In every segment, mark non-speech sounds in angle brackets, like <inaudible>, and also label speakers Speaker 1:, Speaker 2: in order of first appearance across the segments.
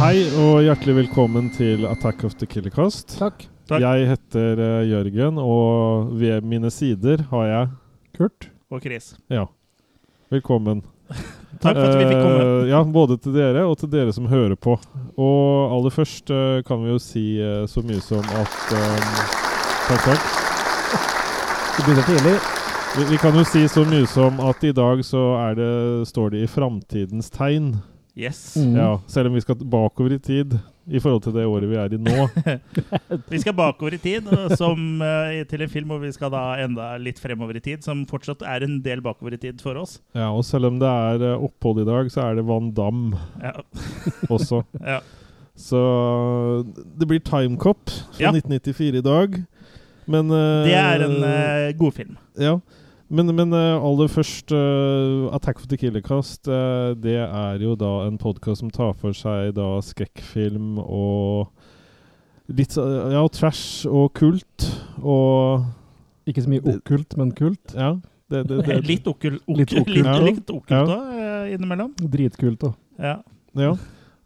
Speaker 1: Hei og hjertelig velkommen til Attack of the Killercast.
Speaker 2: Takk.
Speaker 3: Takk.
Speaker 1: Jeg heter eh, Jørgen, og ved mine sider har jeg Kurt.
Speaker 3: og Chris.
Speaker 1: Ja. Velkommen.
Speaker 3: Takk for at vi fikk komme.
Speaker 1: Eh, ja, både til dere og til dere som hører på. Og aller først eh, kan vi jo si eh, så mye som at eh, Takk, takk.
Speaker 2: Vi begynner tidlig.
Speaker 1: Vi, vi kan jo si så mye som at i dag så er det, står det i framtidens tegn.
Speaker 3: Yes.
Speaker 2: Mm.
Speaker 1: Ja, selv om vi skal bakover i tid i forhold til det året vi er i nå.
Speaker 3: Vi skal bakover i tid, og som, eh, til en film hvor vi skal da enda litt fremover i tid, som fortsatt er en del bakover i tid for oss.
Speaker 1: Ja, og selv om det er eh, opphold i dag, så er det Van Damme
Speaker 3: Ja,
Speaker 1: også.
Speaker 3: <laughs> ja.
Speaker 1: Så det blir Time Cop fra
Speaker 3: Ja.
Speaker 1: 1994 i dag. Men eh,
Speaker 3: Det er en eh, god film.
Speaker 1: Ja. Men, men eh, aller først eh, Attack of the Killercast, eh, det er jo da en podkast som tar for seg da skrekkfilm og litt så- Ja, trash og kult og
Speaker 2: Ikke så mye okkult, men kult.
Speaker 1: Ja. Det, det, det,
Speaker 3: <laughs> Litt okkult
Speaker 2: Litt
Speaker 3: litt,
Speaker 2: okkult,
Speaker 1: ja.
Speaker 3: litt okkult
Speaker 1: Ja.
Speaker 3: da, eh, innimellom.
Speaker 2: Dritkult òg.
Speaker 3: Ja.
Speaker 1: Ja.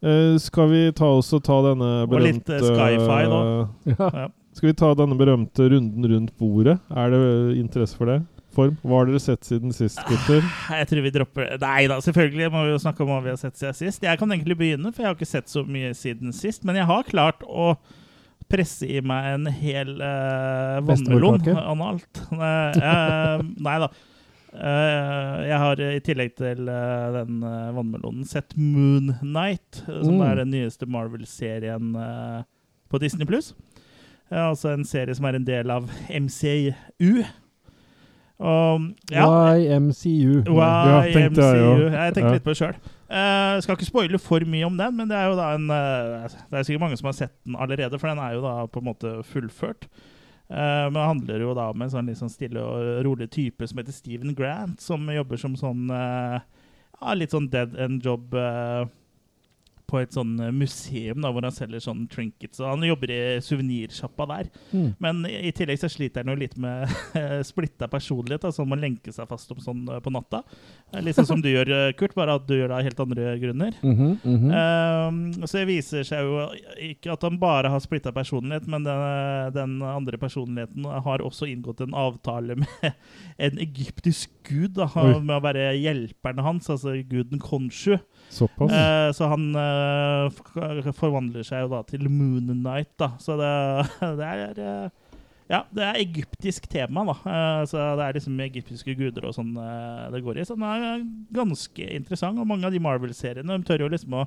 Speaker 1: Eh, skal vi ta også ta denne
Speaker 3: Og litt,
Speaker 1: berømte
Speaker 3: eh, sci-fi da.
Speaker 2: <laughs> Ja.
Speaker 3: Ja.
Speaker 1: Skal vi ta denne berømte runden rundt bordet? Er det eh, interesse for det? Form? Hva har dere sett siden sist, gutter?
Speaker 3: <laughs> Ah, Jeg tror vi dropper Nei da, selvfølgelig må vi jo snakke om hva vi har sett siden sist. Jeg kan egentlig begynne, for jeg har ikke sett så mye siden sist. Men jeg har klart å presse i meg en hel uh, vannmelon
Speaker 2: Bestemorkake?
Speaker 3: analt. Uh, nei da. Eh, jeg har eh, i tillegg til eh, den eh, vannmelonen sett Moon Knight, eh, som
Speaker 2: Mm.
Speaker 3: er den nyeste Marvel-serien eh, på Disney Pluss. altså en serie som er en del av MCU. Og, ja,
Speaker 2: YMCU.
Speaker 1: Ja, tenkte jeg
Speaker 3: YMCU.
Speaker 1: jo.
Speaker 3: Jeg
Speaker 1: Ja.
Speaker 3: tenkte litt på det sjøl. skal ikke spoile for mye om den, men det er jo da en eh, Det er sikkert mange som har sett den allerede, for den er jo da på en måte fullført. Eh, men det handler jo da om en sånn litt sånn stille og rolig type som heter Steven Grant, som jobber som sånn eh, ja, litt sånn dead end job eh, på et sånn museum da, hvor han selger sånn trinkets. Og han jobber i suvenirsjappa der.
Speaker 2: Mm.
Speaker 3: Men i i tillegg så sliter han jo litt med <laughs> splitta personlighet, da, så han må lenke seg fast om sånn eh, på natta. Eh, Litt sånn som du gjør, eh, Kurt, bare at du gjør det av helt andre grunner.
Speaker 2: Mhm, mhm.
Speaker 3: Eh, så det viser seg jo ikke at han bare har splitta personlighet, men den, den andre personligheten har også inngått en avtale med <laughs> en egyptisk gud, da,
Speaker 1: Oi.
Speaker 3: med å være hjelperen hans, altså guden Konshu.
Speaker 1: Såpass?
Speaker 3: Eh, så han eh, f- forvandler seg jo da til Moon Knight, da. Så det, <laughs> det er eh, Ja, det er egyptisk tema, da. Eh, så det er liksom egyptiske guder og sånn eh, det går i. Så den er ganske interessant, og mange av de Marvel-seriene de tør jo liksom å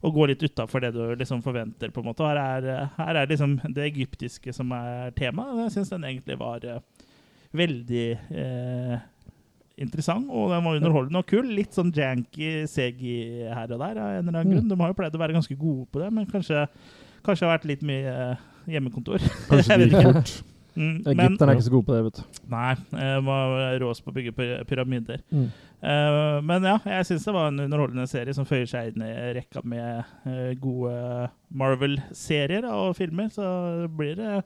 Speaker 3: å gå litt utafor det du liksom forventer. på en måte. Og Her er, eh, her er liksom det egyptiske som er temaet. og Jeg syns den egentlig var eh, veldig eh, interessant, og den var underholdende og kul. Litt sånn janky CG her og der av en eller annen grunn. De har jo pleid å være ganske gode på det, men kanskje, kanskje har vært lilitt mye eh, hjemmekontor.
Speaker 1: Kanskje det
Speaker 3: jeg vet
Speaker 1: gikk fort?
Speaker 3: Mm, men
Speaker 2: Egypterne er ikke så gode på det, vet du.
Speaker 3: nei, eh, var rås på å bygge pyra- pyramider.
Speaker 2: Mm.
Speaker 3: Eh, men ja, jeg syns det var en underholdende serie som føyer seg inn i rekka med eh, gode Marvel-serier og filmer. Så det blir det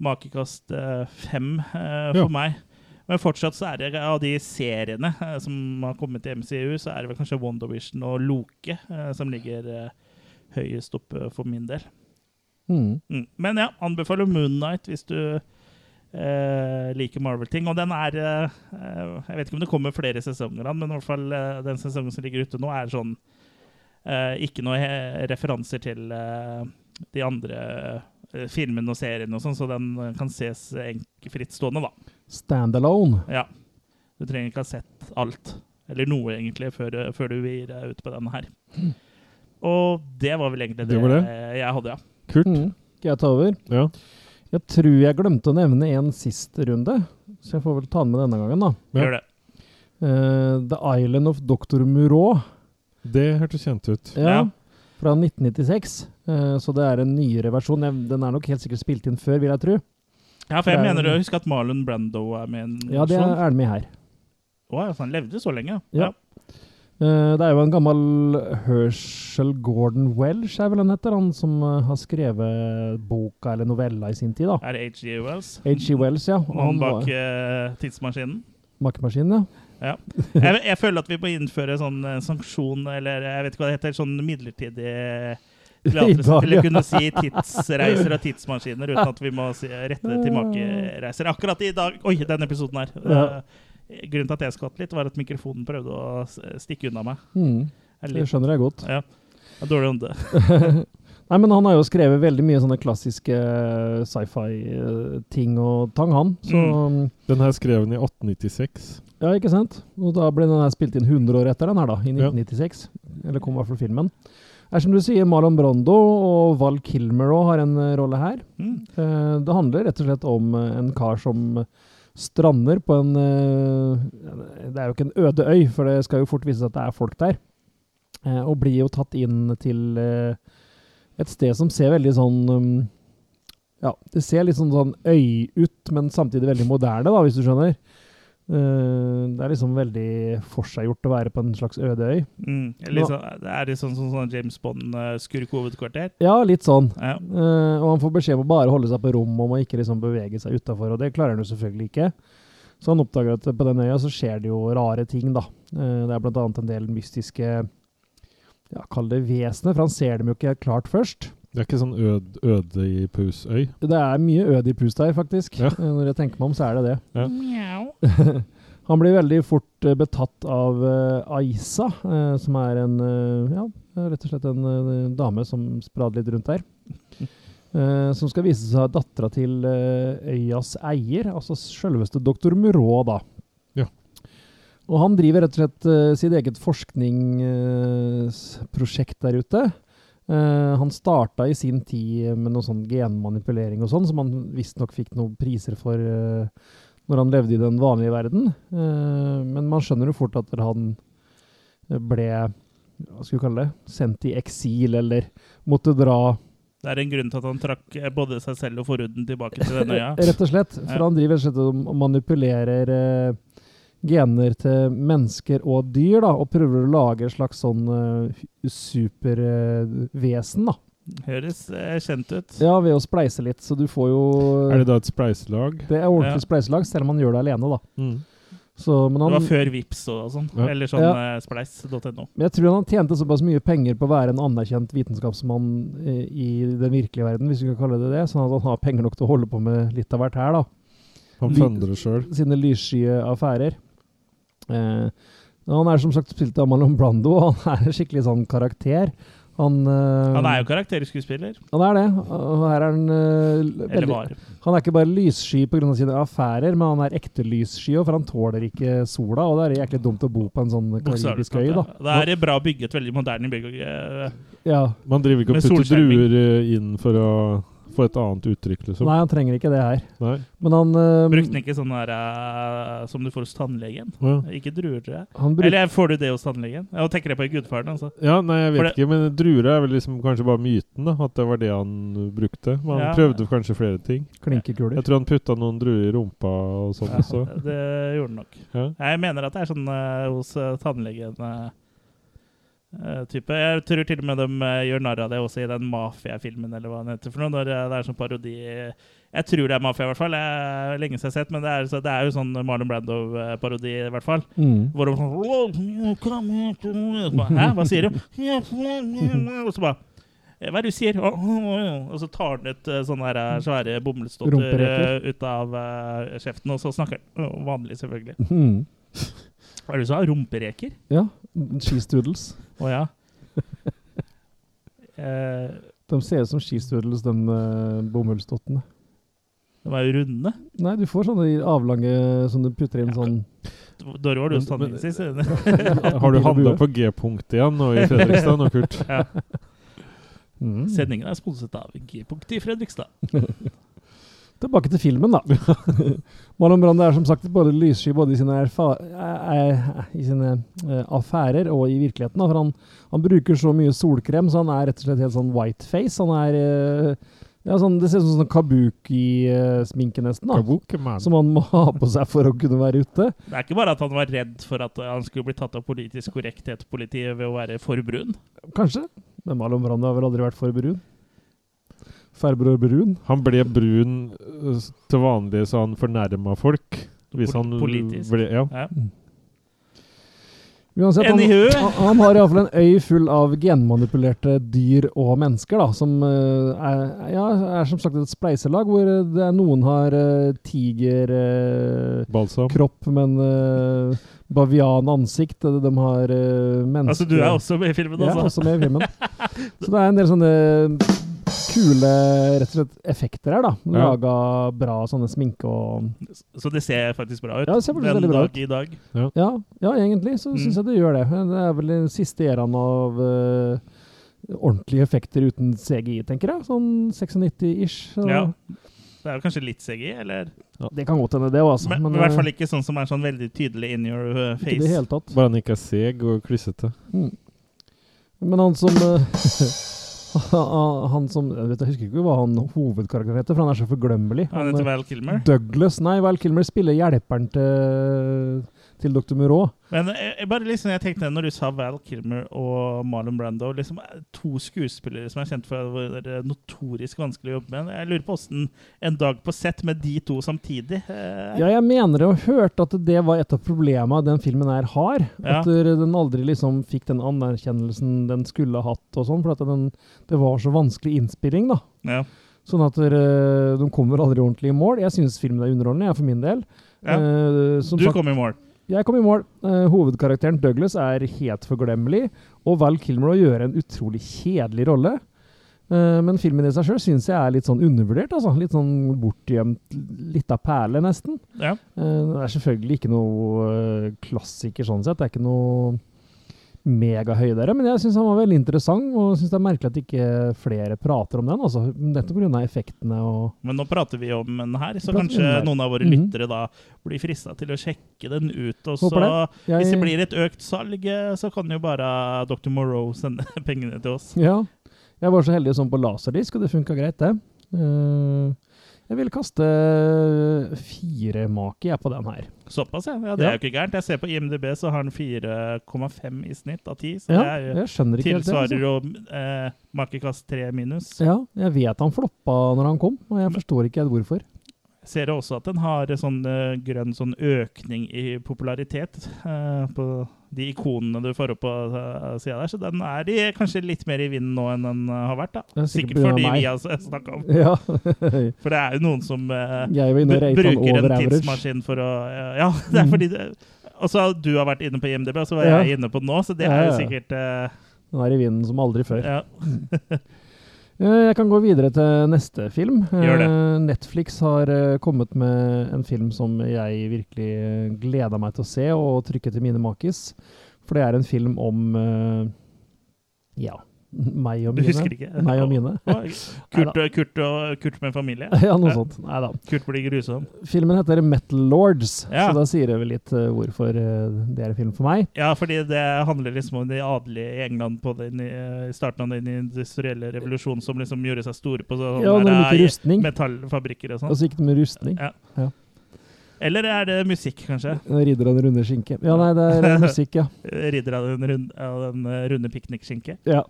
Speaker 3: makekast eh, fem eh, for
Speaker 1: Ja.
Speaker 3: meg. Men fortsatt så er det av de seriene eh, som har kommet til MCU, så er det vel kanskje WandaVision og Loke eh, som ligger eh, høyest oppe for min del.
Speaker 2: Mm.
Speaker 3: Mm. Men ja, anbefaler Moon Knight hvis du eh, liker Marvel-ting. Og den er eh, eh, Jeg vet ikke om det kommer flere sesonger, av den, men i hvert fall eh, den sesongen som ligger ute nå, er sånn eh, Ikke noe eh, referanser til eh, de andre eh, filmene og seriene og sånn, så den eh, kan ses enk- frittstående, da.
Speaker 2: Standalone.
Speaker 3: Ja. Du trenger ikke ha sett alt, eller noe egentlig, før, eh, før du gir deg ut på denne her. Og det var vel egentlig det,
Speaker 1: Mm. Det var det.
Speaker 3: eh, jeg hadde, ja.
Speaker 1: Kult?
Speaker 2: Mm. Skal jeg ta over?
Speaker 1: Ja.
Speaker 2: Jeg tror jeg glemte å nevne en sist runde, så jeg får vel ta den med denne gangen, da.
Speaker 1: Ja.
Speaker 3: Gjør det.
Speaker 2: Eh, The Island of Dr. Murå.
Speaker 1: Det hørtes kjent ut.
Speaker 2: Ja,
Speaker 3: Ja.
Speaker 2: Fra 1996. Eh, så det er en nyere versjon. Jeg- Den er nok helt sikkert spilt inn før, vil jeg tro.
Speaker 3: Ja, for jeg
Speaker 2: Det er-
Speaker 3: mener å huske at Marlon Brando er med i en
Speaker 2: Ja, det
Speaker 3: versjon.
Speaker 2: er den med her.
Speaker 3: Å, altså, han levde så lenge.
Speaker 2: Ja. Eh, Det er jo en gammel Herschel Gordon Welsh, er vel han heter, han som eh, har skrevet boka eller novella i sin tid, da.
Speaker 3: Er det H.G. Wells?
Speaker 2: H.G. Wells, ja. Og
Speaker 3: Mannen
Speaker 2: var-
Speaker 3: bak eh, tidsmaskinen. <laughs>
Speaker 2: Makkemaskinen, ja.
Speaker 3: Jeg, eh, jeg føler at vi må innføre sånn eh, sanksjon, eller jeg vet ikke hva det heter, sånn midlertidig Kleatres
Speaker 2: I dag,
Speaker 3: til å
Speaker 2: ja.
Speaker 3: kunne si tidsreiser og tidsmaskiner uten at vi må si, rette det til makereiser. Akkurat i dag Oi, denne episoden her.
Speaker 2: Ja.
Speaker 3: Eh, Grunnen til at jeg skvatt litt, var at mikrofonen prøvde å s- stikke unna meg.
Speaker 2: Mm,
Speaker 3: Jeg er
Speaker 2: det
Speaker 3: Litt,
Speaker 2: skjønner jeg godt.
Speaker 3: ja. Jeg er Dårlig ånde.
Speaker 2: <laughs> Nei, men han har jo skrevet veldig mye sånne klassiske eh, sci-fi-ting og tang, han. Så
Speaker 1: Den her skrev den i 1896.
Speaker 2: Ja, ikke sant? Og da ble den her spilt inn 100 år etter den her, da, i
Speaker 1: Ja.
Speaker 2: 1996. Eller kom i hvert fall filmen. Det er som du sier, Marlon Brando og Val Kilmer òg har en eh, rolle her.
Speaker 3: Mm.
Speaker 2: Eh, Det handler rett og slett om eh, en kar som strander på en eh, Det er jo ikke en øde øy, for det skal jo fort vise seg at det er folk der. Eh, Og blir jo tatt inn til eh, et sted som ser veldig sånn um, Ja, det ser litt sånn, sånn øy ut, men samtidig veldig moderne, da, hvis du skjønner. Eh, Det er liksom veldig forseggjort å være på en slags øde øy.
Speaker 3: Mm. Litt sånn, det er litt sånn, sånn, sånn James Bond-skurk-hovedkvarter.
Speaker 2: Ja, litt sånn.
Speaker 3: Ja.
Speaker 2: Eh, og han får beskjed om å bare holde seg på rommet om å ikke liksom bevege seg utafor, og det klarer han jo selvfølgelig ikke. Så han oppdager at på den øya så skjer det jo rare ting, da. Eh, det er blant annet en del mystiske ja, Kall det vesener, for han ser dem jo ikke helt klart først.
Speaker 1: Det er ikke sånn ød, øde i Pusøy.
Speaker 2: Det er mye ødipus der, faktisk.
Speaker 1: Ja.
Speaker 2: Eh, Når jeg tenker meg om, så er det det.
Speaker 1: Ja.
Speaker 3: Mjau.
Speaker 2: <laughs> Han blir veldig fort eh, betatt av eh, Aisa, eh, som er en eh, ja, rett og slett en eh, dame som sprader litt rundt
Speaker 1: <laughs>
Speaker 2: der. Eh, som skal vise seg dattera til eh, øyas eier, altså selveste doktor Murå, da.
Speaker 1: Ja.
Speaker 2: Og han driver rett og slett eh, sitt eget forskningsprosjekt der ute. Eh, han starta i sin tid med noe sånn genmanipulering og sånn, som han visstnok fikk noen priser for eh, når han levde i den vanlige verden. Eh, men man skjønner jo fort at han ble hva skal vi kalle det, sendt i eksil, eller måtte dra
Speaker 3: Det er en grunn til at han trakk eh, både seg selv og forhuden tilbake til denne
Speaker 2: <laughs>
Speaker 3: øya.
Speaker 2: Rett og slett. For
Speaker 3: Ja.
Speaker 2: han driver rett og slett og manipulerer eh, gener til mennesker og dyr, da, og prøver å lage et slags sånn supervesen, da.
Speaker 3: Høres eh, kjent ut.
Speaker 2: Ja, ved å spleise litt, så du får jo
Speaker 1: Er det da et spleiselag?
Speaker 2: Det er ordentlig
Speaker 3: Ja.
Speaker 2: spleiselag, selv om han gjør det alene, da.
Speaker 1: Mm.
Speaker 2: Så, men
Speaker 3: Det
Speaker 2: han,
Speaker 3: var før Vips og sånn.
Speaker 1: Ja.
Speaker 3: Eller sånn
Speaker 2: Ja.
Speaker 3: eh, spleis.no.
Speaker 2: Men jeg tror han tjente såpass mye penger på å være en anerkjent vitenskapsmann eh, i den virkelige verden, hvis vi kan kalle det det, sånn at han har penger nok til å holde på med litt av hvert her, da.
Speaker 1: Han
Speaker 2: Ly-
Speaker 1: funder det sjøl.
Speaker 2: Sine lysskye affærer. Eh, men han er som sagt spilt av Marlon Brando, og han er en skikkelig sånn karakter. Han, eh,
Speaker 3: Han er jo karakterskuespiller.
Speaker 2: han er det. Og her er han eh,
Speaker 3: Eller
Speaker 2: veldig,
Speaker 3: var.
Speaker 2: Han er ikke bare lyssky pga. sine affærer, men han er ekte lyssky, og for han tåler ikke sola, og det er jæklig dumt å bo på en sånn
Speaker 3: Bokstavelig
Speaker 2: karibisk
Speaker 3: talt,
Speaker 2: øy,
Speaker 3: ja.
Speaker 2: da.
Speaker 3: Det er bra bygget, veldig moderne bygg. eh,
Speaker 2: Ja.
Speaker 1: Man driver ikke og
Speaker 3: Med
Speaker 1: putter
Speaker 3: solskjerming.
Speaker 1: druer eh, inn for å få et annet uttrykk, liksom.
Speaker 2: Nei, han trenger ikke det her.
Speaker 1: Nei.
Speaker 2: Men han eh,
Speaker 3: Brukte den ikke sånn der eh, som du får hos tannlegen?
Speaker 1: Ja.
Speaker 3: Ikke druer, tror jeg.
Speaker 2: han bruk,
Speaker 3: Eller eh, får du det hos tannlegen? Jeg tenker jeg på i Gudfaren, altså.
Speaker 1: ja, nei, jeg
Speaker 3: For
Speaker 1: vet
Speaker 3: det-
Speaker 1: ikke. Men druer er vel liksom kanskje bare myten, da. At det var det han uh, brukte. Men han
Speaker 3: Ja.
Speaker 1: prøvde kanskje flere ting.
Speaker 2: klinkekuler.
Speaker 1: Jeg tror han putta noen druer i rumpa og sånn også.
Speaker 3: Ja, det gjorde den nok.
Speaker 1: Ja.
Speaker 3: Jeg mener at det er sånn eh, hos eh, tannlegen eh, eh, type. Jeg tror til og med de eh, gjør narr av det også i den mafiafilmen eller hva den heter for noe, når eh, det er sånn parodi. Jeg tror det er mafia i hvert fall, jeg, lenge siden jeg har sett, men det er, så, det er jo sånn Marlon Brando-parodi i hvert fall.
Speaker 2: Mm.
Speaker 3: Hvor de sånn «Wow, kom her, kom her». Så bare, Hæ, hva sier du? Og så bare «Eh, Hva er det du sier? «Å, å, å». Og så tar han ut eh, sånne her eh, svære bomullsdotter
Speaker 2: Rumpereker.
Speaker 3: eh, ut av eh, kjeften, og så snakker han Å, vanlig, selvfølgelig.
Speaker 2: Mm.
Speaker 3: Hva er det du sa? Rumpereker?
Speaker 2: Ja. Cheese doodles.
Speaker 3: Å ja. <laughs> Eh,
Speaker 2: De ser ut som cheese doodles, de eh, bomullsdottene.
Speaker 3: de er jo runde.
Speaker 2: Nei, du får sånne avlange som du putter inn
Speaker 3: Ja.
Speaker 2: sånn
Speaker 3: Dore var du hos
Speaker 1: Men- men- eh,
Speaker 3: tannlegen sist.
Speaker 1: <laughs> Har du handla på G-punkt igjen
Speaker 3: <laughs>
Speaker 1: nå i Fredrikstad nå, Kurt?
Speaker 3: Ja.
Speaker 2: Mm.
Speaker 3: <laughs> Sendingen er sponset av G-punkt i Fredrikstad.
Speaker 2: Tilbake til filmen, da. <laughs> Marlon Brando er som sagt både lyssky både i sine, erfa eh, eh, i sine eh, affærer og i virkeligheten. Da, for han, han bruker så mye solkrem, så han er rett og slett helt sånn whiteface. Han er eh, ja, sånn, Det ser ut som sånn kabuki-sminke, nesten. da. Som han må <laughs> ha på seg for å kunne være ute.
Speaker 3: Det er ikke bare at han var redd for at eh, han skulle bli tatt av politisk korrekthet-politiet ved å være for brun.
Speaker 2: Kanskje. Men Marlon Brando har vel aldri vært for brun? Farbror Brun?
Speaker 1: Han ble brun øh, s- til vanlig, så han fornærma folk. Hvis
Speaker 3: Pol-
Speaker 1: han
Speaker 3: politisk.
Speaker 1: ble Ja.
Speaker 3: Ja.
Speaker 2: Uansett, han,
Speaker 3: Anywho.
Speaker 2: han- han har iallfall en øy full av genmanipulerte dyr og mennesker, da, som eh, er, ja, er som sagt et spleiselag, hvor eh, det er noen har eh, tiger eh,
Speaker 1: Balsam.
Speaker 2: kropp, men eh, bavian ansikt. De, de har eh, mennesker
Speaker 3: Altså, du er også med i filmen,
Speaker 2: ja, også
Speaker 3: altså?
Speaker 2: med i
Speaker 3: <laughs>
Speaker 2: filmen. Så det er en del sånne kule rett og slett effekter her, da.
Speaker 1: Ja.
Speaker 2: Laga bra sånne sminke og
Speaker 3: Så det ser faktisk bra ut.
Speaker 2: Ja, det ser faktisk
Speaker 3: Den
Speaker 2: veldig bra ut.
Speaker 3: dag i dag.
Speaker 2: Ja, ja egentlig så
Speaker 3: Mm.
Speaker 2: syns jeg det gjør det. Det er vel den siste æraen av eh, ordentlige effekter uten CGI, tenker jeg. Sånn 96-ish. så
Speaker 3: Ja. Det er jo kanskje litt CGI, eller?
Speaker 2: Det kan godt hende, det også,
Speaker 3: Men,
Speaker 2: men,
Speaker 3: men i hvert fall
Speaker 2: eh,
Speaker 3: ikke sånn som er sånn veldig tydelig in your uh,
Speaker 2: ikke i det
Speaker 3: face.
Speaker 2: hele tatt.
Speaker 1: Bare han ikke er seg og klissete.
Speaker 2: Mm. Men han som eh, <laughs> Han som jeg, vet, jeg husker ikke hva han hovedkarakteren heter, for han er så forglemmelig.
Speaker 3: Han
Speaker 2: eh,
Speaker 3: heter Val Kilmer.
Speaker 2: Douglas, nei, Val Kilmer spiller hjelperen til, til Dr. Moreau.
Speaker 3: Men jeg, jeg bare liksom, jeg tenkte når du sa Val Kilmer og Marlon Brando liksom eh, To skuespillere som er kjent for å være notorisk vanskelig å jobbe med. Jeg lurer på åssen en dag på sett med de to samtidig eh,
Speaker 2: Ja, jeg mener å ha hørt at det var et av problemene den filmen her har.
Speaker 3: Ja.
Speaker 2: At den aldri liksom fikk den anerkjennelsen den skulle ha hatt og sånn, for at den, det var så vanskelig innspilling, da.
Speaker 3: ja.
Speaker 2: Sånn at eh, de kommer aldri ordentlig i mål. Jeg syns filmen er underholdende, jeg for min del.
Speaker 3: Ja.
Speaker 2: Eh, som
Speaker 3: Du
Speaker 2: sagt,
Speaker 3: kom i mål.
Speaker 2: jeg kom i mål. Eh, hovedkarakteren Douglas er helt forglemmelig, og Val Kilmer å gjøre en utrolig kjedelig rolle. Eh, men filmen i seg sjøl syns jeg er litt sånn undervurdert. altså. Litt sånn bortgjemt lita perle, nesten.
Speaker 3: Ja.
Speaker 2: Eh, det er selvfølgelig ikke noe eh, klassiker sånn sett. Det er ikke noe megahøy der, men jeg syns han var veldig interessant, og syns det er merkelig at ikke flere prater om den. altså. Nettopp pga. effektene og
Speaker 3: Men nå prater vi om den her,
Speaker 2: Prater vi
Speaker 3: så
Speaker 2: om
Speaker 3: kanskje
Speaker 2: den her.
Speaker 3: noen av våre
Speaker 2: Mhm.
Speaker 3: lyttere da blir frista til å sjekke den ut. Og
Speaker 2: Håper
Speaker 3: så,
Speaker 2: Jeg-
Speaker 3: hvis det blir et økt salg, eh, så kan jo bare Dr. Morrow sende <laughs> pengene til oss.
Speaker 2: Ja. Jeg var så heldig sånn på laserdisk, og det funka greit, det. Eh, jeg vil kaste eh, fire maki jeg på den her.
Speaker 3: Såpass, ja. ja det er
Speaker 2: Ja.
Speaker 3: jo ikke gærent. Jeg ser på IMDb, så har den 4,5 i snitt av 10. Så
Speaker 2: Ja,
Speaker 3: det er jo
Speaker 2: jeg skjønner ikke helt det.
Speaker 3: tilsvarer
Speaker 2: Altså.
Speaker 3: jo eh, makekast 3 minus.
Speaker 2: Ja, jeg vet han floppa når han kom, og jeg
Speaker 3: Men-
Speaker 2: forstår ikke helt hvorfor.
Speaker 3: Ser jeg også at den har eh, sånn eh, grønn sånn økning i popularitet eh, på de ikonene du får opp på eh, sida der. Så den er i, kanskje litt mer i vinden nå enn den eh, har vært. da.
Speaker 2: Det er sikkert
Speaker 3: Sikkert
Speaker 2: på grunn av meg.
Speaker 3: fordi vi har snakka om
Speaker 2: <laughs> Ja.
Speaker 3: For det er jo noen som eh,
Speaker 2: jeg var inne og
Speaker 3: br-
Speaker 2: rate han
Speaker 3: bruker en
Speaker 2: over average. Mm.
Speaker 3: tidsmaskin for å eh, Ja, <laughs> det er fordi det, Også du har vært inne på IMDb, og så var
Speaker 2: Ja.
Speaker 3: jeg inne på den nå, så det
Speaker 2: Ja,
Speaker 3: er jo
Speaker 2: ja, ja.
Speaker 3: sikkert eh,
Speaker 2: Den er i vinden som aldri før.
Speaker 3: ja.
Speaker 2: Eh, Jeg kan gå videre til neste film.
Speaker 3: Gjør det.
Speaker 2: Eh, Netflix har eh, kommet med en film som jeg virkelig eh, gleder meg til å se og trykke til mine makis. For det er en film om eh, ja, <laughs> meg og
Speaker 3: Du
Speaker 2: mine.
Speaker 3: husker ikke?
Speaker 2: <laughs>
Speaker 3: <laughs>
Speaker 2: Meg og mine.
Speaker 3: Å, Kurt, Kurt, og, Kurt med
Speaker 2: <laughs>
Speaker 3: familie?
Speaker 2: Ja, noe
Speaker 3: Ja.
Speaker 2: sånt. Nei da.
Speaker 3: Kurt blir grusom.
Speaker 2: Filmen heter Metal Lords,
Speaker 3: Ja.
Speaker 2: så da sier det vel litt eh, hvorfor eh, det er en film for meg.
Speaker 3: Ja, fordi det handler liksom om de adelige i England på den, eh, i starten av den industrielle revolusjonen som liksom gjorde seg store på sånne
Speaker 2: Ja, og den
Speaker 3: der,
Speaker 2: liker
Speaker 3: eh,
Speaker 2: rustning.
Speaker 3: metallfabrikker og
Speaker 2: Og
Speaker 3: sånn.
Speaker 2: så gikk det med rustning.
Speaker 3: Ja.
Speaker 2: Ja. Altså-
Speaker 3: Eller er det musikk, kanskje?
Speaker 2: Ridder av den runde skinke. Ja, nei, det er eh, musikk, ja.
Speaker 3: Ridder av den runde, av den eh, runde piknikskinke?
Speaker 2: Ja.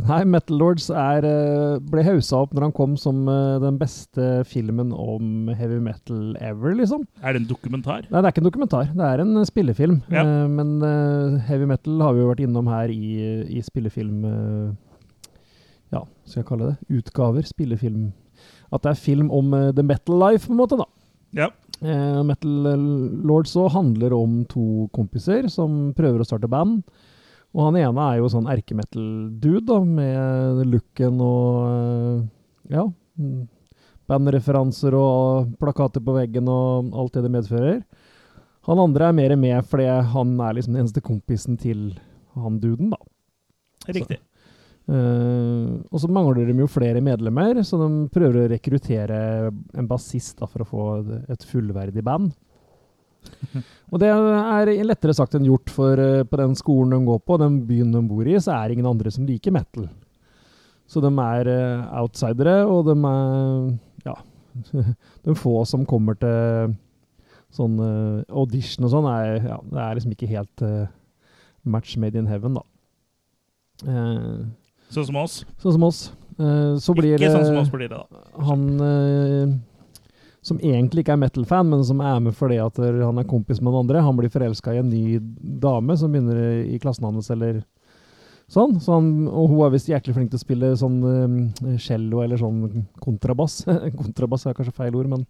Speaker 2: Nei, Metal Lords er, eh, ble hausa opp når han kom som eh, den beste filmen om heavy metal ever, liksom.
Speaker 3: Er det en dokumentar?
Speaker 2: Nei, det er ikke en dokumentar, det er en eh, spillefilm.
Speaker 3: Ja.
Speaker 2: Eh, Men eh, heavy metal har vi jo vært innom her i, i spillefilm... eh, Ja, skal jeg kalle det? Utgaver, spillefilm. At det er film om eh, the metal life, på en måte, da.
Speaker 3: Ja.
Speaker 2: Eh, Metal Lords òg handler om to kompiser som prøver å starte band. Og han ene er jo sånn erkemetal-dude, da, med looken og eh, ja mm, bandreferanser og plakater på veggen og alt det det medfører. Han andre er mer med fordi han er liksom den eneste kompisen til han duden, da.
Speaker 3: Riktig.
Speaker 2: Eh, og så mangler de jo flere medlemmer, så de prøver å rekruttere en bassist da, for å få et fullverdig band. Og det er lettere sagt enn gjort, for eh, på den skolen de går på, den byen de bor i, så er det ingen andre som liker metal. Så de er eh, outsidere, og de er Ja. <laughs> De få som kommer til sånn eh, audition og sånn, er, ja, det er liksom ikke helt eh, match made in heaven, da. Eh,
Speaker 3: Sånn som oss. é
Speaker 2: Sånn som oss. Eh, så blir
Speaker 3: Ikke
Speaker 2: det
Speaker 3: sånn som oss blir det, da.
Speaker 2: han eh, som egentlig ikke er metal-fan, men som er med fordi at eh, han er kompis med noen andre. Han blir forelska i en ny dame som begynner i- i klassen hans, eller sånn. Så han, og hun er visst jæklig flink til å spille sånn eh, cello eller sånn kontrabass. <laughs> kontrabass er kanskje feil ord, men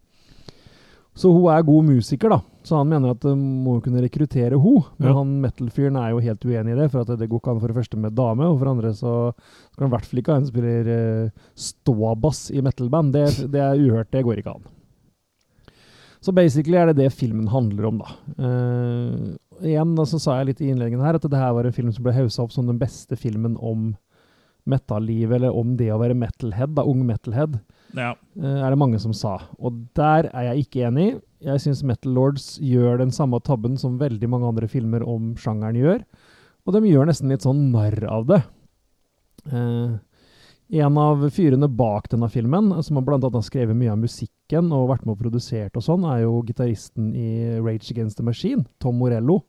Speaker 2: Så hun er god musiker, da. Så han mener at det må jo kunne rekruttere hun. Men
Speaker 1: Ja.
Speaker 2: han metal-fyren er jo helt uenig i det, for at det går ikke an for det første med dame, og for det andre så skal han i hvert fall ikke ha en som spiller eh, ståbass i metal-band. Det, det er uhørt, det går ikke an. Så basically er det det filmen handler om, da. Eh, igjen så sa jeg litt i innledningen her at det her var en film som ble haussa opp som den beste filmen om metal-livet, eller om det å være metalhead, da, ung metalhead,
Speaker 3: Ja.
Speaker 2: eh, er det mange som sa. Og der er jeg ikke enig. Jeg syns Metal Lords gjør den samme tabben som veldig mange andre filmer om sjangeren gjør, og de gjør nesten litt sånn narr av det. Eh, en av fyrene bak denne filmen, som har blant annet har skrevet mye av musikken og vært med og produsert og sånn, er jo gitaristen i Rage Against the Machine, Tom Morello.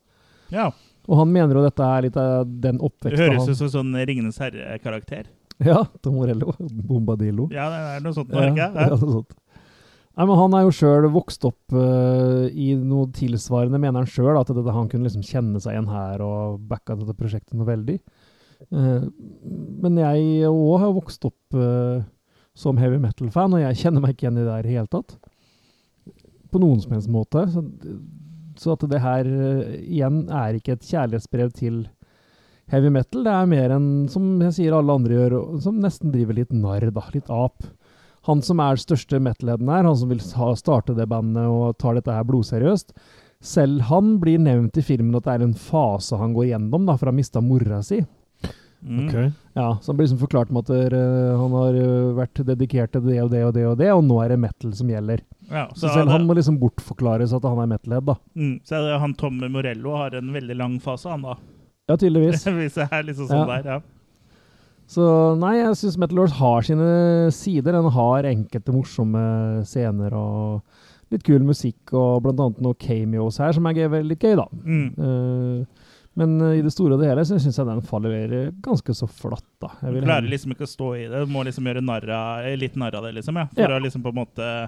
Speaker 3: ja.
Speaker 2: Og han mener jo dette er litt av den
Speaker 3: Det
Speaker 2: oppveksten
Speaker 3: høres
Speaker 2: han
Speaker 3: ut som sånn Ringenes herre-karakter.
Speaker 2: Ja, Tom Morello. <laughs> Bombadillo.
Speaker 3: Ja, det er noe sånt nå, er det
Speaker 2: Ja,
Speaker 3: ikke?
Speaker 2: ja, noe sånt. Nei, men Han er jo sjøl vokst opp eh, i noe tilsvarende, mener han sjøl. At det, han kunne liksom kjenne seg igjen her og backa dette prosjektet noe veldig. Eh, men jeg òg har vokst opp eh, som heavy metal-fan, og jeg kjenner meg ikke igjen i det her i det hele tatt. På noen som helst måte. Så, så at det her eh, igjen er ikke et kjærlighetsbrev til heavy metal. Det er mer enn, som jeg sier alle andre gjør, og som nesten driver litt narr, da. Litt ap. Han som er største metalheaden her, han som vil ha, starte det bandet og tar dette her blodseriøst, selv han blir nevnt i filmen at det er en fase han går gjennom, da, for han mista mora si.
Speaker 3: Mm.
Speaker 1: Ok.
Speaker 2: Ja, så han blir liksom forklart med at eh, han har eh, vært dedikert til det og det og det og det, og nå er det metal som gjelder.
Speaker 3: Ja,
Speaker 2: Så,
Speaker 3: så,
Speaker 2: selv
Speaker 3: det,
Speaker 2: han må liksom bortforklares at han er metalhead, da.
Speaker 3: mm, så det, han Tom Morello har en veldig lang fase, han da.
Speaker 2: Ja, tydeligvis.
Speaker 3: <laughs> Hvis det er liksom
Speaker 2: Ja.
Speaker 3: sånn der, ja.
Speaker 2: Så nei, jeg syns Metal Lords har sine sider. Den har enkelte morsomme scener og litt kul musikk, og blant annet noen cameos her som er gøy, veldig gøy, da.
Speaker 3: Mm.
Speaker 2: Eh, men eh, i det store og det hele så syns jeg den faller eh, ganske så flatt, da. Jeg
Speaker 3: Du
Speaker 2: vil
Speaker 3: klarer
Speaker 2: heller-
Speaker 3: liksom ikke å stå i det. Du må liksom gjøre narr av- eh, litt narr av det, liksom. Ja. For
Speaker 2: Ja.
Speaker 3: å liksom på en måte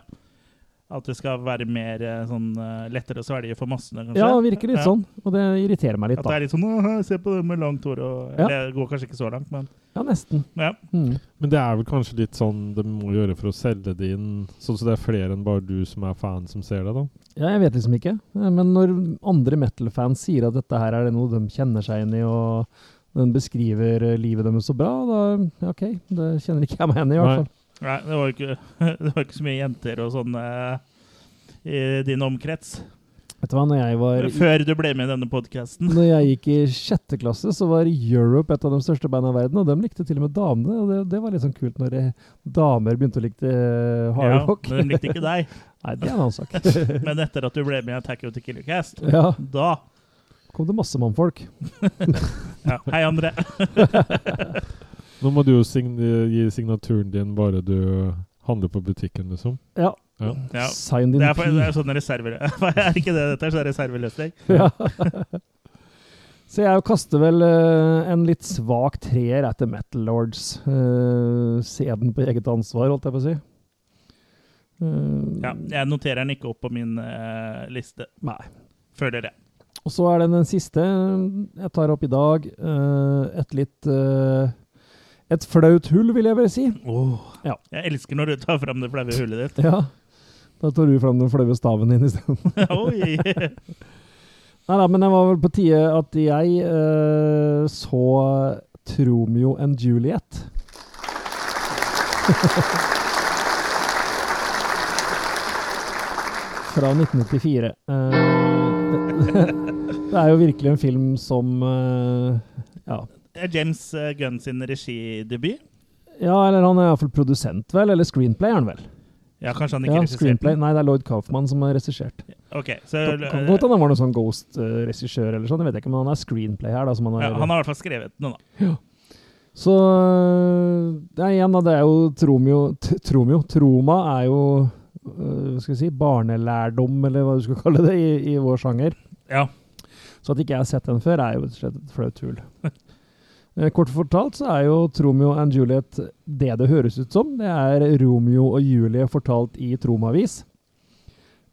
Speaker 3: At det skal være mer eh, sånn eh, lettere å svelge for massene, kanskje.
Speaker 2: ja, det virker litt
Speaker 3: Ja.
Speaker 2: sånn, og det irriterer meg litt,
Speaker 3: At det
Speaker 2: da.
Speaker 3: er litt sånn «Åh, Se på det med langt hår og
Speaker 2: Ja.
Speaker 3: Eller, Det går kanskje ikke så langt, men
Speaker 2: Ja, nesten.
Speaker 3: ja.
Speaker 2: Mm.
Speaker 1: Men det er vel kanskje litt sånn de må gjøre for å selge det inn, sånn så det er flere enn bare du som er fan som ser det, da?
Speaker 2: Ja, jeg vet liksom ikke. Eh, Men når andre metal-fans sier at dette her er det noe de kjenner seg inn i, og den beskriver eh, livet deres så bra, da OK, det kjenner ikke jeg meg igjen i, i hvert
Speaker 1: Nei.
Speaker 2: fall.
Speaker 3: Nei, det var jo ikke, <laughs> det var ikke så mye jenter og sånn eh, i din omkrets.
Speaker 2: Vet du hva, når jeg var i,
Speaker 3: Før du ble med i denne podkasten.
Speaker 2: når jeg gikk i sjette klasse, så var Europe et av de største bandene i verden, og de likte til og med damene, og det, det var litt sånn kult når eh, damer begynte å likte eh,
Speaker 3: Ja,
Speaker 2: hardrock.
Speaker 3: men de likte ikke deg.
Speaker 2: Nei, det er en annen sak. <laughs>
Speaker 3: Men etter at du ble med i Attack of the Killer Cast,
Speaker 2: Ja,
Speaker 3: da
Speaker 2: kom det masse mannfolk.
Speaker 3: ja. Hei, André.
Speaker 2: <laughs>
Speaker 1: Nå må du jo sign gi signaturen din bare du handler på butikken, liksom.
Speaker 2: Ja.
Speaker 1: Ja.
Speaker 3: Ja.
Speaker 2: Sign din
Speaker 3: Det er, for,
Speaker 2: pi.
Speaker 3: det er sånn reserve... <laughs> Er ikke det dette er? Sånn reserveløsning?
Speaker 2: Ja. Så jeg kaster vel eh, en litt svak treer etter Metal Lords. Eh, se den på eget ansvar, holdt jeg på å si. Eh,
Speaker 3: Ja, jeg noterer den ikke opp på min eh, liste.
Speaker 2: Nei.
Speaker 3: Føler det.
Speaker 2: Og så er det den siste jeg tar opp i dag. eh, et litt eh, Et flaut hull, vil jeg vel si. Ja.
Speaker 3: Jeg elsker når du tar fram det flaue hullet
Speaker 2: <laughs>
Speaker 3: ditt. <laughs>
Speaker 2: Ja. Da tar du fram den flaue staven din isteden.
Speaker 3: Oi!
Speaker 2: Nei da, men det var vel på tide at jeg eh, så Tromeo and <laughs> Juliet. Fra 1994. Eh, det, <laughs> det er jo virkelig en film som eh, ja.
Speaker 3: Det er James eh, Gunn sin regidebut.
Speaker 2: ja, eller han er iallfall produsent, vel? Eller screenplay, er han vel?
Speaker 3: Ja, kanskje han ikke
Speaker 2: Ja,
Speaker 3: regisserte
Speaker 2: screenplay.
Speaker 3: den?
Speaker 2: Nei, det er Lloyd Kaufman som har regissert.
Speaker 3: Ok, så
Speaker 2: Kan kan
Speaker 3: eh,
Speaker 2: godt hende han var noen sånn Ghost-regissør eller sånn, jeg vet ikke, men han er screenplay her, da. Som han har,
Speaker 3: ja, Han har i hvert fall skrevet den, da.
Speaker 2: Så eh, det er igjen, da. Det er jo Tromeo t- Tromeo. Troma er jo øh, hva skal vi si, barnelærdom, eller hva du skal kalle det, i, i vår sjanger.
Speaker 3: Ja.
Speaker 2: Så at ikke jeg har sett den før, er jo rett og slett et flaut hull. <laughs> Eh, Kort fortalt så er jo Tromeo and Juliet det det høres ut som. Det er Romeo og Julie fortalt i Tromavis.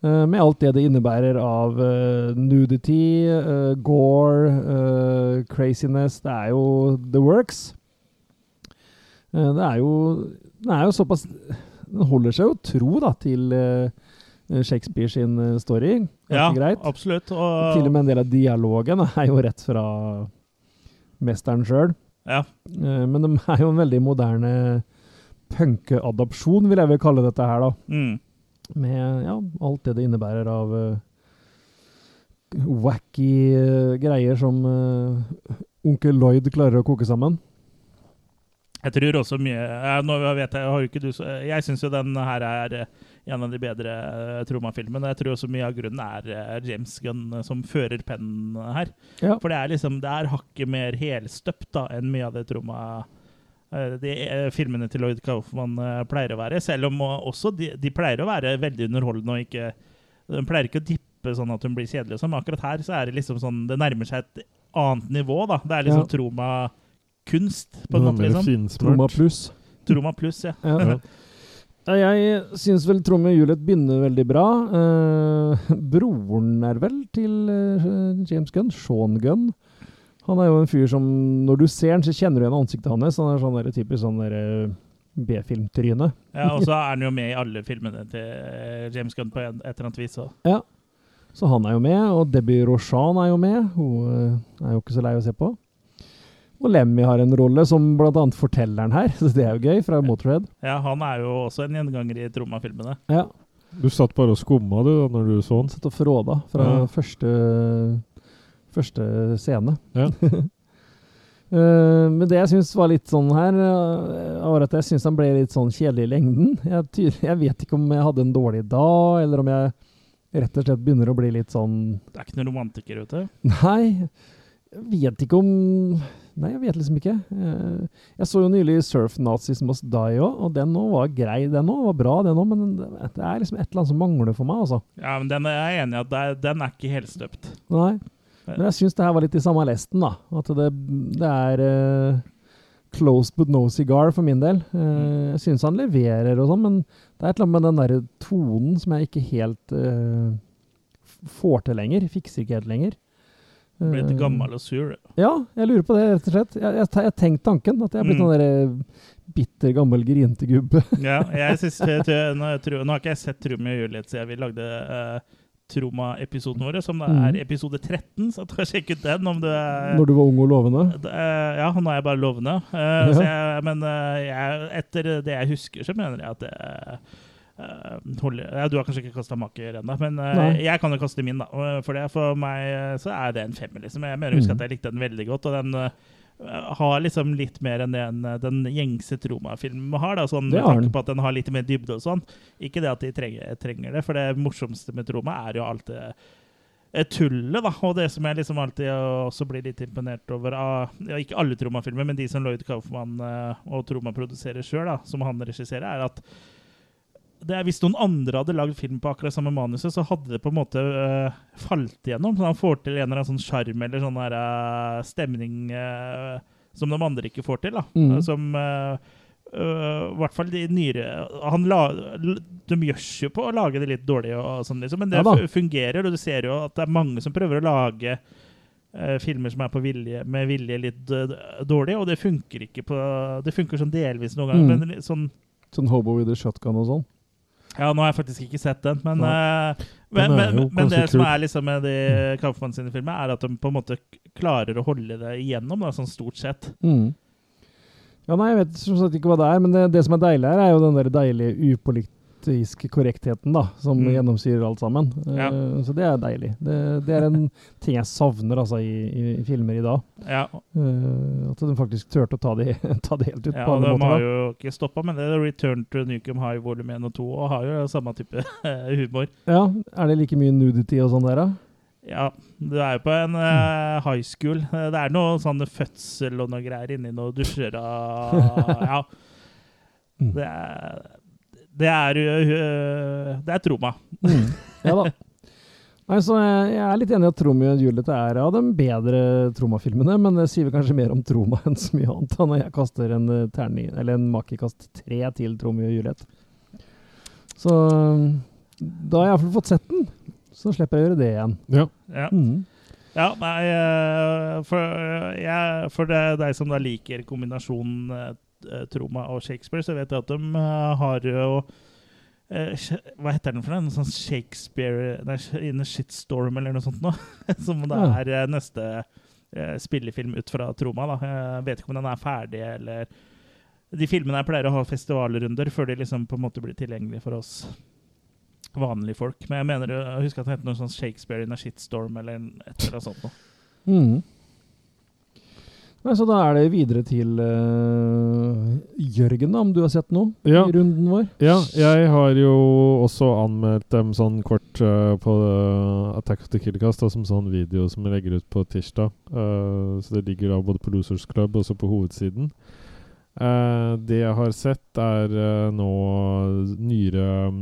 Speaker 2: Eh, med alt det det innebærer av eh, nudity, eh, gore, eh, craziness. Det er jo the works. Eh, det er jo Den er jo såpass Den holder seg jo tro da, til eh, Shakespeare sin eh, story. Ganske
Speaker 3: Ja,
Speaker 2: greit.
Speaker 3: absolutt.
Speaker 2: Til og
Speaker 3: Og,
Speaker 2: med en del av dialogen er jo rett fra mesteren sjøl.
Speaker 3: ja,
Speaker 2: Men de er jo en veldig moderne punkeadopsjon, vil jeg vel kalle dette her, da.
Speaker 3: mm.
Speaker 2: Med ja, alt det det innebærer av eh, wacky eh, greier som eh, onkel Lloyd klarer å koke sammen.
Speaker 3: Jeg tror også mye ja, nå vet Jeg har jo ikke du så- Jeg syns jo den her er eh, en av de bedre eh, Troma-filmene. Jeg tror også mye av grunnen er eh, James Gunn eh, som fører pennen her.
Speaker 2: Ja.
Speaker 3: For det er liksom Det er hakket mer helstøpt da enn mye av det Troma eh, de eh, filmene til Lloyd Kaufman eh, pleier å være. Selv om eh, også de, de pleier å være veldig underholdende og ikke De pleier ikke å dippe sånn at hun blir kjedelig. og sånn, Men akkurat her så er det liksom sånn Det nærmer seg et annet nivå, da. Det er liksom
Speaker 2: Ja.
Speaker 3: Troma-kunst,
Speaker 1: Den
Speaker 3: på
Speaker 1: er
Speaker 3: en måte.
Speaker 1: mer
Speaker 3: liksom.
Speaker 2: Troma
Speaker 1: finsmurt.
Speaker 2: pluss.
Speaker 3: Troma pluss, ja.
Speaker 2: Ja. Ja, Jeg syns vel Tromme Juliet begynner veldig bra. Eh, broren er vel til eh, James Gunn, Sean Gunn. Han er jo en fyr som Når du ser han, så kjenner du igjen ansiktet hans. Han er sånn der, typisk sånn der eh, B-filmtryne.
Speaker 3: ja. Og så er han jo med i alle filmene til eh, James Gunn på en, et eller annet vis. Så.
Speaker 2: Så han er jo med, og Debbie Roshan er jo med. Hun eh, er jo ikke så lei å se på. Og Lemmy har en rolle som bl.a. fortelleren her, <laughs> så det er jo gøy, fra Motorhead.
Speaker 3: Ja, han er jo også en gjenganger i Troma-filmene.
Speaker 2: Ja,
Speaker 1: Du satt bare og skumma du da når du så den.
Speaker 2: Sett og fråda fra
Speaker 1: Ja.
Speaker 2: første, første scene.
Speaker 1: Ja.
Speaker 2: <laughs> Eh, men det jeg syns var litt sånn her, eh, var at jeg syns han ble litt sånn kjedelig i lengden. Jeg, ty- <laughs> jeg vet ikke om jeg hadde en dårlig dag, eller om jeg rett og slett begynner å bli litt sånn <laughs>
Speaker 3: Det er ikke noen romantiker ute.
Speaker 2: Nei, jeg vet ikke om Nei, jeg vet liksom ikke. Eh, Jeg så jo nylig 'Surf Nazis Must Die' òg, og den nå var grei, den òg. Var bra, den òg, men det er liksom et eller annet som mangler for meg, altså.
Speaker 3: Ja, men den er jeg enig i at det er, den er ikke helstøpt.
Speaker 2: Nei. Men jeg syns det her var litt i samme lesten, da. At det, det er eh, closed but no cigar for min del. Eh, jeg syns han leverer og sånn, men det er et eller annet med den derre tonen som jeg ikke helt eh, f- får til lenger. Fikser ikke helt lenger.
Speaker 3: Blir litt
Speaker 2: Eh,
Speaker 3: gammel og sur.
Speaker 2: Ja, jeg lurer på det, rett og slett. Jeg, jeg, te- jeg tenkte tanken. At jeg er blitt
Speaker 3: Mm.
Speaker 2: sånn derre bitter, gammel, grinete gubbe.
Speaker 3: Ja, jeg synes, jeg, tror- nå, jeg tror, nå har ikke jeg sett Troma og Juliet siden vi lagde eh, Troma-episoden vår, som da er
Speaker 2: Mhm.
Speaker 3: episode 13, så ta og sjekk ut den om du er
Speaker 2: <laughs> Når du var ung og lovende.
Speaker 3: Det, eh, ja, nå er jeg bare lovende. Eh, så jeg, men eh, jeg, etter det jeg husker, så mener jeg at det eh, holder ja, Du har kanskje ikke kasta maker ennå, men eh,
Speaker 2: Nei.
Speaker 3: jeg kan jo kaste min, da. Og For, det, for meg eh, så er det en femmer, liksom. Jeg mener å huske
Speaker 2: Mm.
Speaker 3: at jeg likte den veldig godt. Og den eh, har liksom litt mer enn det en, eh, den gjengse Troma-filmen har, da, sånn,
Speaker 2: Det
Speaker 3: med
Speaker 2: har
Speaker 3: tanke
Speaker 2: den.
Speaker 3: på at den har litt mer dybde og sånn. Ikke det at de trenger, trenger det, for det morsomste med Troma er jo alt det eh, tullet, da. Og det som jeg liksom alltid eh, også blir litt imponert over av ja, Ikke alle Troma-filmer, men de som Lloyd Kaufman eh, og Troma produserer sjøl, da, som han regisserer, er at det er, hvis noen andre hadde lagd film på akkurat samme manuset, så hadde det på en måte eh, falt igjennom. Så han får til en eller annen sånn sjarm eller sånn der, eh, stemning eh, som de andre ikke får til. da.
Speaker 2: Mm.
Speaker 3: Eh, Som eh, øh, i hvert fall de nyere han la, l- De gjørs jo på å lage det litt dårlig, og, og sånn, liksom, men det
Speaker 2: Ja da.
Speaker 3: fu- fungerer. Og du ser jo at det er mange som prøver å lage eh, filmer som er på vilje, med vilje litt eh, dårlig, og det funker ikke på Det funker sånn delvis noen ganger,
Speaker 2: Mm.
Speaker 3: men litt sånn
Speaker 2: Sånn Hobo with a Shotgun og sånn.
Speaker 3: ja, nå har jeg faktisk ikke sett den, men, eh,
Speaker 1: Den
Speaker 3: men,
Speaker 1: er
Speaker 3: men,
Speaker 1: jo
Speaker 3: men det
Speaker 1: ganske
Speaker 3: som
Speaker 1: kul.
Speaker 3: er liksom med de Kaufmann sine filmer, er at de på en måte klarer å holde det igjennom, da, sånn stort sett.
Speaker 2: Mm. Ja, nei, jeg vet som sagt ikke hva det er, men det, det som er deilig her, er jo den der deilige upolitiske korrektheten, da, som
Speaker 3: Mm.
Speaker 2: gjennomsyrer alt sammen.
Speaker 3: Ja.
Speaker 2: Eh, så det er deilig. Det, det er en ting jeg savner, altså, i, i, i filmer i dag.
Speaker 3: Ja,
Speaker 2: Eh, at de faktisk turte å ta det, <laughs> ta det helt ut
Speaker 3: ja
Speaker 2: på
Speaker 3: og
Speaker 2: alle
Speaker 3: De
Speaker 2: måter.
Speaker 3: har
Speaker 2: da.
Speaker 3: jo ikke stoppa med det. Return to Nukem High volum 1 og 2 og har jo samme type eh, humor.
Speaker 2: Ja, Er det like mye nudity og sånn der, da?
Speaker 3: Ja, du er jo på en eh, high school. Eh, Det er noe sånn fødsel og noe greier inni noen dusjer og Ja.
Speaker 2: Mm.
Speaker 3: Det er, det er eh, Det er Troma.
Speaker 2: <laughs> Ja da. Nei, så jeg, jeg er litt enig i at Tromi og Juliet er av de bedre Troma-filmene, men det sier vel kanskje mer om Troma enn så mye annet. da, Når jeg kaster en eh, terning, eller en makekast tre til Tromi og Juliet. Så Da har jeg iallfall fått sett den. Så slipper jeg å gjøre det igjen.
Speaker 1: Ja.
Speaker 3: Ja.
Speaker 2: Mm.
Speaker 3: Ja, nei, eh, for, eh, jeg, for det, deg som da liker kombinasjonen eh, Troma og Shakespeare, så vet jeg at de eh, har jo eh, Sj- Hva heter den for noe? En sånn Shakespeare nei, Sh- In a Shitstorm eller noe sånt noe? <laughs> Som da
Speaker 2: Ja.
Speaker 3: er eh, neste eh, spillefilm ut fra Troma. da. Jeg vet ikke om den er ferdig eller De filmene jeg pleier å ha festivalrunder før de liksom på en måte blir tilgjengelige for oss vanlige folk. Men jeg mener, jeg husker at det heter noe sånn Shakespeare in a shitstorm eller et eller annet sånt. noe.
Speaker 2: Mm. Nei, så da er det videre til eh, Jørgen, da, om du har sett noe
Speaker 1: Ja.
Speaker 2: i runden vår.
Speaker 1: Ja, jeg har jo også anmeldt dem sånn kort eh, på eh, Attack of the Killcast, da, som sånn video som jeg legger ut på tirsdag. Eh, så det ligger da både på Losers Club og så på hovedsiden. Eh, det jeg har sett, er eh, nå nyere mm,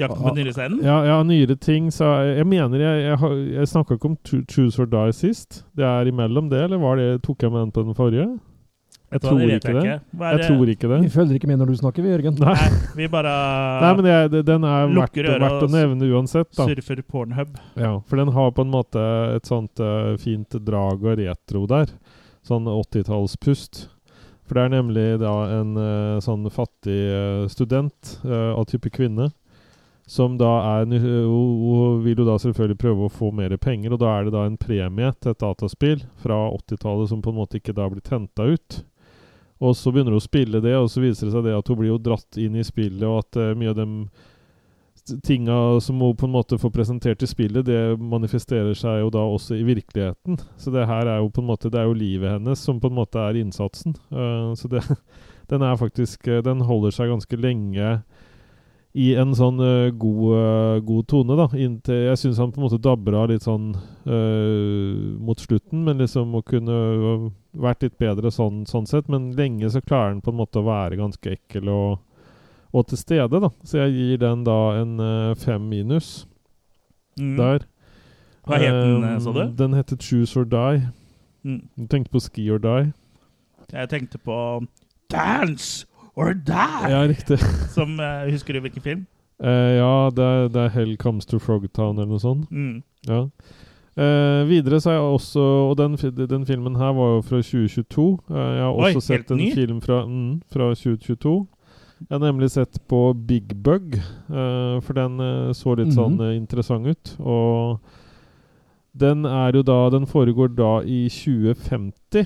Speaker 3: Jakten på nyresteinen?
Speaker 1: ja, ja, nyere ting. Så jeg, jeg mener Jeg, jeg, har- jeg snakka ikke om Cho- Choose or Die sist. Det er imellom det, eller var det, tok jeg med den på den forrige? Jeg tror ikke det.
Speaker 3: Hva
Speaker 1: Jeg
Speaker 3: er det?
Speaker 1: tror ikke det.
Speaker 2: Vi følger ikke med når du snakker, vi, Jørgen.
Speaker 1: Nei.
Speaker 3: Nei, vi bare
Speaker 1: <laughs> Nei, men det, er- den er verdt,
Speaker 3: Lukker øra
Speaker 1: verdt å
Speaker 3: og s-
Speaker 1: nevne uansett, da.
Speaker 3: surfer Pornhub.
Speaker 1: Ja, for den har på en måte et sånt eh, fint drag og retro der. Sånn 80-tallspust. For det er nemlig da en eh, sånn fattig eh, student eh, av type kvinne som da er nu- Hun hun vil jo da selvfølgelig prøve å få mer penger, og da er det da en premie til et dataspill fra 80-tallet som på en måte ikke da blir henta ut. Og så begynner hun å spille det, og så viser det seg det at hun blir jo dratt inn i spillet, og at eh, mye av dem tinga som hun på en måte får presentert i spillet, det manifesterer seg jo da også i virkeligheten. Så det her er jo på en måte Det er jo livet hennes som på en måte er innsatsen. Eh, så det, <laughs> den er faktisk eh, Den holder seg ganske lenge i en sånn eh, god, eh, god tone, da. Inntil Jeg syns han på en måte dabber av litt sånn eh, mot slutten, men liksom å kunne vært litt bedre sånn, sånn sett. Men lenge så klarer han på en måte å være ganske ekkel og og til stede, da. Så jeg gir den da en eh, fem minus
Speaker 3: Mm.
Speaker 1: der.
Speaker 3: Hva het den,
Speaker 1: Eh,
Speaker 3: sa du?
Speaker 1: Den heter Choose or Die.
Speaker 3: Mm.
Speaker 1: Du tenkte på Ski or Die?
Speaker 3: Jeg tenkte på Dance or Die!
Speaker 1: Ja, riktig. <laughs>
Speaker 3: Som eh, Husker du hvilken film?
Speaker 1: Eh, ja, det er, det er Hell Comes to Frogtown eller noe sånt.
Speaker 3: Mm.
Speaker 1: Ja. Eh, videre så har jeg også Og den, fi- den filmen her var jo fra 2022. Eh, jeg har
Speaker 3: Oi,
Speaker 1: også sett
Speaker 3: helt
Speaker 1: en
Speaker 3: ny.
Speaker 1: film fra, mm, fra 2022. Jeg har nemlig sett på Big Bug, eh, for den eh, så litt sånn
Speaker 2: Mhm.
Speaker 1: eh, interessant ut. Og den er jo da Den foregår da i 2050.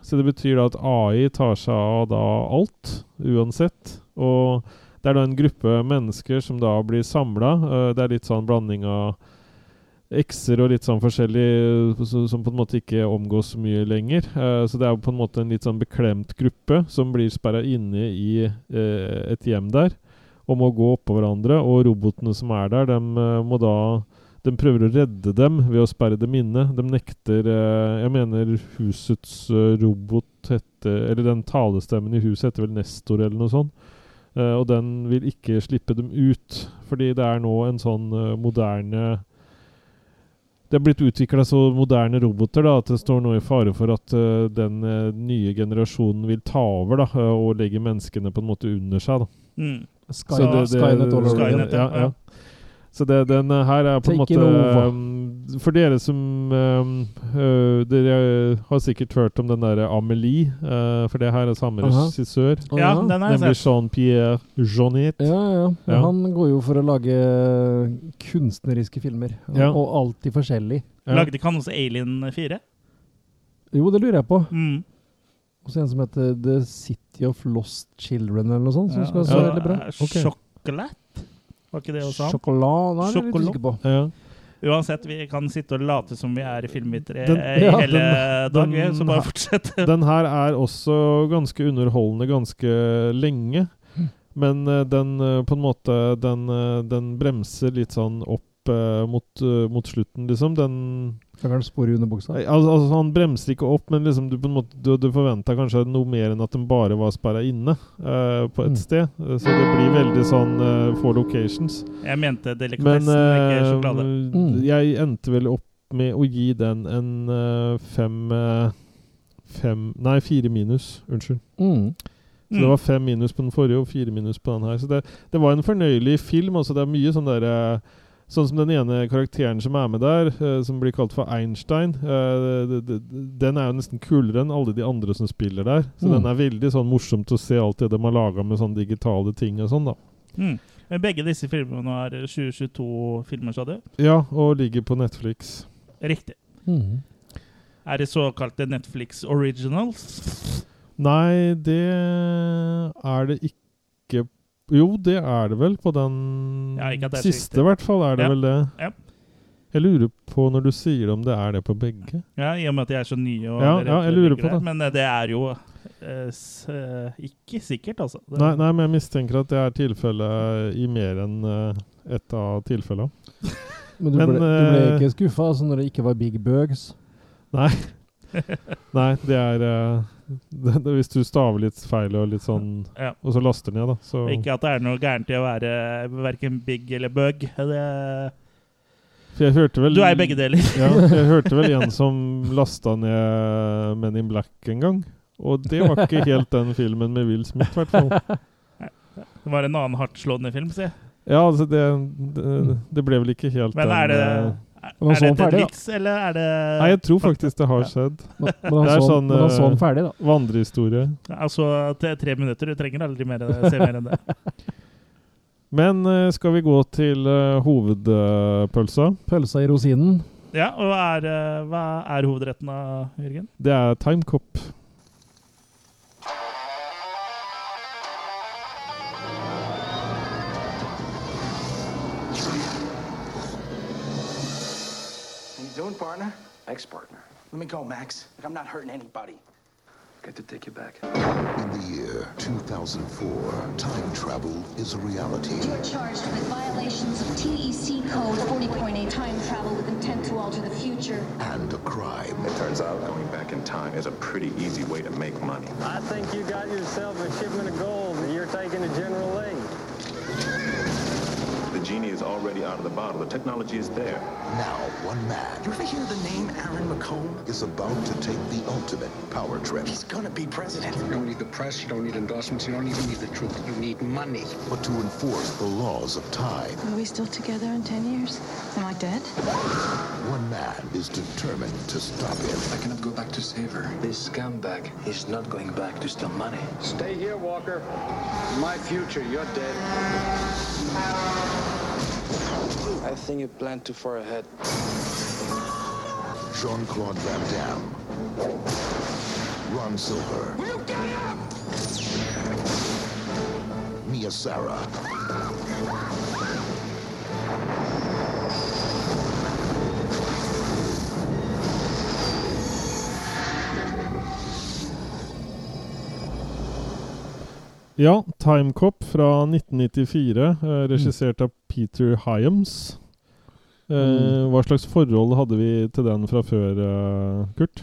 Speaker 1: Så det betyr da at AI tar seg av da alt, uansett. Og det er da en gruppe mennesker som da blir samla. Det er litt sånn blanding av ekser og litt sånn forskjellig eh, så- som på en måte ikke omgås så mye lenger. Eh, Så det er jo på en måte en litt sånn beklemt gruppe som blir sperra inne i eh, et hjem der og må gå oppå hverandre. Og robotene som er der, dem eh, må da de prøver å redde dem ved å sperre dem inne. De nekter eh, Jeg mener husets eh, robot heter Eller den talestemmen i huset heter vel Nestor eller noe sånt. Eh, og den vil ikke slippe dem ut, fordi det er nå en sånn eh, moderne det er blitt utvikla så moderne roboter da, at det står nå i fare for at eh, den eh, nye generasjonen vil ta over da, eh, og legge menneskene på en måte under seg. Da.
Speaker 3: Mm.
Speaker 2: Sky,
Speaker 1: Så det- det-
Speaker 2: Skynet all over again.
Speaker 3: Skynet,
Speaker 1: Ja, ja. Så det, den eh, her er på en
Speaker 2: Take
Speaker 1: måte
Speaker 2: it over.
Speaker 1: um, For dere som um, øh, Dere har sikkert hørt om den derre Amelie, eh, for det her er samme
Speaker 2: Aha.
Speaker 1: regissør.
Speaker 2: Å,
Speaker 3: Ja, den har
Speaker 1: Nemlig
Speaker 3: jeg sett.
Speaker 1: Jean-Pierre Jonet.
Speaker 2: Ja, ja, ja.
Speaker 1: Ja.
Speaker 2: Han går jo for å lage kunstneriske filmer,
Speaker 1: Ja.
Speaker 2: og alltid forskjellig.
Speaker 3: Lagde ikke han også Alien 4?
Speaker 2: Jo, det lurer jeg på.
Speaker 3: Mm.
Speaker 2: Og så en som heter The City of Lost Children, eller noe sånt, som skal
Speaker 1: så
Speaker 2: se
Speaker 1: Ja.
Speaker 2: veldig bra.
Speaker 1: Ok.
Speaker 3: Sjokolade? eh, Var ikke det også han?
Speaker 2: Sjokolade Nei, det er jeg litt
Speaker 3: Sjokolade.
Speaker 2: usikker på.
Speaker 1: Ja.
Speaker 3: Uansett, vi kan sitte og late som vi er filmvitere
Speaker 1: Den-
Speaker 3: eh, i
Speaker 2: ja,
Speaker 3: hele dag,
Speaker 1: den-
Speaker 3: så bare fortsett.
Speaker 1: Den her er også ganske underholdende ganske lenge.
Speaker 3: Hm.
Speaker 1: Men eh, den eh, på en måte Den, eh, den bremser litt sånn opp eh, mot, eh, mot slutten, liksom. Den
Speaker 2: Fikk han spor i underbuksa?
Speaker 1: Nei, Al altså, han bremser ikke opp, men liksom du, på en måte, du, du forventa kanskje noe mer enn at de bare var sperra inne eh, på
Speaker 3: Hm.
Speaker 1: et
Speaker 2: Mm.
Speaker 1: sted. Eh, Så det blir veldig sånn eh, få locations.
Speaker 3: Jeg mente
Speaker 1: Men
Speaker 3: delikatessen, ikke
Speaker 1: eh,
Speaker 3: sjokolade. Hm.
Speaker 2: Mm.
Speaker 1: jeg endte vel opp med å gi den en eh, fem eh, Fem Nei, fire minus. Unnskyld.
Speaker 2: Mm.
Speaker 1: Så det var fem minus på den forrige og fire minus på den her. Så det, det var en fornøyelig film. Også. Det er mye sånn derre Sånn som den ene karakteren som er med der, eh, som blir kalt for Einstein. eh, det- det- den er jo nesten kulere enn alle de andre som spiller der. Så
Speaker 2: Mm.
Speaker 1: den er veldig sånn morsomt å se alt det de har laga med sånne digitale ting og sånn, da.
Speaker 3: Mm. Men begge disse filmene er 2022-filmer, sa du?
Speaker 1: Ja, og ligger på Netflix.
Speaker 3: Riktig.
Speaker 2: Mhm.
Speaker 3: Er det såkalte Netflix originals?
Speaker 1: Nei, det er det ikke Jo, det er det vel på den
Speaker 3: Ja, ikke at det er så
Speaker 1: siste,
Speaker 3: viktig.
Speaker 1: i hvert fall. Er det
Speaker 3: Ja.
Speaker 1: vel det?
Speaker 3: Ja.
Speaker 1: Jeg lurer på, når du sier det, om det er det på begge?
Speaker 3: Ja, I og med at de er så nye. Og
Speaker 1: Ja,
Speaker 3: dere
Speaker 1: ja, jeg
Speaker 3: vet
Speaker 1: lurer
Speaker 3: ikke
Speaker 1: på det.
Speaker 3: Men eh, det er jo eh, s eh, ikke sikkert, altså. Det,
Speaker 1: Nei, nei, men jeg mistenker at det er tilfellet i mer enn eh, ett av tilfellene.
Speaker 2: Men du
Speaker 1: Men,
Speaker 2: ble, du ble
Speaker 1: eh,
Speaker 2: ikke skuffa altså når det ikke var Big Bugs?
Speaker 1: Nei, det er eh, <laughs> det, det, Hvis du staver litt feil og litt sånn
Speaker 3: Ja.
Speaker 1: Og så laster ned, da. Så
Speaker 3: Ikke at det er noe gærent i å være verken big eller bug. Det,
Speaker 1: For jeg hørte vel
Speaker 3: du er begge deler. <laughs>
Speaker 1: Ja, jeg hørte vel en som lasta ned Men in Black en gang. Og det var ikke helt den filmen med Will Smith, i hvert fall.
Speaker 3: Det var en annen hardtslående film, si.
Speaker 1: Ja, altså, det, det, det ble vel ikke helt
Speaker 3: Men
Speaker 1: den
Speaker 3: er det
Speaker 1: eh,
Speaker 3: er,
Speaker 2: Men han så
Speaker 3: er
Speaker 2: den
Speaker 3: det
Speaker 2: ferdig,
Speaker 3: en
Speaker 2: da.
Speaker 3: vits, eller er det
Speaker 1: Nei, jeg tror faktisk det har
Speaker 2: Ja.
Speaker 1: skjedd. <laughs>
Speaker 2: Men, men, han
Speaker 1: Det er
Speaker 2: så,
Speaker 1: sånn,
Speaker 2: men han så
Speaker 1: eh,
Speaker 2: den ferdig, da.
Speaker 1: Vandrehistorie.
Speaker 3: Altså til tre minutter. Du trenger aldri mer, eh,
Speaker 1: <laughs>
Speaker 3: se mer enn det.
Speaker 1: Men eh, skal vi gå til eh, hovedpølsa?
Speaker 2: Pølsa i rosinen.
Speaker 3: Ja, og er, eh, hva er hovedretten av Jørgen?
Speaker 1: Det er timecop.
Speaker 4: How you doing, partner? Ex-partner. Let me go, Max. Like, I'm not hurting anybody.
Speaker 5: Got to take you back.
Speaker 6: In the year 2004, time travel is a reality.
Speaker 7: You are charged with violations of TEC code 40.8 time travel with intent to alter the future.
Speaker 6: And a crime.
Speaker 8: It turns out going back in time is a pretty easy way to make money.
Speaker 9: I think you got yourself a shipment of gold that you're taking to General Lee.
Speaker 8: The genie is already out of the bottle. The technology is there.
Speaker 6: Now, one man
Speaker 4: You ever hear the name Aaron McComb?
Speaker 6: is about to take the ultimate power trip.
Speaker 4: He's gonna be president.
Speaker 10: You don't need the press, you don't need endorsements, you don't even need the truth. You need money.
Speaker 6: But to enforce the laws of time,
Speaker 7: Are we still together in 10 years? Am I dead?
Speaker 6: one man is determined to stop
Speaker 10: I
Speaker 6: him.
Speaker 10: cannot go back to save her. This scumbag is not going back to steal money. Stay here, Walker. My future, you're dead.
Speaker 4: I think you planned too far ahead.
Speaker 6: Jean-Claude Van Damme. Ron Silver. Will you get up? Mia Sara.
Speaker 1: Ja, Timecop fra 1994, eh, regissert av Peter Hyams. Eh,
Speaker 2: Mm.
Speaker 1: Hva slags forhold hadde vi til den fra før, eh, Kurt?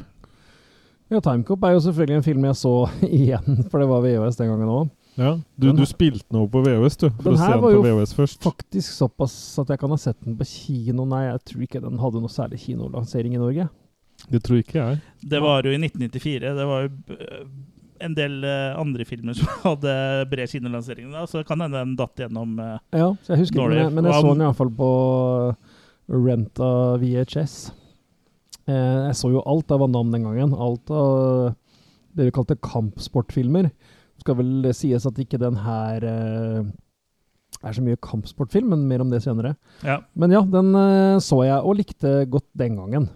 Speaker 2: Ja, Timecop er jo selvfølgelig en film jeg så <laughs> igjen, for det var VHS den gangen òg.
Speaker 1: Ja, Du,
Speaker 2: Den-
Speaker 1: du spilte den over på VHS, du. For
Speaker 2: Den
Speaker 1: å se
Speaker 2: her
Speaker 1: den
Speaker 2: var
Speaker 1: på
Speaker 2: jo
Speaker 1: VHS først.
Speaker 2: Faktisk såpass at jeg kan ha sett den på kino. Nei, jeg tror ikke den hadde noe særlig kinolansering i Norge.
Speaker 1: Det tror ikke jeg.
Speaker 3: Det var jo i 1994. Det var jo eh, en del eh, andre filmer som <laughs> hadde bred kinolansering da, så kan hende den datt gjennom eh,
Speaker 2: Ja, så jeg husker ikke, men jeg, men jeg
Speaker 3: Dårlig.
Speaker 2: så den iallfall på uh, rent av VHS. Eh, jeg så jo alt av Van Damme den gangen. Alt av det vi kalte kampsportfilmer. Det skal vel sies at ikke den her eh, er så mye kampsportfilm, men mer om det senere.
Speaker 3: Ja.
Speaker 2: Men ja, den eh, så jeg og likte godt den gangen.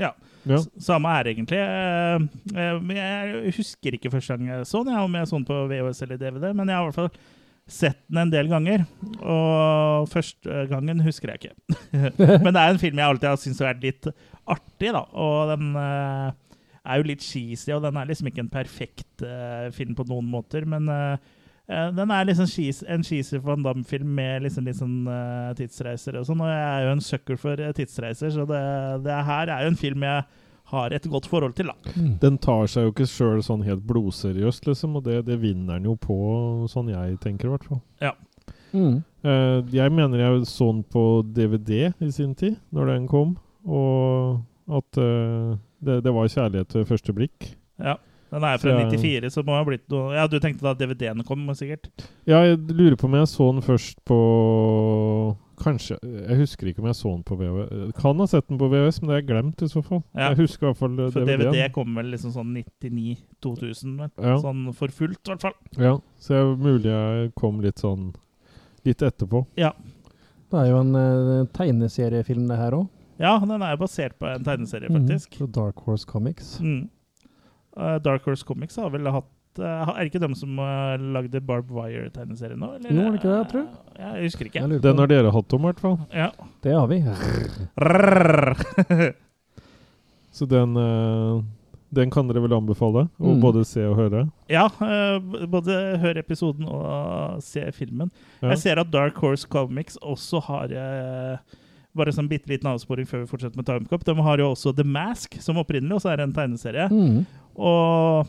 Speaker 1: Ja.
Speaker 3: S- Samme her, egentlig. Eh, eh, men Jeg husker ikke første gang jeg så den, jeg, om jeg så den på VHS eller DVD, men jeg har i hvert fall sett den en del ganger. Og første gangen husker jeg ikke. <laughs> men det er en film jeg alltid har syntes har vært litt artig, da. Og den eh, er jo litt cheesy, og den er liksom ikke en perfekt eh, film på noen måter, men eh, eh, den er liksom cheese, en cheesy Van Damme-film med liksom, litt sånn, eh, tidsreiser og sånn. Og jeg er jo en sucker for eh, tidsreiser, så det, det her er jo en film jeg har et godt forhold til, da.
Speaker 2: Mm.
Speaker 1: Den tar seg jo ikke sjøl sånn helt blodseriøst, liksom. Og det, det vinner den jo på, sånn jeg tenker, i hvert fall.
Speaker 2: Mm.
Speaker 1: Eh, jeg mener jeg så den på DVD i sin tid, når den kom. Og at eh, det, det var kjærlighet ved første blikk.
Speaker 3: Ja. Den er fra
Speaker 1: Så jeg-
Speaker 3: 94, så må ha blitt noe Ja, du tenkte da DVD-en kom, sikkert?
Speaker 1: Ja, jeg lurer på om jeg så den først på Kanskje Jeg husker ikke om jeg så den på VHS. eh, Kan ha sett den på VHS, men det har jeg glemt i så fall.
Speaker 3: Ja.
Speaker 1: Jeg husker i hvert fall eh,
Speaker 3: For
Speaker 1: DVD-en.
Speaker 3: DVD kom vel liksom sånn 99-2000, vel?
Speaker 1: Ja.
Speaker 3: Sånn for fullt, i hvert fall.
Speaker 1: Ja, så jeg, mulig jeg kom litt sånn litt etterpå.
Speaker 2: Det er jo en eh, tegneseriefilm, det her òg.
Speaker 3: Ja, den er jo basert på en tegneserie,
Speaker 2: Mhm,
Speaker 3: faktisk.
Speaker 2: Fra Dark Horse Comics.
Speaker 3: Mm. Eh, Dark Horse Comics har vel hatt eh, Er det ikke dem som eh, lagde Barb Wire-tegneserien nå? eller?
Speaker 2: Jo, var det ikke det, jeg tror?
Speaker 3: Ja, jeg husker ikke.
Speaker 2: Jeg lurer på
Speaker 1: Den
Speaker 2: om-
Speaker 1: har dere hatt om, i hvert fall.
Speaker 3: Ja.
Speaker 2: Det
Speaker 1: <laughs>
Speaker 2: har vi.
Speaker 1: Så den, eh, den kan dere vel anbefale å
Speaker 2: Mm.
Speaker 1: både se og høre.
Speaker 3: <laughs> ja eh, b- både hør episoden og se filmen.
Speaker 1: Ja.
Speaker 3: Jeg ser at Dark Horse Comics også har eh, Bare sånn bitte liten avsporing før vi fortsetter med Timecop. De har jo også The Mask, som opprinnelig også er en tegneserie.
Speaker 2: Mm.
Speaker 3: Og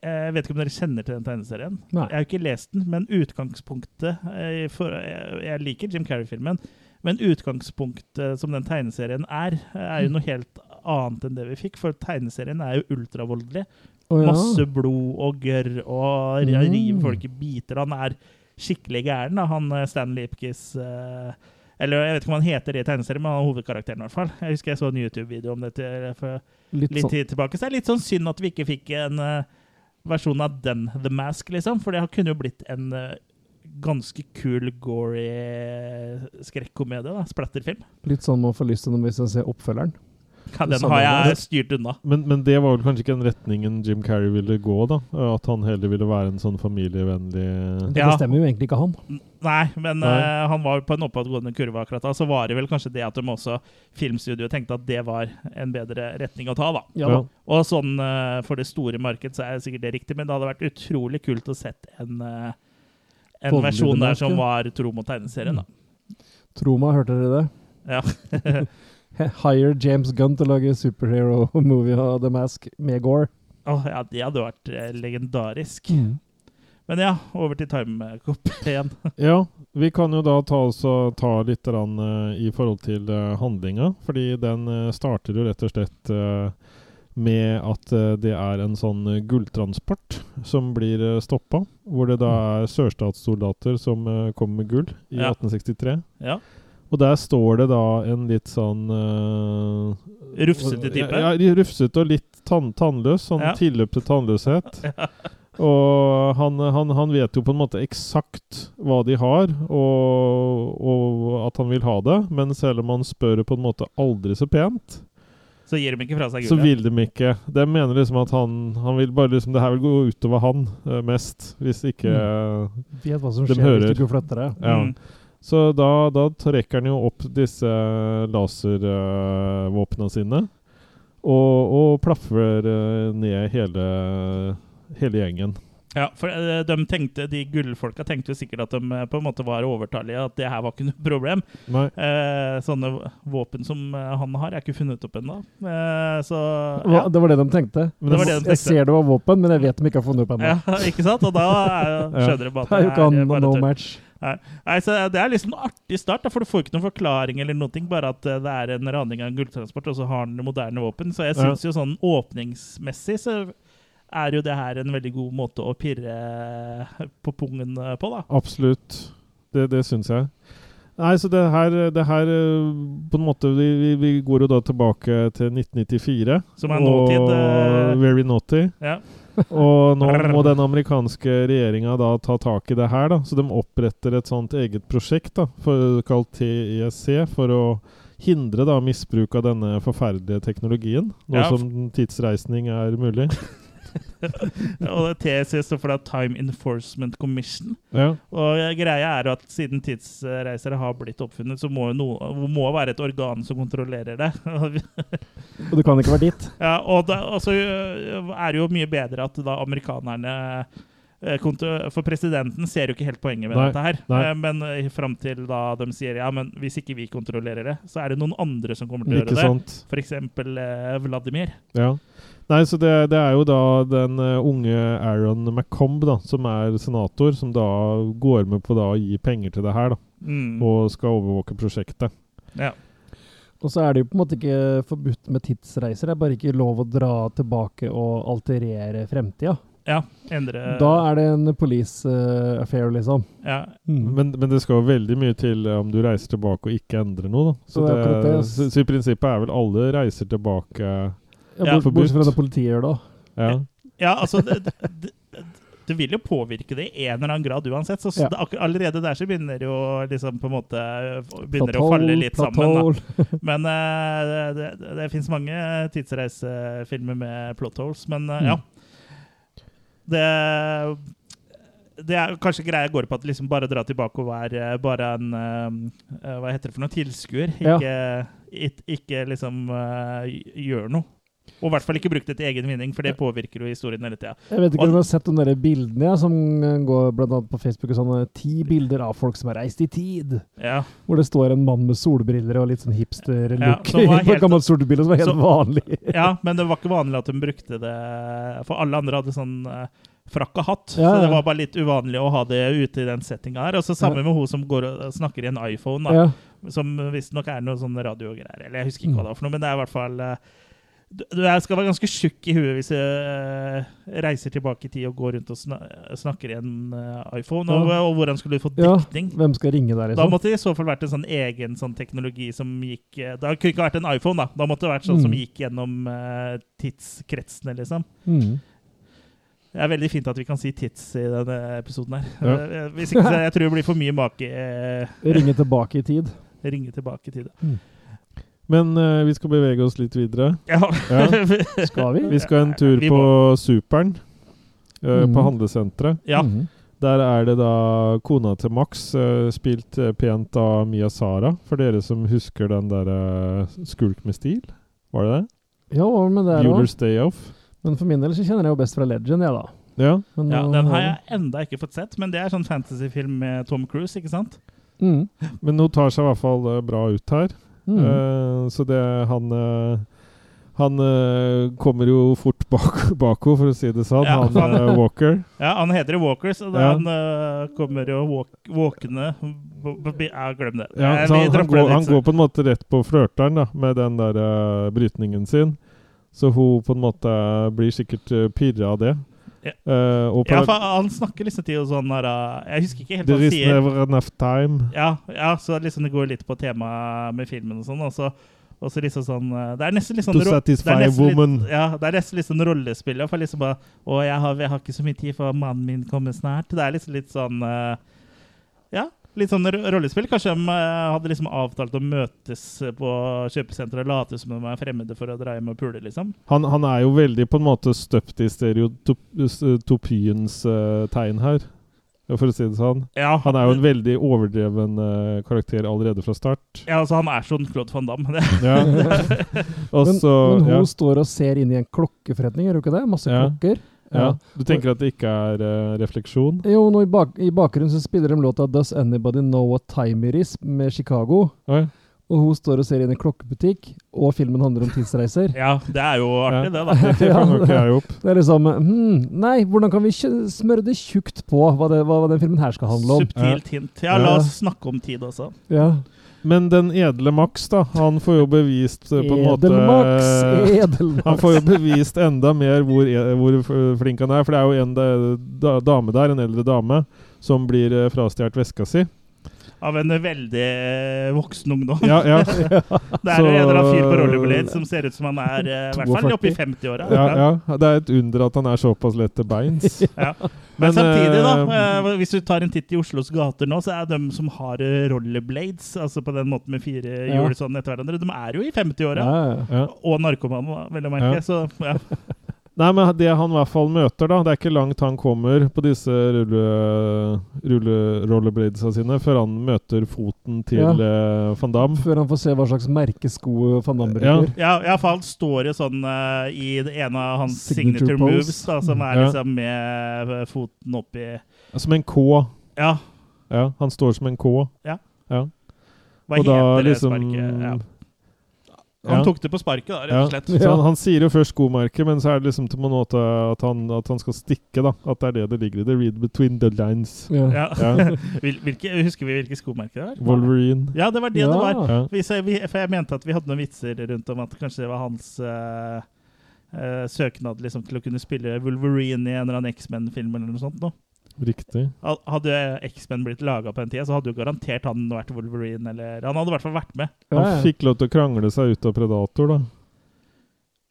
Speaker 3: eh, jeg vet ikke om dere kjenner til den tegneserien.
Speaker 2: Nei.
Speaker 3: Jeg har jo ikke lest den, men utgangspunktet eh, for, jeg, jeg liker Jim Carrey-filmen, men utgangspunktet som den tegneserien er,
Speaker 2: Mm.
Speaker 3: er jo noe helt annet enn det vi fikk. For tegneserien er jo ultravoldelig.
Speaker 2: Å, ja.
Speaker 3: Masse blod og gørr og ri-
Speaker 2: Mm.
Speaker 3: river folk i biter. Han er skikkelig gæren, da. han eh, Stan Lipkis eh, Eller jeg vet ikke om han heter det i tegneserien, men han er hovedkarakteren i hvert fall. Jeg husker jeg så en YouTube-video om dette. For
Speaker 2: Litt
Speaker 3: litt
Speaker 2: sånn.
Speaker 3: tid tilbake. Så det er litt sånn synd at vi ikke fikk en eh, versjon av den The Mask, liksom. For det kunne jo blitt en eh, ganske kul, gory skrekkomedie. da, Splatterfilm.
Speaker 2: Litt sånn man får lyst til når hvis jeg ser oppfølgeren.
Speaker 3: Ja, den
Speaker 2: Samme
Speaker 3: har jeg
Speaker 2: med-
Speaker 3: styrt unna.
Speaker 1: Men, men det var vel kanskje ikke den retningen Jim Carrey ville gå, da? At han heller ville være en sånn familievennlig
Speaker 2: Det
Speaker 3: Ja.
Speaker 2: bestemmer jo egentlig ikke han.
Speaker 3: Nei, men
Speaker 1: Nei.
Speaker 3: eh, han var på en oppadgående kurve akkurat da. Så var det vel kanskje det at de også filmstudioet tenkte at det var en bedre retning å ta, da.
Speaker 2: Ja da.
Speaker 3: Og sånn eh, for det store marked så er det sikkert det riktig, men det hadde vært utrolig kult å sett en, eh, en
Speaker 2: Voldelig
Speaker 3: versjon der
Speaker 2: debatt,
Speaker 3: som
Speaker 2: ja.
Speaker 3: var tro mot tegneserien,
Speaker 1: Mm.
Speaker 3: da.
Speaker 2: Tro meg, hørte dere det?
Speaker 3: Ja.
Speaker 2: <laughs> Hire James Gunn til å lage superhero-movie av The Mask med Gore.
Speaker 3: Åh, ja, det hadde vært eh, legendarisk.
Speaker 1: Mm.
Speaker 3: Men ja, over til timecop <laughs> igjen.
Speaker 1: Ja, vi kan jo da ta, også, ta litt grann, eh, i forhold til eh, handlinga, fordi den eh, starter jo rett og slett eh, med at eh, det er en sånn eh, gulltransport som blir uh, stoppa, hvor det da er sørstatssoldater som eh, kommer med gull i
Speaker 3: Ja.
Speaker 1: 1863.
Speaker 3: Ja.
Speaker 1: Og der står det da en litt sånn eh,
Speaker 3: Rufsete type.
Speaker 1: Ja, ja, rufsete og litt tann tannløs. Sånn
Speaker 3: Ja.
Speaker 1: tilløp til tannløshet.
Speaker 3: <laughs>
Speaker 1: Og han, han, han vet jo på en måte eksakt hva de har, og, og at han vil ha det. Men selv om han spør på en måte aldri så pent,
Speaker 3: Så gir de ikke fra seg
Speaker 1: så
Speaker 3: gullet.
Speaker 1: vil de ikke. De mener liksom at han, han vil bare liksom, det her vil gå utover han eh, mest, hvis ikke
Speaker 2: Vet hva som
Speaker 1: De
Speaker 2: skjer hvis
Speaker 1: hører.
Speaker 2: du ikke flytter deg.
Speaker 1: Ja.
Speaker 3: Mm.
Speaker 1: Så da, da trekker han jo opp disse eh, laservåpnene sine. Og, og plaffer eh, ned hele, hele gjengen.
Speaker 3: ja, for eh, de, tenkte, de gullfolka tenkte jo sikkert at de eh, på en måte var overtallige, at det her var ikke <laughs> noe problem.
Speaker 1: Nei.
Speaker 3: Eh, sånne våpen som eh, han har, er ikke funnet opp ennå. Eh, så ja.
Speaker 2: Hva, det var det de tenkte.
Speaker 1: Men det
Speaker 3: var det de
Speaker 2: Jeg
Speaker 3: tenkte.
Speaker 2: ser det var våpen, men jeg vet de ikke har funnet opp ennå.
Speaker 3: ja, ikke sant? Og da er, jo-
Speaker 1: Ja.
Speaker 3: skjønner de
Speaker 2: <laughs> Det
Speaker 3: at
Speaker 2: er jo ikke
Speaker 3: eh,
Speaker 2: han
Speaker 3: bare
Speaker 2: no
Speaker 3: tull.
Speaker 2: match.
Speaker 3: Nei, så Det er liksom en artig start, da, for du får ikke noen forklaring, eller noen ting, bare at eh, det er en raning av en gulltransport, og så har den moderne våpen. Så jeg
Speaker 1: Ja.
Speaker 3: syns jo sånn åpningsmessig så er jo det her en veldig god måte å pirre på pungen eh, på, da.
Speaker 1: Absolutt. Det, det syns jeg. Nei, så det her, det her eh, På en måte Vi, vi, vi går jo da tilbake til 1994.
Speaker 3: Som er nåtid.
Speaker 1: Og
Speaker 3: eh,
Speaker 1: very naughty.
Speaker 3: Ja.
Speaker 1: Og nå må den amerikanske regjeringa da ta tak i det her, da. Så de oppretter et sånt eget prosjekt, da, for, kalt TEC, for å hindre da misbruk av denne forferdelige teknologien. Nå
Speaker 3: Ja.
Speaker 1: som tidsreisning er
Speaker 3: <laughs>
Speaker 1: mulig.
Speaker 3: Og det TC står for da Time Enforcement Commission.
Speaker 1: Ja.
Speaker 3: Og eh, greia er jo at siden tidsreisere har blitt oppfunnet, så må jo noe, må være et organ som kontrollerer det. <laughs> Og
Speaker 2: Og du kan ikke være dit.
Speaker 3: Ja, og, da, og så øh, er det jo mye bedre at da amerikanerne øh, konto- For presidenten ser jo ikke helt poenget med
Speaker 1: Nei,
Speaker 3: dette her.
Speaker 1: nei.
Speaker 3: Eh, Men øh, fram til da de sier ja, men hvis ikke vi kontrollerer det, så er det noen andre som kommer til å
Speaker 1: Ikke
Speaker 3: gjøre det.
Speaker 1: sant?
Speaker 3: For eksempel eh, Vladimir.
Speaker 1: Ja. Nei, så det, det er jo da den eh, unge Aaron McComb, da, som er senator, som da går med på da å gi penger til det her, da,
Speaker 3: Mm.
Speaker 1: og skal overvåke prosjektet.
Speaker 3: Ja.
Speaker 2: Og så er det jo på en måte ikke forbudt med tidsreiser, det er bare ikke lov å dra tilbake og alterere fremtida.
Speaker 3: Ja, endre
Speaker 2: Da er det en police eh, affair, liksom.
Speaker 3: ja,
Speaker 1: Men, men det skal jo veldig mye til eh, om du reiser tilbake og ikke endrer noe. Da. Så,
Speaker 2: Det er
Speaker 1: det,
Speaker 2: akkurat det, ass.
Speaker 1: så, så i prinsippet er vel alle reiser tilbake
Speaker 2: Ja,
Speaker 3: Ja.
Speaker 2: bort- Bortsett fra det politiet gjør, da.
Speaker 1: Ja.
Speaker 3: ja altså det, det, det, det vil jo påvirke det i en eller annen grad uansett. Så
Speaker 2: Ja.
Speaker 3: det, akkur- allerede der så begynner det jo liksom på en måte Begynner det å
Speaker 2: Platoll,
Speaker 3: falle litt sammen.
Speaker 2: platoll.
Speaker 3: Da. Men eh, det, det, det fins mange tidsreisefilmer med plot holes, men eh, ja. Det det er kanskje greia går på at liksom bare dra tilbake og være eh, bare en eh, eh, Hva heter det for noe? Tilskuer.
Speaker 2: Ja.
Speaker 3: Ikke, it, ikke liksom eh, gjør noe. Og i hvert fall ikke bruk det til egen vinning, for det påvirker jo historien hele tida.
Speaker 2: Jeg vet ikke
Speaker 3: Og-
Speaker 2: om du har sett de der bildene ja, som eh, går blant annet på Facebook og sånn. eh, Ti bilder av folk som har reist i tid.
Speaker 3: Ja.
Speaker 2: Hvor det står en mann med solbriller og litt sånn
Speaker 3: Ja,
Speaker 2: hipster-look <laughs>
Speaker 3: som var
Speaker 2: på
Speaker 3: helt-
Speaker 2: en gammel solbrille som var helt
Speaker 3: som-
Speaker 2: vanlig.
Speaker 3: ja, men det var ikke vanlig at hun brukte det For alle andre hadde sånn eh, frakk og hatt,
Speaker 2: Ja,
Speaker 3: så
Speaker 2: ja.
Speaker 3: det var bare litt uvanlig å ha det ute i den settinga her. Og så samme med hun som går og snakker i en iPhone, da.
Speaker 2: <laughs> Ja. Mm.
Speaker 3: Som visstnok er noe sånn radiogreier. Eller jeg husker ikke hva det var for noe, men det er i hvert fall eh, Du du er- skal være ganske tjukk i huet hvis du eh, reiser tilbake i tid og går rundt og sna snakker i en eh, iPhone. Og, og hvordan skulle du få
Speaker 2: ja,
Speaker 3: dekning?
Speaker 2: hvem skal ringe der,
Speaker 3: Da
Speaker 2: liksom?
Speaker 3: måtte det i så fall vært en sånn egen sånn teknologi som gikk eh, Da kunne det ikke vært en iPhone, da. Da måtte det vært sånn som
Speaker 2: Mm.
Speaker 3: gikk gjennom eh, tidskretsene, liksom.
Speaker 2: Mm.
Speaker 3: Det er veldig fint at vi kan si tids i denne episoden her.
Speaker 1: Ja.
Speaker 3: Eh, Hvis ikke, så jeg tror det blir for mye make... eh,
Speaker 2: Ringe tilbake i tid.
Speaker 3: Ringe tilbake i tid.
Speaker 1: Men eh, vi skal bevege oss litt videre.
Speaker 3: <laughs> Ja.
Speaker 1: Ja.
Speaker 2: Skal vi?
Speaker 1: Vi skal en tur
Speaker 3: Vi
Speaker 1: på Superen. eh,
Speaker 2: Mm.
Speaker 1: På handlesenteret.
Speaker 3: <laughs> ja.
Speaker 2: Mhm.
Speaker 1: Der er det da kona til Max, eh, spilt eh, pent av Mia Sara. For dere som husker den derre Skulk med stil. Var det det?
Speaker 2: Ja, hva med det her også?
Speaker 1: Bueller's Day Off.
Speaker 2: Men for min del så kjenner jeg jo best fra Legend, jeg, da.
Speaker 1: Ja.
Speaker 2: Men,
Speaker 3: Ja,
Speaker 2: nå
Speaker 3: Den har jeg
Speaker 1: Mm.
Speaker 3: enda ikke fått sett, men det er sånn fantasyfilm med Tom Cruise. ikke sant?
Speaker 2: Mm.
Speaker 1: Men hun tar seg i hvert fall eh, bra ut her.
Speaker 2: Mm.
Speaker 1: Eh, så det han eh, han eh, kommer jo fort <laughs> bak bak henne, for å si det sånn.
Speaker 3: Ja,
Speaker 1: han eh, Walker.
Speaker 3: Ja, Han heter jo Walker, så da
Speaker 1: Ja.
Speaker 3: han øh, kommer jo walk- våkende b- b- b- Ja, glem det.
Speaker 1: Ja,
Speaker 3: Eh,
Speaker 1: så
Speaker 3: vi
Speaker 1: han, han,
Speaker 3: dropper det
Speaker 1: går, han
Speaker 3: litt, så-
Speaker 1: går på en måte rett på flørteren da, med den der eh, brytningen sin. Så hun på en måte blir sikkert uh, pirra av det.
Speaker 3: Ja.
Speaker 1: Eh, og
Speaker 3: ja,
Speaker 1: par-
Speaker 3: for han snakker liksom til og sånn her øh, Jeg husker ikke helt hva
Speaker 1: There is
Speaker 3: han sier.
Speaker 1: never enough time.
Speaker 3: Ja, ja, så liksom det går litt på temaet med filmen og sånn. Og så, og så liksom sånn øh, Det er nesten litt
Speaker 1: To
Speaker 3: sånn ro- det er
Speaker 1: satisfy
Speaker 3: nesten
Speaker 1: woman.
Speaker 3: Litt, ja, det er nesten litt sånn rollespill. ja, For liksom bare Å, jeg har, jeg har ikke så mye tid, for mannen min kommer snart. Det er liksom litt sånn øh, Ja. Litt sånn ro- rollespill. Kanskje de øh, hadde liksom avtalt å møtes på kjøpesenteret og late som de er fremmede for å dra hjem og pule, liksom.
Speaker 1: Han, han er jo veldig på en måte støpt i stereotopiens eh, tegn her, for å si det sånn.
Speaker 3: Ja,
Speaker 1: Han er jo en veldig overdreven eh, karakter allerede fra start.
Speaker 3: ja, altså, han er sånn Claude van Damme. <laughs> Det,
Speaker 1: Ja. og
Speaker 2: men,
Speaker 1: så
Speaker 2: men hun
Speaker 1: ja,
Speaker 2: står og ser inn i en klokkeforretning, gjør hun ikke det? Masse
Speaker 1: Ja.
Speaker 2: klokker.
Speaker 1: ja. Du tenker at det ikke er eh, refleksjon?
Speaker 2: Jo, nå i, bak i bakgrunnen så spiller de låta 'Does Anybody Know What Time It Is' med Chicago.
Speaker 1: Oi.
Speaker 2: Og hun står og ser inn i en klokkebutikk, og filmen handler om
Speaker 3: <laughs>
Speaker 2: tidsreiser.
Speaker 3: ja, det er jo artig, det, da.
Speaker 1: Det fanger ikke jeg opp.
Speaker 2: Det er liksom hmm, Nei, hvordan kan vi kjø- smøre det tjukt på hva, det, hva, hva den filmen her skal handle om?
Speaker 3: Subtilt hint. Ja, la oss snakke om tid også.
Speaker 2: Ja.
Speaker 1: Men den edle Max, da. Han får jo bevist eh, på en måte eh,
Speaker 2: Edelmax!
Speaker 1: <laughs>
Speaker 3: <laughs>
Speaker 1: Han
Speaker 2: Edelmax!
Speaker 1: får jo bevist enda mer hvor, e- hvor f- flink han er. For det er jo en da- da- dame der, en eldre dame, som blir eh, frastjålet veska si.
Speaker 3: Av en veldig eh, voksen ungdom.
Speaker 1: Ja, ja,
Speaker 3: <laughs> Det er jo
Speaker 1: så-
Speaker 3: en eller annen fyr på rollerblade som ser ut som han er eh, i hvert fall
Speaker 2: 42.
Speaker 3: oppe i 50-åra.
Speaker 1: ja, ja. Det er et under at han er såpass lett til beins.
Speaker 3: Ja. Men,
Speaker 1: Men,
Speaker 3: samtidig, da,
Speaker 1: eh,
Speaker 3: eh, hvis du tar en titt i Oslos gater nå, så er de som har eh, rollerblades, altså på den måten med fire
Speaker 2: Ja.
Speaker 3: hjul sånn etter hverandre, de er jo i 50-åra.
Speaker 2: Ja, ja.
Speaker 1: Ja.
Speaker 3: Og narkomane, da, vel å
Speaker 1: Ja.
Speaker 3: merke. Så ja.
Speaker 1: Nei, men det han i hvert fall møter, da Det er ikke langt han kommer på disse rulle, rulle rollerbladesa sine før han møter foten til eh, van Damme.
Speaker 2: Før han får se hva slags merkesko van Damme
Speaker 1: Ja.
Speaker 2: bruker.
Speaker 3: Ja, i hvert fall står det sånn eh, i det ene av hans signature,
Speaker 2: Signature pose.
Speaker 3: moves, da, som er
Speaker 1: Ja.
Speaker 3: liksom med eh, foten oppi
Speaker 1: Som en K.
Speaker 3: Ja,
Speaker 1: Ja, han står som en K.
Speaker 3: Ja.
Speaker 1: ja.
Speaker 3: hva
Speaker 1: og da
Speaker 3: heter det
Speaker 1: liksom
Speaker 3: sparket? Ja. Han
Speaker 1: Ja.
Speaker 3: tok det på sparket, da, rett
Speaker 1: Ja.
Speaker 3: og slett. <laughs>
Speaker 1: Så han, han sier jo først skomerke, men så er det liksom til på en måte at han, at han skal stikke. da At det er det det ligger i det. Read between the lines.
Speaker 2: Ja.
Speaker 3: Ja.
Speaker 1: Ja.
Speaker 3: Hvil- Hvilke, husker vi hvilke skomerker det var?
Speaker 1: Wolverine.
Speaker 3: Ja, det var det det var.
Speaker 1: Ja.
Speaker 3: Vi sa- vi- For jeg mente at vi hadde noen vitser rundt om at kanskje det var hans eh, eh, søknad liksom, til å kunne spille Wolverine i en eller annen X-Men-film eller noe sånt. Nå.
Speaker 1: Riktig.
Speaker 3: Al- Hadde X-Men blitt laga på den tida, så hadde jo garantert han vært Wolverine, eller Han hadde i hvert fall vært med.
Speaker 1: Han
Speaker 2: Ja, ja.
Speaker 1: fikk lov til å krangle seg ut av Predator, da.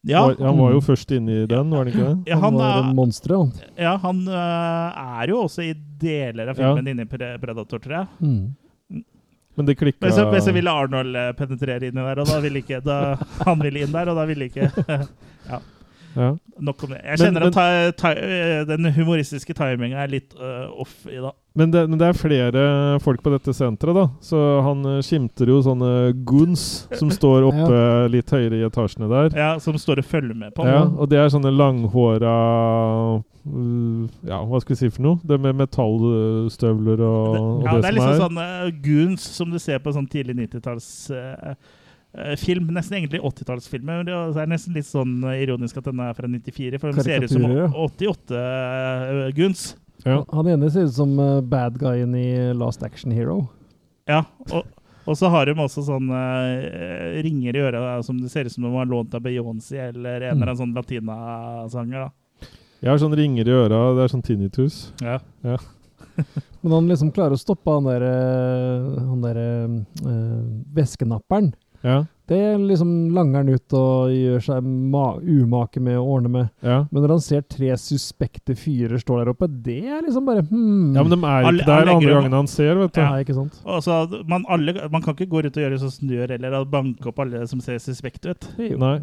Speaker 3: Ja,
Speaker 1: Var, han var jo først inne i den, var han ikke det?
Speaker 3: ja,
Speaker 2: Han
Speaker 3: han,
Speaker 2: var en
Speaker 3: er,
Speaker 2: monster, han.
Speaker 3: ja, han eh, er jo også i deler av
Speaker 1: Ja.
Speaker 3: filmen inne i Pre- Predator, tror jeg.
Speaker 2: Mm.
Speaker 1: Men det klikka
Speaker 3: Men så, men så ville Arnold eh, penetrere inni der, og da ville ikke da, Han ville inn der, og da ville ikke eh,
Speaker 1: ja.
Speaker 3: Nok om det. Jeg
Speaker 1: Men-
Speaker 3: kjenner at ta, ta, øh, den humoristiske timinga er litt øh, off i dag.
Speaker 1: Men det, men det er flere folk på dette senteret, da. Så han eh, skimter jo sånne goons som står oppe litt høyere i etasjene der.
Speaker 3: Ja, som står og følger med på. den.
Speaker 1: Ja, og det er sånne langhåra uh, Ja, hva skal vi si for noe? Det med metallstøvler og, og
Speaker 3: ja,
Speaker 1: det,
Speaker 3: det er
Speaker 1: som
Speaker 3: liksom
Speaker 1: er.
Speaker 3: sånn øh, goons som du ser på sånn tidlig 90-tallsfilm. nesten egentlig 80-tallsfilmer. men Det er- det er nesten litt sånn øh, ironisk at den er fra 94, for den ser ut som eh,
Speaker 2: Karikaturer, ja.
Speaker 3: 88-goons.
Speaker 1: Ja.
Speaker 2: Han ene ser ut som eh, bad guyen i Last Action Hero.
Speaker 3: Ja, og, og så har de også sånne eh, ringer i øra som det ser ut som de har lånt av Beyoncé eller en
Speaker 2: Mm.
Speaker 3: eller annen sånn latinasanger. da.
Speaker 1: Jeg har sånn ringer i øra, det er sånn tinnitus.
Speaker 3: Ja.
Speaker 2: Men han liksom klarer å stoppe han der, eh, han der eh, væskenapperen.
Speaker 1: Ja,
Speaker 2: Det liksom langer han ut og gjør seg ma umake med å ordne med.
Speaker 1: ja.
Speaker 2: Men når han ser tre suspekte fyrer stå der oppe, det er liksom bare hmm.
Speaker 1: Ja, men de er
Speaker 3: Alle-
Speaker 1: ikke der
Speaker 3: alle
Speaker 1: andre
Speaker 3: legger
Speaker 1: gangen han ser, vet du.
Speaker 3: Ja.
Speaker 2: Nei, ikke sant?
Speaker 3: <laughs> Og så at man, alle, man kan ikke gå rundt og gjøre sånn snør eller å banke opp alle som ser suspekte ut.
Speaker 1: Nei.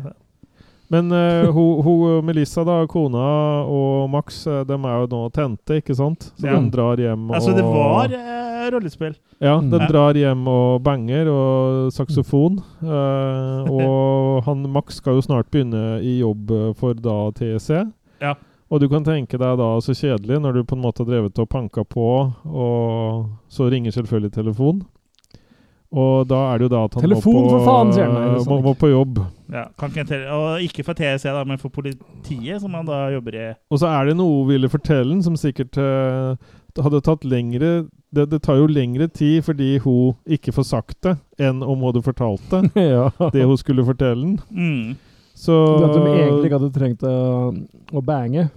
Speaker 1: Men eh, ho, ho, Melissa, da, kona og Max, eh, de er jo nå tente, ikke sant? Så
Speaker 3: Ja.
Speaker 1: de drar hjem og
Speaker 3: Altså, det var eh, rollespill.
Speaker 1: Ja, de
Speaker 2: Ja.
Speaker 1: drar hjem og banger og saksofon.
Speaker 3: <laughs>
Speaker 1: eh, og han Max skal jo snart begynne i jobb eh, for da TEC.
Speaker 3: Ja.
Speaker 1: Og du kan tenke deg da så kjedelig når du på en måte har drevet og panka på, og så ringer selvfølgelig telefon. Og da er det jo da at han
Speaker 2: Telefon,
Speaker 1: må, på, eh,
Speaker 2: for faen, sier han. Nei, det er sånn
Speaker 1: må, må på jobb.
Speaker 3: Ja, kan ikke telle. Og ikke for TSC, da, men for politiet, som han da jobber i.
Speaker 1: Og så er det noe hun ville fortelle den som sikkert eh, hadde tatt lengre det, det tar jo lengre tid fordi hun ikke får sagt det, enn om hun hadde fortalt
Speaker 2: <laughs>
Speaker 1: det.
Speaker 2: ja.
Speaker 1: Det hun skulle fortelle den.
Speaker 3: Mm.
Speaker 1: Så
Speaker 2: Du vet, de egentlig ikke hadde trengt å, å bange.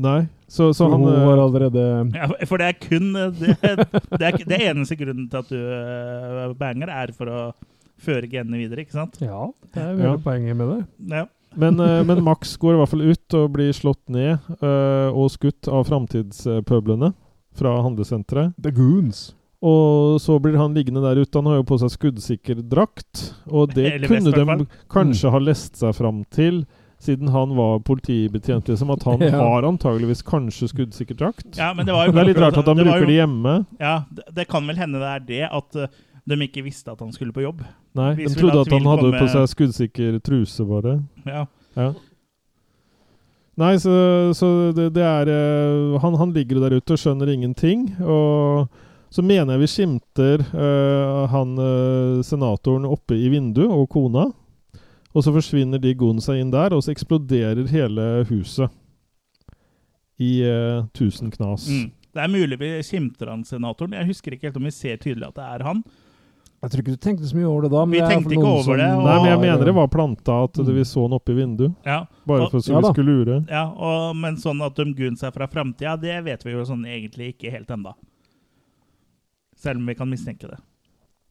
Speaker 1: Nei. Så, så
Speaker 2: For
Speaker 1: han
Speaker 2: hun
Speaker 1: eh,
Speaker 2: var allerede
Speaker 3: Ja, for det er kun eh, det, det, er, det er eneste grunnen til at du eh, banger, er for å føre genene videre, ikke sant?
Speaker 2: Ja, det er jo
Speaker 1: Ja.
Speaker 2: hele poenget med det.
Speaker 3: Ja.
Speaker 1: Men, eh, men Max går i hvert fall ut og blir slått ned eh, og skutt av framtidspøblene fra handlesenteret.
Speaker 2: The Goons.
Speaker 1: Og så blir han liggende der ute. Han har jo på seg skuddsikker drakt. Og det
Speaker 3: Eller vest,
Speaker 1: kunne
Speaker 3: i hvert
Speaker 1: de kanskje ha lest seg fram til, siden han var politibetjent, liksom, at han
Speaker 2: Ja.
Speaker 1: har antageligvis kanskje skuddsikker drakt.
Speaker 3: Ja, men det var jo
Speaker 1: Det er litt rart at han
Speaker 3: var
Speaker 1: bruker
Speaker 3: jo-
Speaker 1: det hjemme.
Speaker 3: Ja, det, det kan vel hende det er det at eh, de ikke visste at han skulle på jobb.
Speaker 1: Nei,
Speaker 3: Hvis
Speaker 1: De
Speaker 3: vi da
Speaker 1: trodde at han
Speaker 3: vil
Speaker 1: hadde på
Speaker 3: komme-
Speaker 1: seg skuddsikker truse, bare.
Speaker 3: Ja.
Speaker 1: Ja. Nei, så, så det, det er eh, han, han ligger jo der ute og skjønner ingenting. Og så mener jeg vi skimter eh, han eh, senatoren oppe i vinduet og kona. Og så forsvinner de goonsa inn der, og så eksploderer hele huset. I eh, tusen knas.
Speaker 3: Mm. Det er mulig vi skimter han senatoren. Jeg husker ikke helt om vi ser tydelig at det er han.
Speaker 2: Jeg tror ikke du tenkte så mye over det da. Men
Speaker 3: Vi
Speaker 2: det er
Speaker 3: tenkte
Speaker 2: for
Speaker 3: ikke
Speaker 2: noen
Speaker 3: over
Speaker 2: som-
Speaker 3: det, og-
Speaker 1: Nei, men jeg mener det var planta at det,
Speaker 2: Ah, Mm.
Speaker 1: vi så han oppe i vinduet.
Speaker 3: Ja,
Speaker 1: Bare
Speaker 3: Og-
Speaker 1: for så
Speaker 2: Ja da.
Speaker 1: vi skulle lure.
Speaker 3: ja og, Men sånn at de gunner seg fra framtida, det vet vi jo sånn egentlig ikke helt enda. Selv om vi kan mistenke det.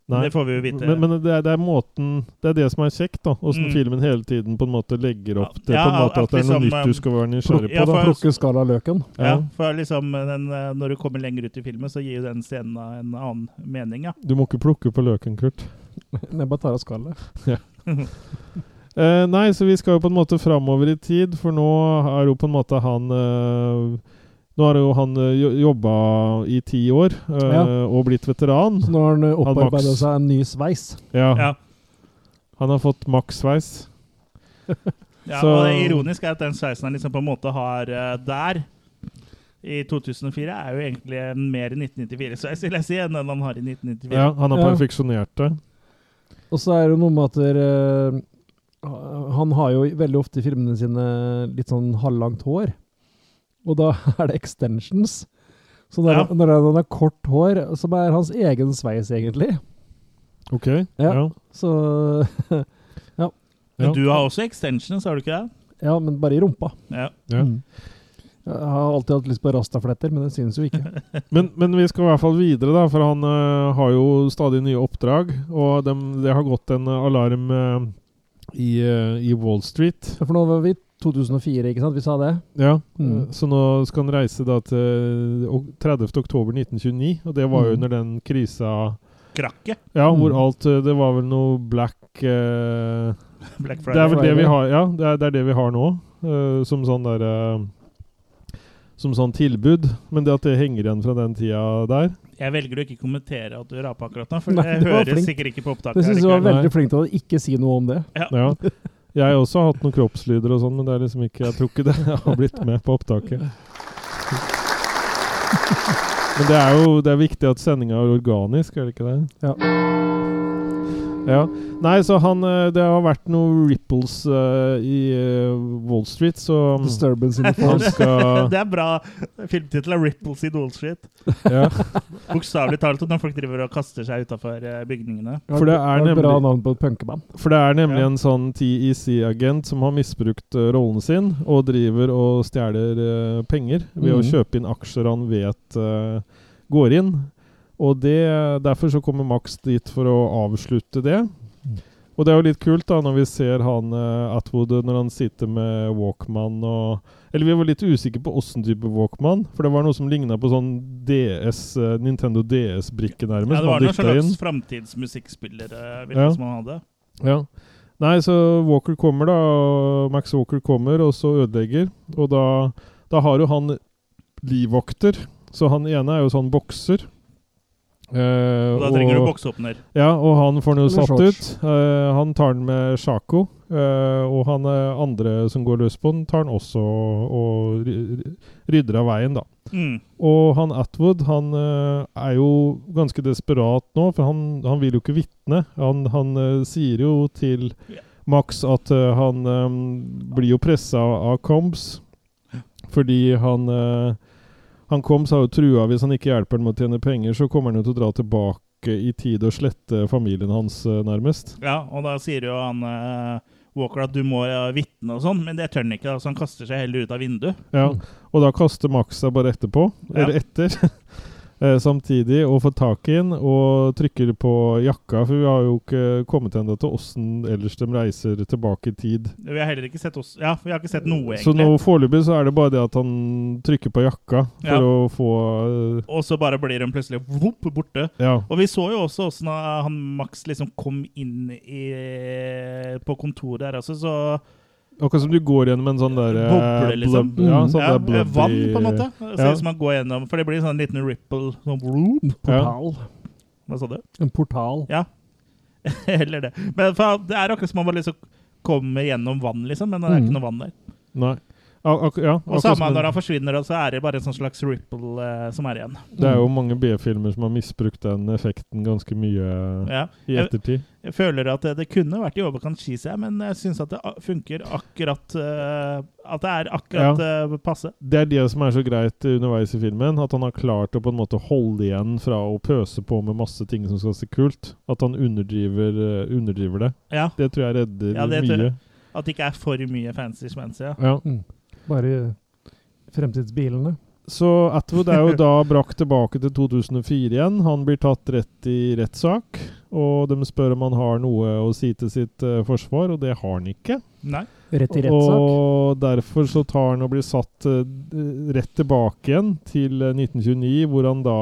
Speaker 1: Nei.
Speaker 3: Det får vi jo vite.
Speaker 1: Men, men det, er, det er måten Det er det som er kjekt, da. Åssen
Speaker 3: Mm.
Speaker 1: filmen hele tiden på en måte legger opp
Speaker 3: Ja,
Speaker 1: det.
Speaker 3: ja,
Speaker 1: på en måte
Speaker 3: at
Speaker 1: At det er noe
Speaker 3: liksom,
Speaker 1: nytt du skal være nysgjerrig
Speaker 3: ja,
Speaker 1: på. Da.
Speaker 3: for-
Speaker 2: Plukke skall av løken.
Speaker 3: ja,
Speaker 1: Ja.
Speaker 3: for liksom den, eh, Når du kommer lenger ut i filmen, så gir jo den scenen en annen mening. ja.
Speaker 1: Du må ikke plukke på løken, Kurt.
Speaker 2: Jeg bare tar av <laughs> skallet.
Speaker 1: Eh, nei, så vi skal jo på en måte framover i tid, for nå er jo på en måte han eh, Nå har jo han eh, jo- jobba i ti år eh,
Speaker 2: Ja.
Speaker 1: og blitt veteran.
Speaker 2: Så nå har han eh,
Speaker 1: Han Max.
Speaker 2: opparbeidet seg en ny sveis.
Speaker 1: Ja,
Speaker 3: Ja,
Speaker 1: Han har fått makssveis.
Speaker 3: ja,
Speaker 1: Så-
Speaker 3: og det ironiske er at den sveisen han liksom på en måte har eh, der i 2004, er jo egentlig mer 1994-sveis, vil jeg si, enn den han har i 1994.
Speaker 1: Ja, han har
Speaker 2: Ja.
Speaker 1: perfeksjonert det.
Speaker 2: Og så er det noe med at dere, eh, han har jo veldig ofte i filmene sine litt sånn halvlangt hår. Og da <laughs> er det extensions. Så når,
Speaker 3: Ja.
Speaker 2: han, når han har kort hår, som er hans egen sveis, egentlig
Speaker 1: OK.
Speaker 2: Ja.
Speaker 1: Ja.
Speaker 2: Så <laughs>
Speaker 1: Ja.
Speaker 3: Men du har også extensions, har du ikke det?
Speaker 2: Ja, men bare i rumpa.
Speaker 3: Ja.
Speaker 1: Ja.
Speaker 2: Mm. Jeg har alltid hatt lyst på rastafletter, men det synes jo ikke.
Speaker 1: Men, men vi skal i hvert fall videre, da, for han eh, har jo stadig nye oppdrag. Og dem, det har gått en eh, alarm eh, i, eh, i Wall Street.
Speaker 2: For nå var vi i 2004, ikke sant? Vi sa det.
Speaker 1: Ja, eh,
Speaker 2: Mm.
Speaker 1: Så nå skal han reise da til ok- 30. oktober 1929, og det var jo
Speaker 2: Mm.
Speaker 1: under den krisa
Speaker 3: Krakke.
Speaker 1: Ja, hvor
Speaker 2: Mm.
Speaker 1: alt eh, Det var vel noe black eh,
Speaker 3: Black
Speaker 1: Det er vel
Speaker 3: Friday.
Speaker 1: det
Speaker 2: Friday.
Speaker 1: vi har Ja, det er, det er det vi har nå, eh, som sånn der eh, Som sånn tilbud. Men det at det henger igjen fra den tida der
Speaker 3: Jeg velger å ikke kommentere at du rapa akkurat nå, for
Speaker 2: Nei,
Speaker 3: jeg
Speaker 2: det var
Speaker 3: hører
Speaker 2: flink.
Speaker 3: sikkert ikke på opptaket.
Speaker 2: Det synes jeg
Speaker 3: her
Speaker 2: var
Speaker 3: likevel.
Speaker 2: veldig flink til å ikke si noe om det.
Speaker 1: Ja. Jeg har også hatt noen kroppslyder og sånn, men det er liksom ikke Jeg tror ikke det <laughs> har blitt med på opptaket. Men det er jo det er viktig at sendinga er organisk, er det ikke det?
Speaker 2: Ja.
Speaker 1: Ja. Nei, så han eh, Det har vært noen ripples eh, i eh, Wall Street, så um,
Speaker 2: Disturbance in the
Speaker 1: han
Speaker 2: force.
Speaker 3: <laughs>
Speaker 1: skal
Speaker 3: Det er bra. Filmtittel er 'Ripples in Wall Street'.
Speaker 1: ja.
Speaker 3: Bokstavelig talt når folk driver og kaster seg utafor bygningene.
Speaker 1: For det er
Speaker 2: var et bra
Speaker 1: nemlig-
Speaker 2: navn på et punkeband.
Speaker 1: For det er nemlig
Speaker 3: Ja.
Speaker 1: en sånn TEC-agent som har misbrukt eh, rollen sin, og driver og stjeler eh, penger ved å
Speaker 2: Mhm.
Speaker 1: kjøpe inn aksjer han vet eh, går inn. Og det, derfor så kommer Max dit for å avslutte det. Og det er jo litt kult da når vi ser han eh, Atwood når han sitter med Walkman og Eller vi var litt usikre på åssen type Walkman, for det var noe som ligna på sånn DS, eh, Nintendo DS-brikke nærmest.
Speaker 3: Ja, det
Speaker 1: som han
Speaker 3: var noen
Speaker 1: dikta inn.
Speaker 3: slags framtidsmusikkspillere liksom
Speaker 1: Ja.
Speaker 3: ja. som han hadde.
Speaker 1: Ja. Nei, så Walker kommer, da. og Max Walker kommer, og så ødelegger. Og da, da har jo han livvakter. Så han ene er jo sånn bokser. Eh,
Speaker 3: Og da trenger du
Speaker 1: og-
Speaker 3: bokseåpner.
Speaker 1: Ja, og han får han jo
Speaker 2: Eller
Speaker 1: satt
Speaker 2: shorts.
Speaker 1: ut. Eh, han tar den med Sjako. eh, og han eh, andre som går løs på den, tar den også og ry- rydder av veien, da.
Speaker 3: Mm.
Speaker 1: Og han Atwood han eh, er jo ganske desperat nå, for han, han vil jo ikke vitne. Han, han eh, sier jo til
Speaker 3: Ja.
Speaker 1: Max at eh, han eh, blir jo pressa av Combs, fordi han eh, han Combs har jo trua hvis han ikke hjelper han med å tjene penger, så kommer han jo til å dra tilbake i tid og slette familien hans, eh, nærmest.
Speaker 3: Ja, og da sier jo han eh, Walker at du må ja, vitne og sånn, men det tør han ikke, da, så han kaster seg heller ut av vinduet.
Speaker 1: Ja,
Speaker 2: Mm.
Speaker 1: og da kaster Max seg bare etterpå,
Speaker 3: Ja.
Speaker 1: eller etter, <laughs> eh, samtidig, og får tak i den, og trykker på jakka, for vi har jo ikke kommet enda til åssen ellers de reiser tilbake i tid.
Speaker 3: Vi har heller ikke sett oss Ja, vi har ikke sett noe,
Speaker 1: Så nå
Speaker 3: egentlig.
Speaker 1: foreløpig så er det bare det at han trykker på jakka for
Speaker 3: Ja.
Speaker 1: å få eh,
Speaker 3: Og så bare blir hun plutselig vopp, borte.
Speaker 1: Ja.
Speaker 3: Og vi så jo også åssen han Max liksom kom inn i, på kontoret der også, så
Speaker 1: Akkurat som du går gjennom en sånn der eh,
Speaker 3: Boble, liksom.
Speaker 1: blub- Ja, sånn
Speaker 3: ja,
Speaker 1: der blubby
Speaker 3: Vann, på en måte. Ser
Speaker 1: Ja.
Speaker 3: ut som han går gjennom, for det blir sånn liten ripple sånn vroom.
Speaker 2: Portal.
Speaker 3: Hva sa du?
Speaker 2: En portal.
Speaker 3: Ja. <laughs> Eller det. Men for det er akkurat som man bare liksom kommer gjennom vann, liksom, men det er
Speaker 2: Mm.
Speaker 3: ikke noe vann der.
Speaker 1: Nei. Ak ak ja,
Speaker 3: Og
Speaker 1: akkurat som
Speaker 3: samme
Speaker 1: en-
Speaker 3: når han forsvinner, så er det bare en sånn slags ripple eh, som er igjen.
Speaker 1: Det er jo mange B-filmer som har misbrukt den effekten ganske mye
Speaker 3: Ja.
Speaker 1: i
Speaker 3: Jeg,
Speaker 1: ettertid.
Speaker 3: jeg føler at det, det kunne vært i overkant cheesy, men jeg syns at det a- funker akkurat eh, At det er akkurat eh, passe.
Speaker 1: det er det som er så greit underveis i filmen. At han har klart å på en måte holde igjen fra å pøse på med masse ting som skal se kult. At han underdriver, eh, underdriver det.
Speaker 3: Ja.
Speaker 1: Det tror jeg redder
Speaker 3: Ja, det tror
Speaker 1: mye.
Speaker 3: jeg. At det ikke er for mye fancy schmancy. Ja.
Speaker 1: Ja.
Speaker 2: Bare fremtidsbilene.
Speaker 1: Så Atwood er jo da brakt tilbake til 2004 igjen. Han blir tatt rett i rettssak. Og de spør om han har noe å si til sitt eh, forsvar, og det har han ikke.
Speaker 3: Nei.
Speaker 2: Rett i rettssak.
Speaker 1: Og derfor så tar han og blir satt eh, d- rett tilbake igjen til eh, 1929, hvor han da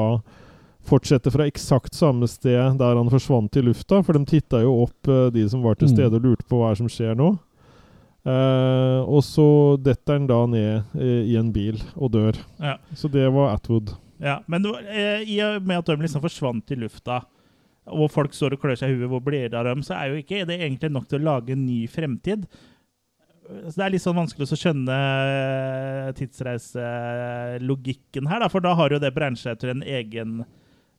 Speaker 1: fortsetter fra eksakt samme sted der han forsvant i lufta. For de titta jo opp, eh, de som var til
Speaker 2: Mm.
Speaker 1: stede, og lurte på hva er som skjer nå. Eh, og så detter han da ned eh, i en bil og dør.
Speaker 3: Ja.
Speaker 1: Så det var Atwood.
Speaker 3: Ja, men det var, eh, i og med at de liksom forsvant i lufta, og folk står og klør seg i huet, hvor blir det av dem, så er jo ikke det egentlig nok til å lage en ny fremtid. Så Det er litt sånn vanskelig å skjønne eh, tidsreiselogikken her, da, for da har jo det bransja til en egen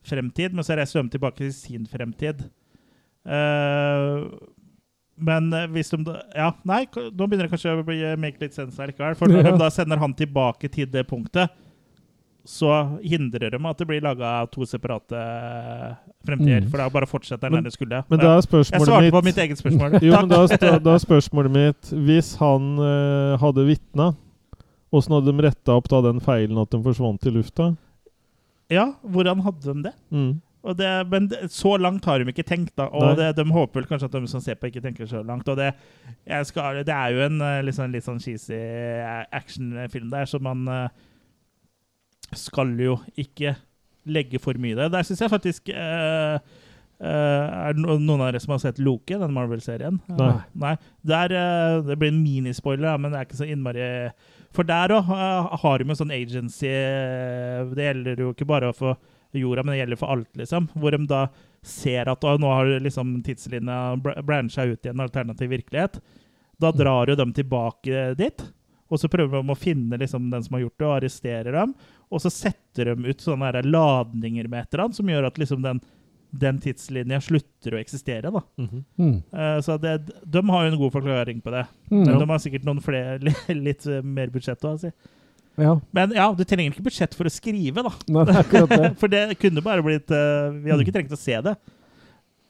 Speaker 3: fremtid, men så reiser de tilbake til sin fremtid. Eh, Men eh, hvis de da Ja, nei, k- nå begynner det kanskje å bli eh, make litt sense her likevel. For når
Speaker 2: Ja.
Speaker 3: de da sender han tilbake til det punktet, så hindrer de at det blir laga to separate eh, fremtider.
Speaker 2: Mm.
Speaker 3: For da bare fortsetter den
Speaker 1: Men-
Speaker 3: der det skulle.
Speaker 1: Men da
Speaker 3: Ja.
Speaker 1: er
Speaker 3: jeg svarte
Speaker 1: spørsmålet
Speaker 3: på
Speaker 1: mitt
Speaker 3: mitt eget spørsmål.
Speaker 1: <laughs> Jo, men da, da, da er spørsmålet mitt Hvis han eh, hadde vitna, åssen hadde de retta opp da den feilen at de forsvant i lufta?
Speaker 3: Ja, hvordan hadde de det?
Speaker 1: Mm.
Speaker 3: Og det, men det, så langt har de ikke tenkt, da.
Speaker 1: Nei.
Speaker 3: Og det, de håper vel kanskje at de som ser på, ikke tenker så langt. Og det, jeg skal, det er jo en eh, litt sånn, litt sånn cheesy eh, actionfilm der, så man eh, skal jo ikke legge for mye i det. Der syns jeg faktisk eh, eh, Er det no- noen av dere som har sett Loke, den Marvel-serien?
Speaker 1: Nei.
Speaker 3: Eh, Nei. Der, eh, det blir en minispoiler, da, men det er ikke så innmari For der òg har de jo sånn agency eh, Det gjelder jo ikke bare for jorda, men det gjelder for alt, liksom. Hvor de da ser at «Å, nå har liksom tidslinja br- brancha ut i en alternativ virkelighet. Da drar jo dem tilbake dit, og så prøver de å finne liksom, den som har gjort det, og arresterer dem. Og så setter de ut sånne her ladninger med et eller annet, som gjør at liksom, den, den tidslinja slutter å eksistere. Da.
Speaker 2: Mm.
Speaker 3: Eh, så det, de har jo en god forklaring på det. Men
Speaker 2: Mm.
Speaker 3: de har sikkert noen flere, <laughs> litt eh, mer budsjett òg, si.
Speaker 2: Ja,
Speaker 3: Men ja, du trenger ikke budsjett for å skrive, da.
Speaker 2: nei, det er akkurat det.
Speaker 3: For det kunne bare blitt eh, Vi hadde ikke trengt å se det.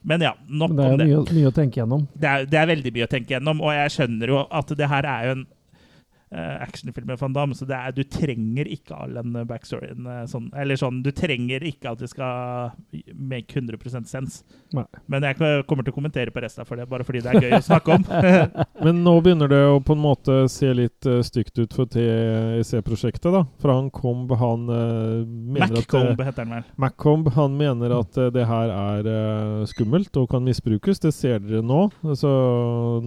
Speaker 3: Men ja, nok
Speaker 2: Men Mm. det
Speaker 3: om
Speaker 2: er
Speaker 3: det.
Speaker 2: jo mye, mye å tenke gjennom.
Speaker 3: Det er, det er veldig mye å tenke gjennom, og jeg skjønner jo at det her er jo en eh, actionfilm med van Damme, så det er, du trenger ikke all den eh, backstoryen. eh, sånn, eller sånn, du trenger ikke at det skal make 100 sens.
Speaker 2: Nei.
Speaker 3: Men jeg k- kommer til å kommentere på resten for det, bare fordi det er gøy å snakke
Speaker 1: <laughs>
Speaker 3: om. ja,
Speaker 1: Men nå begynner det å på en måte se litt eh, stygt ut for TEC-prosjektet, da. For han Comb, han eh, mener at
Speaker 3: MacComb heter den vel.
Speaker 1: MacComb han mener at eh, det her er eh, skummelt og kan misbrukes. Det ser dere nå. Altså,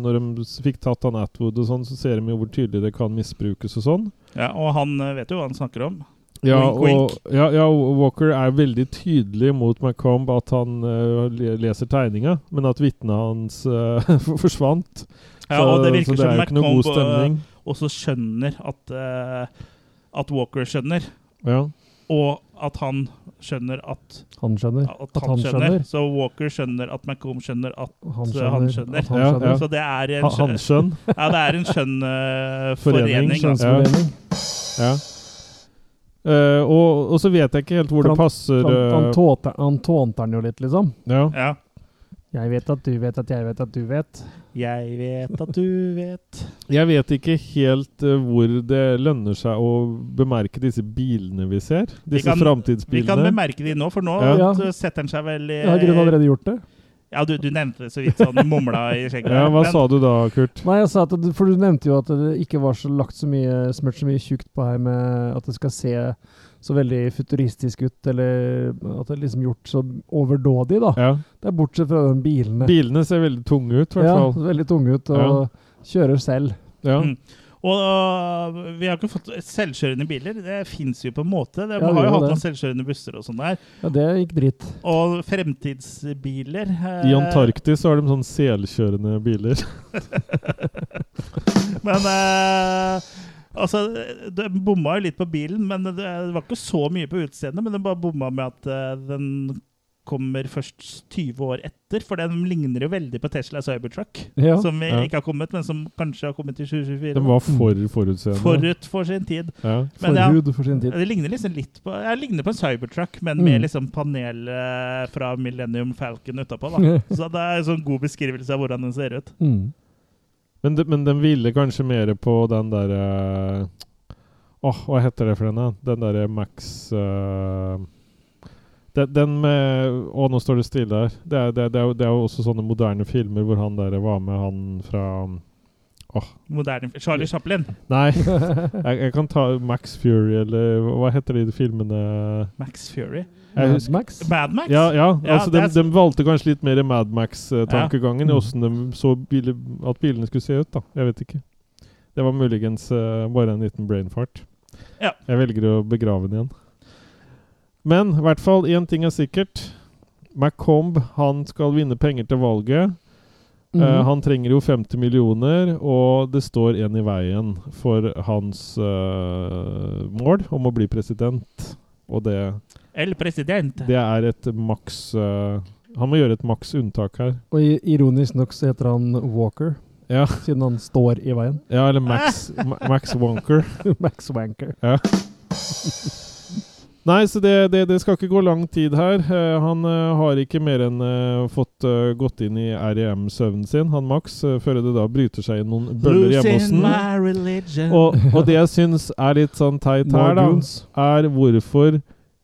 Speaker 1: når de s- fikk tatt han Atwood og sånn, så ser de jo hvor tydelig det kan misbrukes og sånn.
Speaker 3: Ja, og han eh, vet jo hva han snakker om.
Speaker 1: Ja,
Speaker 3: Wink, wink.
Speaker 1: Og, ja, ja, Walker er veldig tydelig mot MacComb at han eh, le- leser tegninga, men at vitnet hans eh, <laughs> forsvant.
Speaker 3: Ja, og det virker
Speaker 1: så det
Speaker 3: som
Speaker 1: er jo ikke noe god
Speaker 3: MacComb eh,
Speaker 1: stemning.
Speaker 3: også skjønner at, eh, at Walker skjønner,
Speaker 1: Ja.
Speaker 3: og at han skjønner at,
Speaker 2: Han skjønner.
Speaker 3: at, han skjønner. Så Walker skjønner at MacComb skjønner at
Speaker 2: Han
Speaker 3: Så
Speaker 2: skjønner.
Speaker 3: han skjønner.
Speaker 2: At han
Speaker 1: Ja,
Speaker 2: skjønner.
Speaker 3: Så det er en
Speaker 1: Ha,
Speaker 3: skjønn,
Speaker 1: Hanskjønn.
Speaker 3: ja, det er en skjønn eh,
Speaker 1: Forening,
Speaker 3: forening.
Speaker 1: skjønn.
Speaker 3: da.
Speaker 2: Kjønnsfordeling.
Speaker 1: Ja. Eh, og, og så vet jeg ikke helt hvor
Speaker 2: For
Speaker 1: det passer
Speaker 2: Han, han,
Speaker 1: eh,
Speaker 2: tåter, han tånter den jo litt, liksom.
Speaker 1: ja.
Speaker 3: Ja.
Speaker 2: Jeg vet at du vet at jeg vet at du vet.
Speaker 3: Jeg vet at du vet
Speaker 1: Jeg vet ikke helt eh, hvor det lønner seg å bemerke disse bilene vi ser. Disse
Speaker 3: kan- Vi kan
Speaker 1: framtidsbilene.
Speaker 3: bemerke de nå, for nå
Speaker 1: Ja.
Speaker 3: så setter han seg vel i
Speaker 2: Jeg har i grunnen allerede gjort det.
Speaker 3: Ja, du, du nevnte det så vidt sånn mumla i skjegget.
Speaker 1: Ja, hva
Speaker 3: Men-
Speaker 1: sa du da, Kurt?
Speaker 2: Nei, jeg sa at, det- For du nevnte jo at det ikke var så lagt så mye smurt så mye tjukt på her med at det skal se så veldig futuristisk ut, eller at det er liksom gjort så overdådig, da.
Speaker 1: Ja.
Speaker 2: Det er bortsett fra de bilene.
Speaker 1: Bilene ser veldig tunge ut, i hvert
Speaker 2: ja,
Speaker 1: fall.
Speaker 2: veldig tunge ut, og kjører selv.
Speaker 1: Ja.
Speaker 3: Mm. Og øh, vi har ikke fått selvkjørende biler. Det fins jo på en måte. De
Speaker 2: Ja, det
Speaker 3: har
Speaker 2: gjør
Speaker 3: jo hatt
Speaker 2: det.
Speaker 3: noen selvkjørende busser og sånn der.
Speaker 2: Ja, det gikk dritt.
Speaker 3: Og fremtidsbiler eh,
Speaker 1: I Antarktis så har de sånn selkjørende
Speaker 3: <laughs>
Speaker 1: biler.
Speaker 3: Men eh, Altså, de bomma jo litt på bilen, men det det var ikke så mye på utseendet. Men de bare bomma med at eh, den kommer først 20 år etter. For den ligner jo veldig på Tesla Cybertruck,
Speaker 2: Ja.
Speaker 3: som vi
Speaker 1: Ja.
Speaker 3: ikke har kommet, men som kanskje har kommet i
Speaker 1: De
Speaker 3: 2024.
Speaker 1: var for forutseende.
Speaker 3: Forut Mm. for sin tid.
Speaker 1: Ja.
Speaker 3: Men ja,
Speaker 2: Forhud for sin tid.
Speaker 3: Ja, Det ligner liksom litt på Jeg ligner på en Cybertruck, men
Speaker 2: Mm.
Speaker 3: med liksom panel eh, fra Millennium Falcon utapå. da. Så det er en sånn god beskrivelse av hvordan den ser ut.
Speaker 2: <laughs> Mm.
Speaker 1: Men, de, men de ville kanskje mer på den derre Åh, hva heter det for den, da? Den derre Max eh, den, den med Å, nå står det stille her. Det er, det, er- det, er, jo- det er jo også sånne moderne filmer hvor han der var med han fra
Speaker 3: Moderne Charlie Chaplin. <laughs>
Speaker 1: Nei, jeg, jeg kan ta Max Fury, eller hva heter de filmene
Speaker 3: Max Fury.
Speaker 1: Jeg
Speaker 2: Mad
Speaker 1: husker-
Speaker 2: Max.
Speaker 3: Mad Max?
Speaker 1: Ja, ja,
Speaker 3: Ja,
Speaker 1: altså
Speaker 3: det
Speaker 1: de,
Speaker 3: er så-
Speaker 1: de valgte kanskje litt mer Mad Max-tankegangen i
Speaker 2: Ja.
Speaker 1: åssen de så biler, at bilene skulle se ut. da. Jeg vet ikke. Det var muligens eh, bare en liten brain fart.
Speaker 3: Ja.
Speaker 1: Jeg velger å begrave den igjen. Men i hvert fall én ting er sikkert. Macomb han skal vinne penger til valget. Eh,
Speaker 2: Mhm.
Speaker 1: han trenger jo 50 millioner, og det står en i veien for hans eh, mål om å bli president. Og det
Speaker 3: El President.
Speaker 1: det er et maks eh, Han må gjøre et maks unntak her.
Speaker 2: Og i- ironisk nok så heter han Walker,
Speaker 1: Ja,
Speaker 2: siden han står i veien.
Speaker 1: <laughs> ja eller
Speaker 3: <laughs>
Speaker 1: Max, Ma- Max Wonker.
Speaker 2: Max Wanker.
Speaker 1: Nei, så det, det, det skal ikke gå lang tid her. Eh, han eh, har ikke mer enn eh, fått eh, gått inn i REM-søvnen sin, han Max, eh, før det da bryter seg inn noen bøller hjemme hos
Speaker 3: Losing
Speaker 1: den.
Speaker 3: my religion.
Speaker 1: Og, og det jeg syns er litt sånn teit her, da,
Speaker 2: Morgons.
Speaker 1: er hvorfor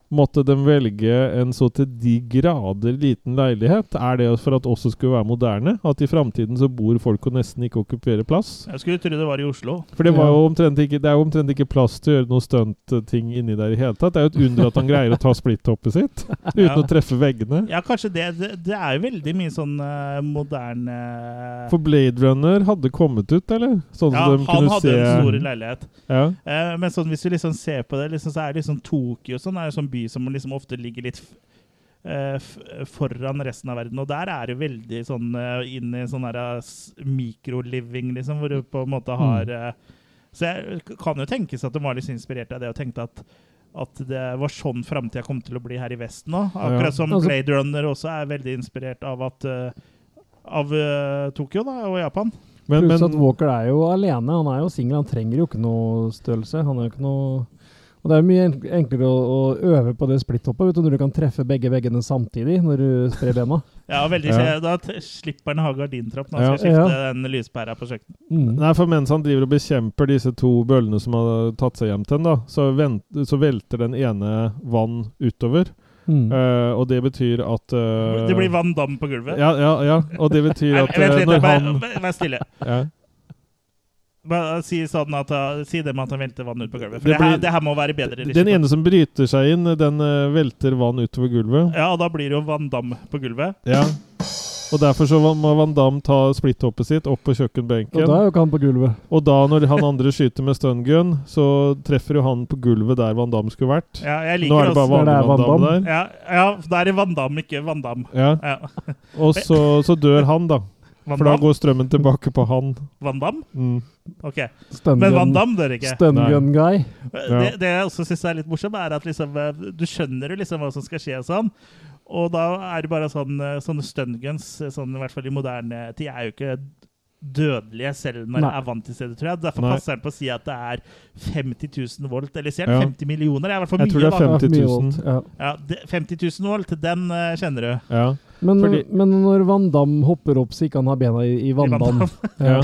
Speaker 1: måtte de velge en så til de grader liten leilighet? Er det for at også skulle være moderne? At i framtiden så bor folk og nesten ikke okkuperer plass?
Speaker 3: Jeg skulle tro det var i Oslo.
Speaker 1: For det, var
Speaker 2: Ja.
Speaker 1: jo omtrent ikke, det er jo omtrent ikke plass til å gjøre noe stuntting inni der i hele tatt. Det er jo et under at han greier å ta splitthoppet
Speaker 3: <laughs>
Speaker 1: sitt uten
Speaker 3: Ja.
Speaker 1: å treffe veggene.
Speaker 3: Ja, kanskje det. Det, det er jo veldig mye sånn eh, moderne
Speaker 1: For Blade Runner hadde kommet ut, eller? Sånn
Speaker 3: Ja,
Speaker 1: som de
Speaker 3: han
Speaker 1: kunne
Speaker 3: hadde
Speaker 1: se
Speaker 3: en stor leilighet.
Speaker 1: ja.
Speaker 3: Eh, men sånn, hvis du liksom ser på det, liksom, så er det liksom Tokyo sånn, er jo sånn by som liksom ofte ligger litt f eh, f foran resten av verden. Og der er det veldig sånn eh, inn i sånn der, eh, s- mikroliving, liksom, hvor du på en måte har eh, Så jeg k- kan jo tenkes at de var litt inspirert av det og tenkte at at det var sånn framtida kom til å bli her i Vesten òg. Akkurat som
Speaker 2: Altså-
Speaker 3: Blade Runner også er veldig inspirert av at eh, av eh, Tokyo da, og Japan.
Speaker 1: Men,
Speaker 2: Pluss at
Speaker 1: men
Speaker 2: Walker er jo alene. Han er jo singel, han trenger jo ikke noe størrelse. Han er jo ikke noe Og det er jo mye enk- enklere å, å øve på det splitthoppet vet du, når du kan treffe begge veggene samtidig når du sprer bena.
Speaker 3: Ja, veldig
Speaker 1: Ja.
Speaker 3: Da t- slipper han å ha gardintrapp når han
Speaker 1: Ja.
Speaker 3: skal skifte
Speaker 2: Ja.
Speaker 3: den lyspæra på kjøkkenet.
Speaker 2: Mm.
Speaker 1: Nei, for mens han driver og bekjemper disse to bøllene som har tatt seg hjem til han, da, så, vent, så velter den ene vann utover.
Speaker 2: Mm.
Speaker 1: Eh, og det betyr at eh,
Speaker 3: Det blir Van Damme på gulvet.
Speaker 1: Ja, ja, ja. Og det
Speaker 3: <laughs>
Speaker 1: betyr
Speaker 3: Nei,
Speaker 1: at
Speaker 3: Vent
Speaker 1: eh,
Speaker 3: litt,
Speaker 1: når
Speaker 3: bare-
Speaker 1: han
Speaker 3: bare- vær stille.
Speaker 1: ja.
Speaker 3: Bare Si, sånn at, han- si det med at han velter vann ut på gulvet. For
Speaker 1: Det
Speaker 3: det, her,
Speaker 1: blir-
Speaker 3: det her må være bedre. regi.
Speaker 1: Den ene som bryter seg inn, den eh, velter vann utover gulvet.
Speaker 3: Ja, og da blir det jo Van Damme på gulvet.
Speaker 1: Ja. Og derfor så va- må Van Damme ta splitthoppet sitt opp på
Speaker 2: Og da
Speaker 1: kjøkkenbenken.
Speaker 2: er jo ikke han på gulvet.
Speaker 1: Og da, når han andre skyter med stungun, så treffer jo han på gulvet der Van Damme skulle vært.
Speaker 3: Ja, jeg liker
Speaker 1: Nå er det bare
Speaker 2: Der
Speaker 3: også-
Speaker 2: det
Speaker 1: vanlig
Speaker 2: er
Speaker 1: Van
Speaker 2: Van
Speaker 1: Damme der.
Speaker 3: Ja, ja, for da er det Van Damme, ikke Van Damme.
Speaker 1: Ja.
Speaker 3: Ja.
Speaker 1: Og så, så dør han, da.
Speaker 3: Van
Speaker 1: For da
Speaker 3: Damme?
Speaker 1: går strømmen tilbake på han.
Speaker 3: Van Damme?
Speaker 1: Mm.
Speaker 3: Ok.
Speaker 2: Stun
Speaker 3: Men
Speaker 2: gun-
Speaker 3: Van Damme dør ikke.
Speaker 2: Stun gun guy.
Speaker 1: Ja.
Speaker 3: Det, det jeg også syns er litt morsomt, er at liksom, eh, du skjønner jo liksom hva som skal skje og sånn. Og da er det bare sånn, eh, sånne stunguns, sånn, i hvert fall i moderne tid, er jo ikke dødelige selv når det
Speaker 2: Nei.
Speaker 3: er vann til stede, tror jeg. Derfor
Speaker 1: Nei.
Speaker 3: passer den på å si at det er 50 000 volt, eller sier
Speaker 1: Ja.
Speaker 3: den 50 millioner? Det er i hvert fall
Speaker 1: Jeg tror det
Speaker 3: mye,
Speaker 1: er
Speaker 3: da.
Speaker 1: 50 000.
Speaker 2: Ja, mye voldt, Ja.
Speaker 3: Ja, det, 50 000 volt, den eh, kjenner du.
Speaker 1: Ja.
Speaker 2: Men,
Speaker 1: Fordi-
Speaker 2: men når Van Damme hopper opp så ikke han har bena i, i Van
Speaker 3: Van Damme.
Speaker 2: Damme,
Speaker 1: Ja.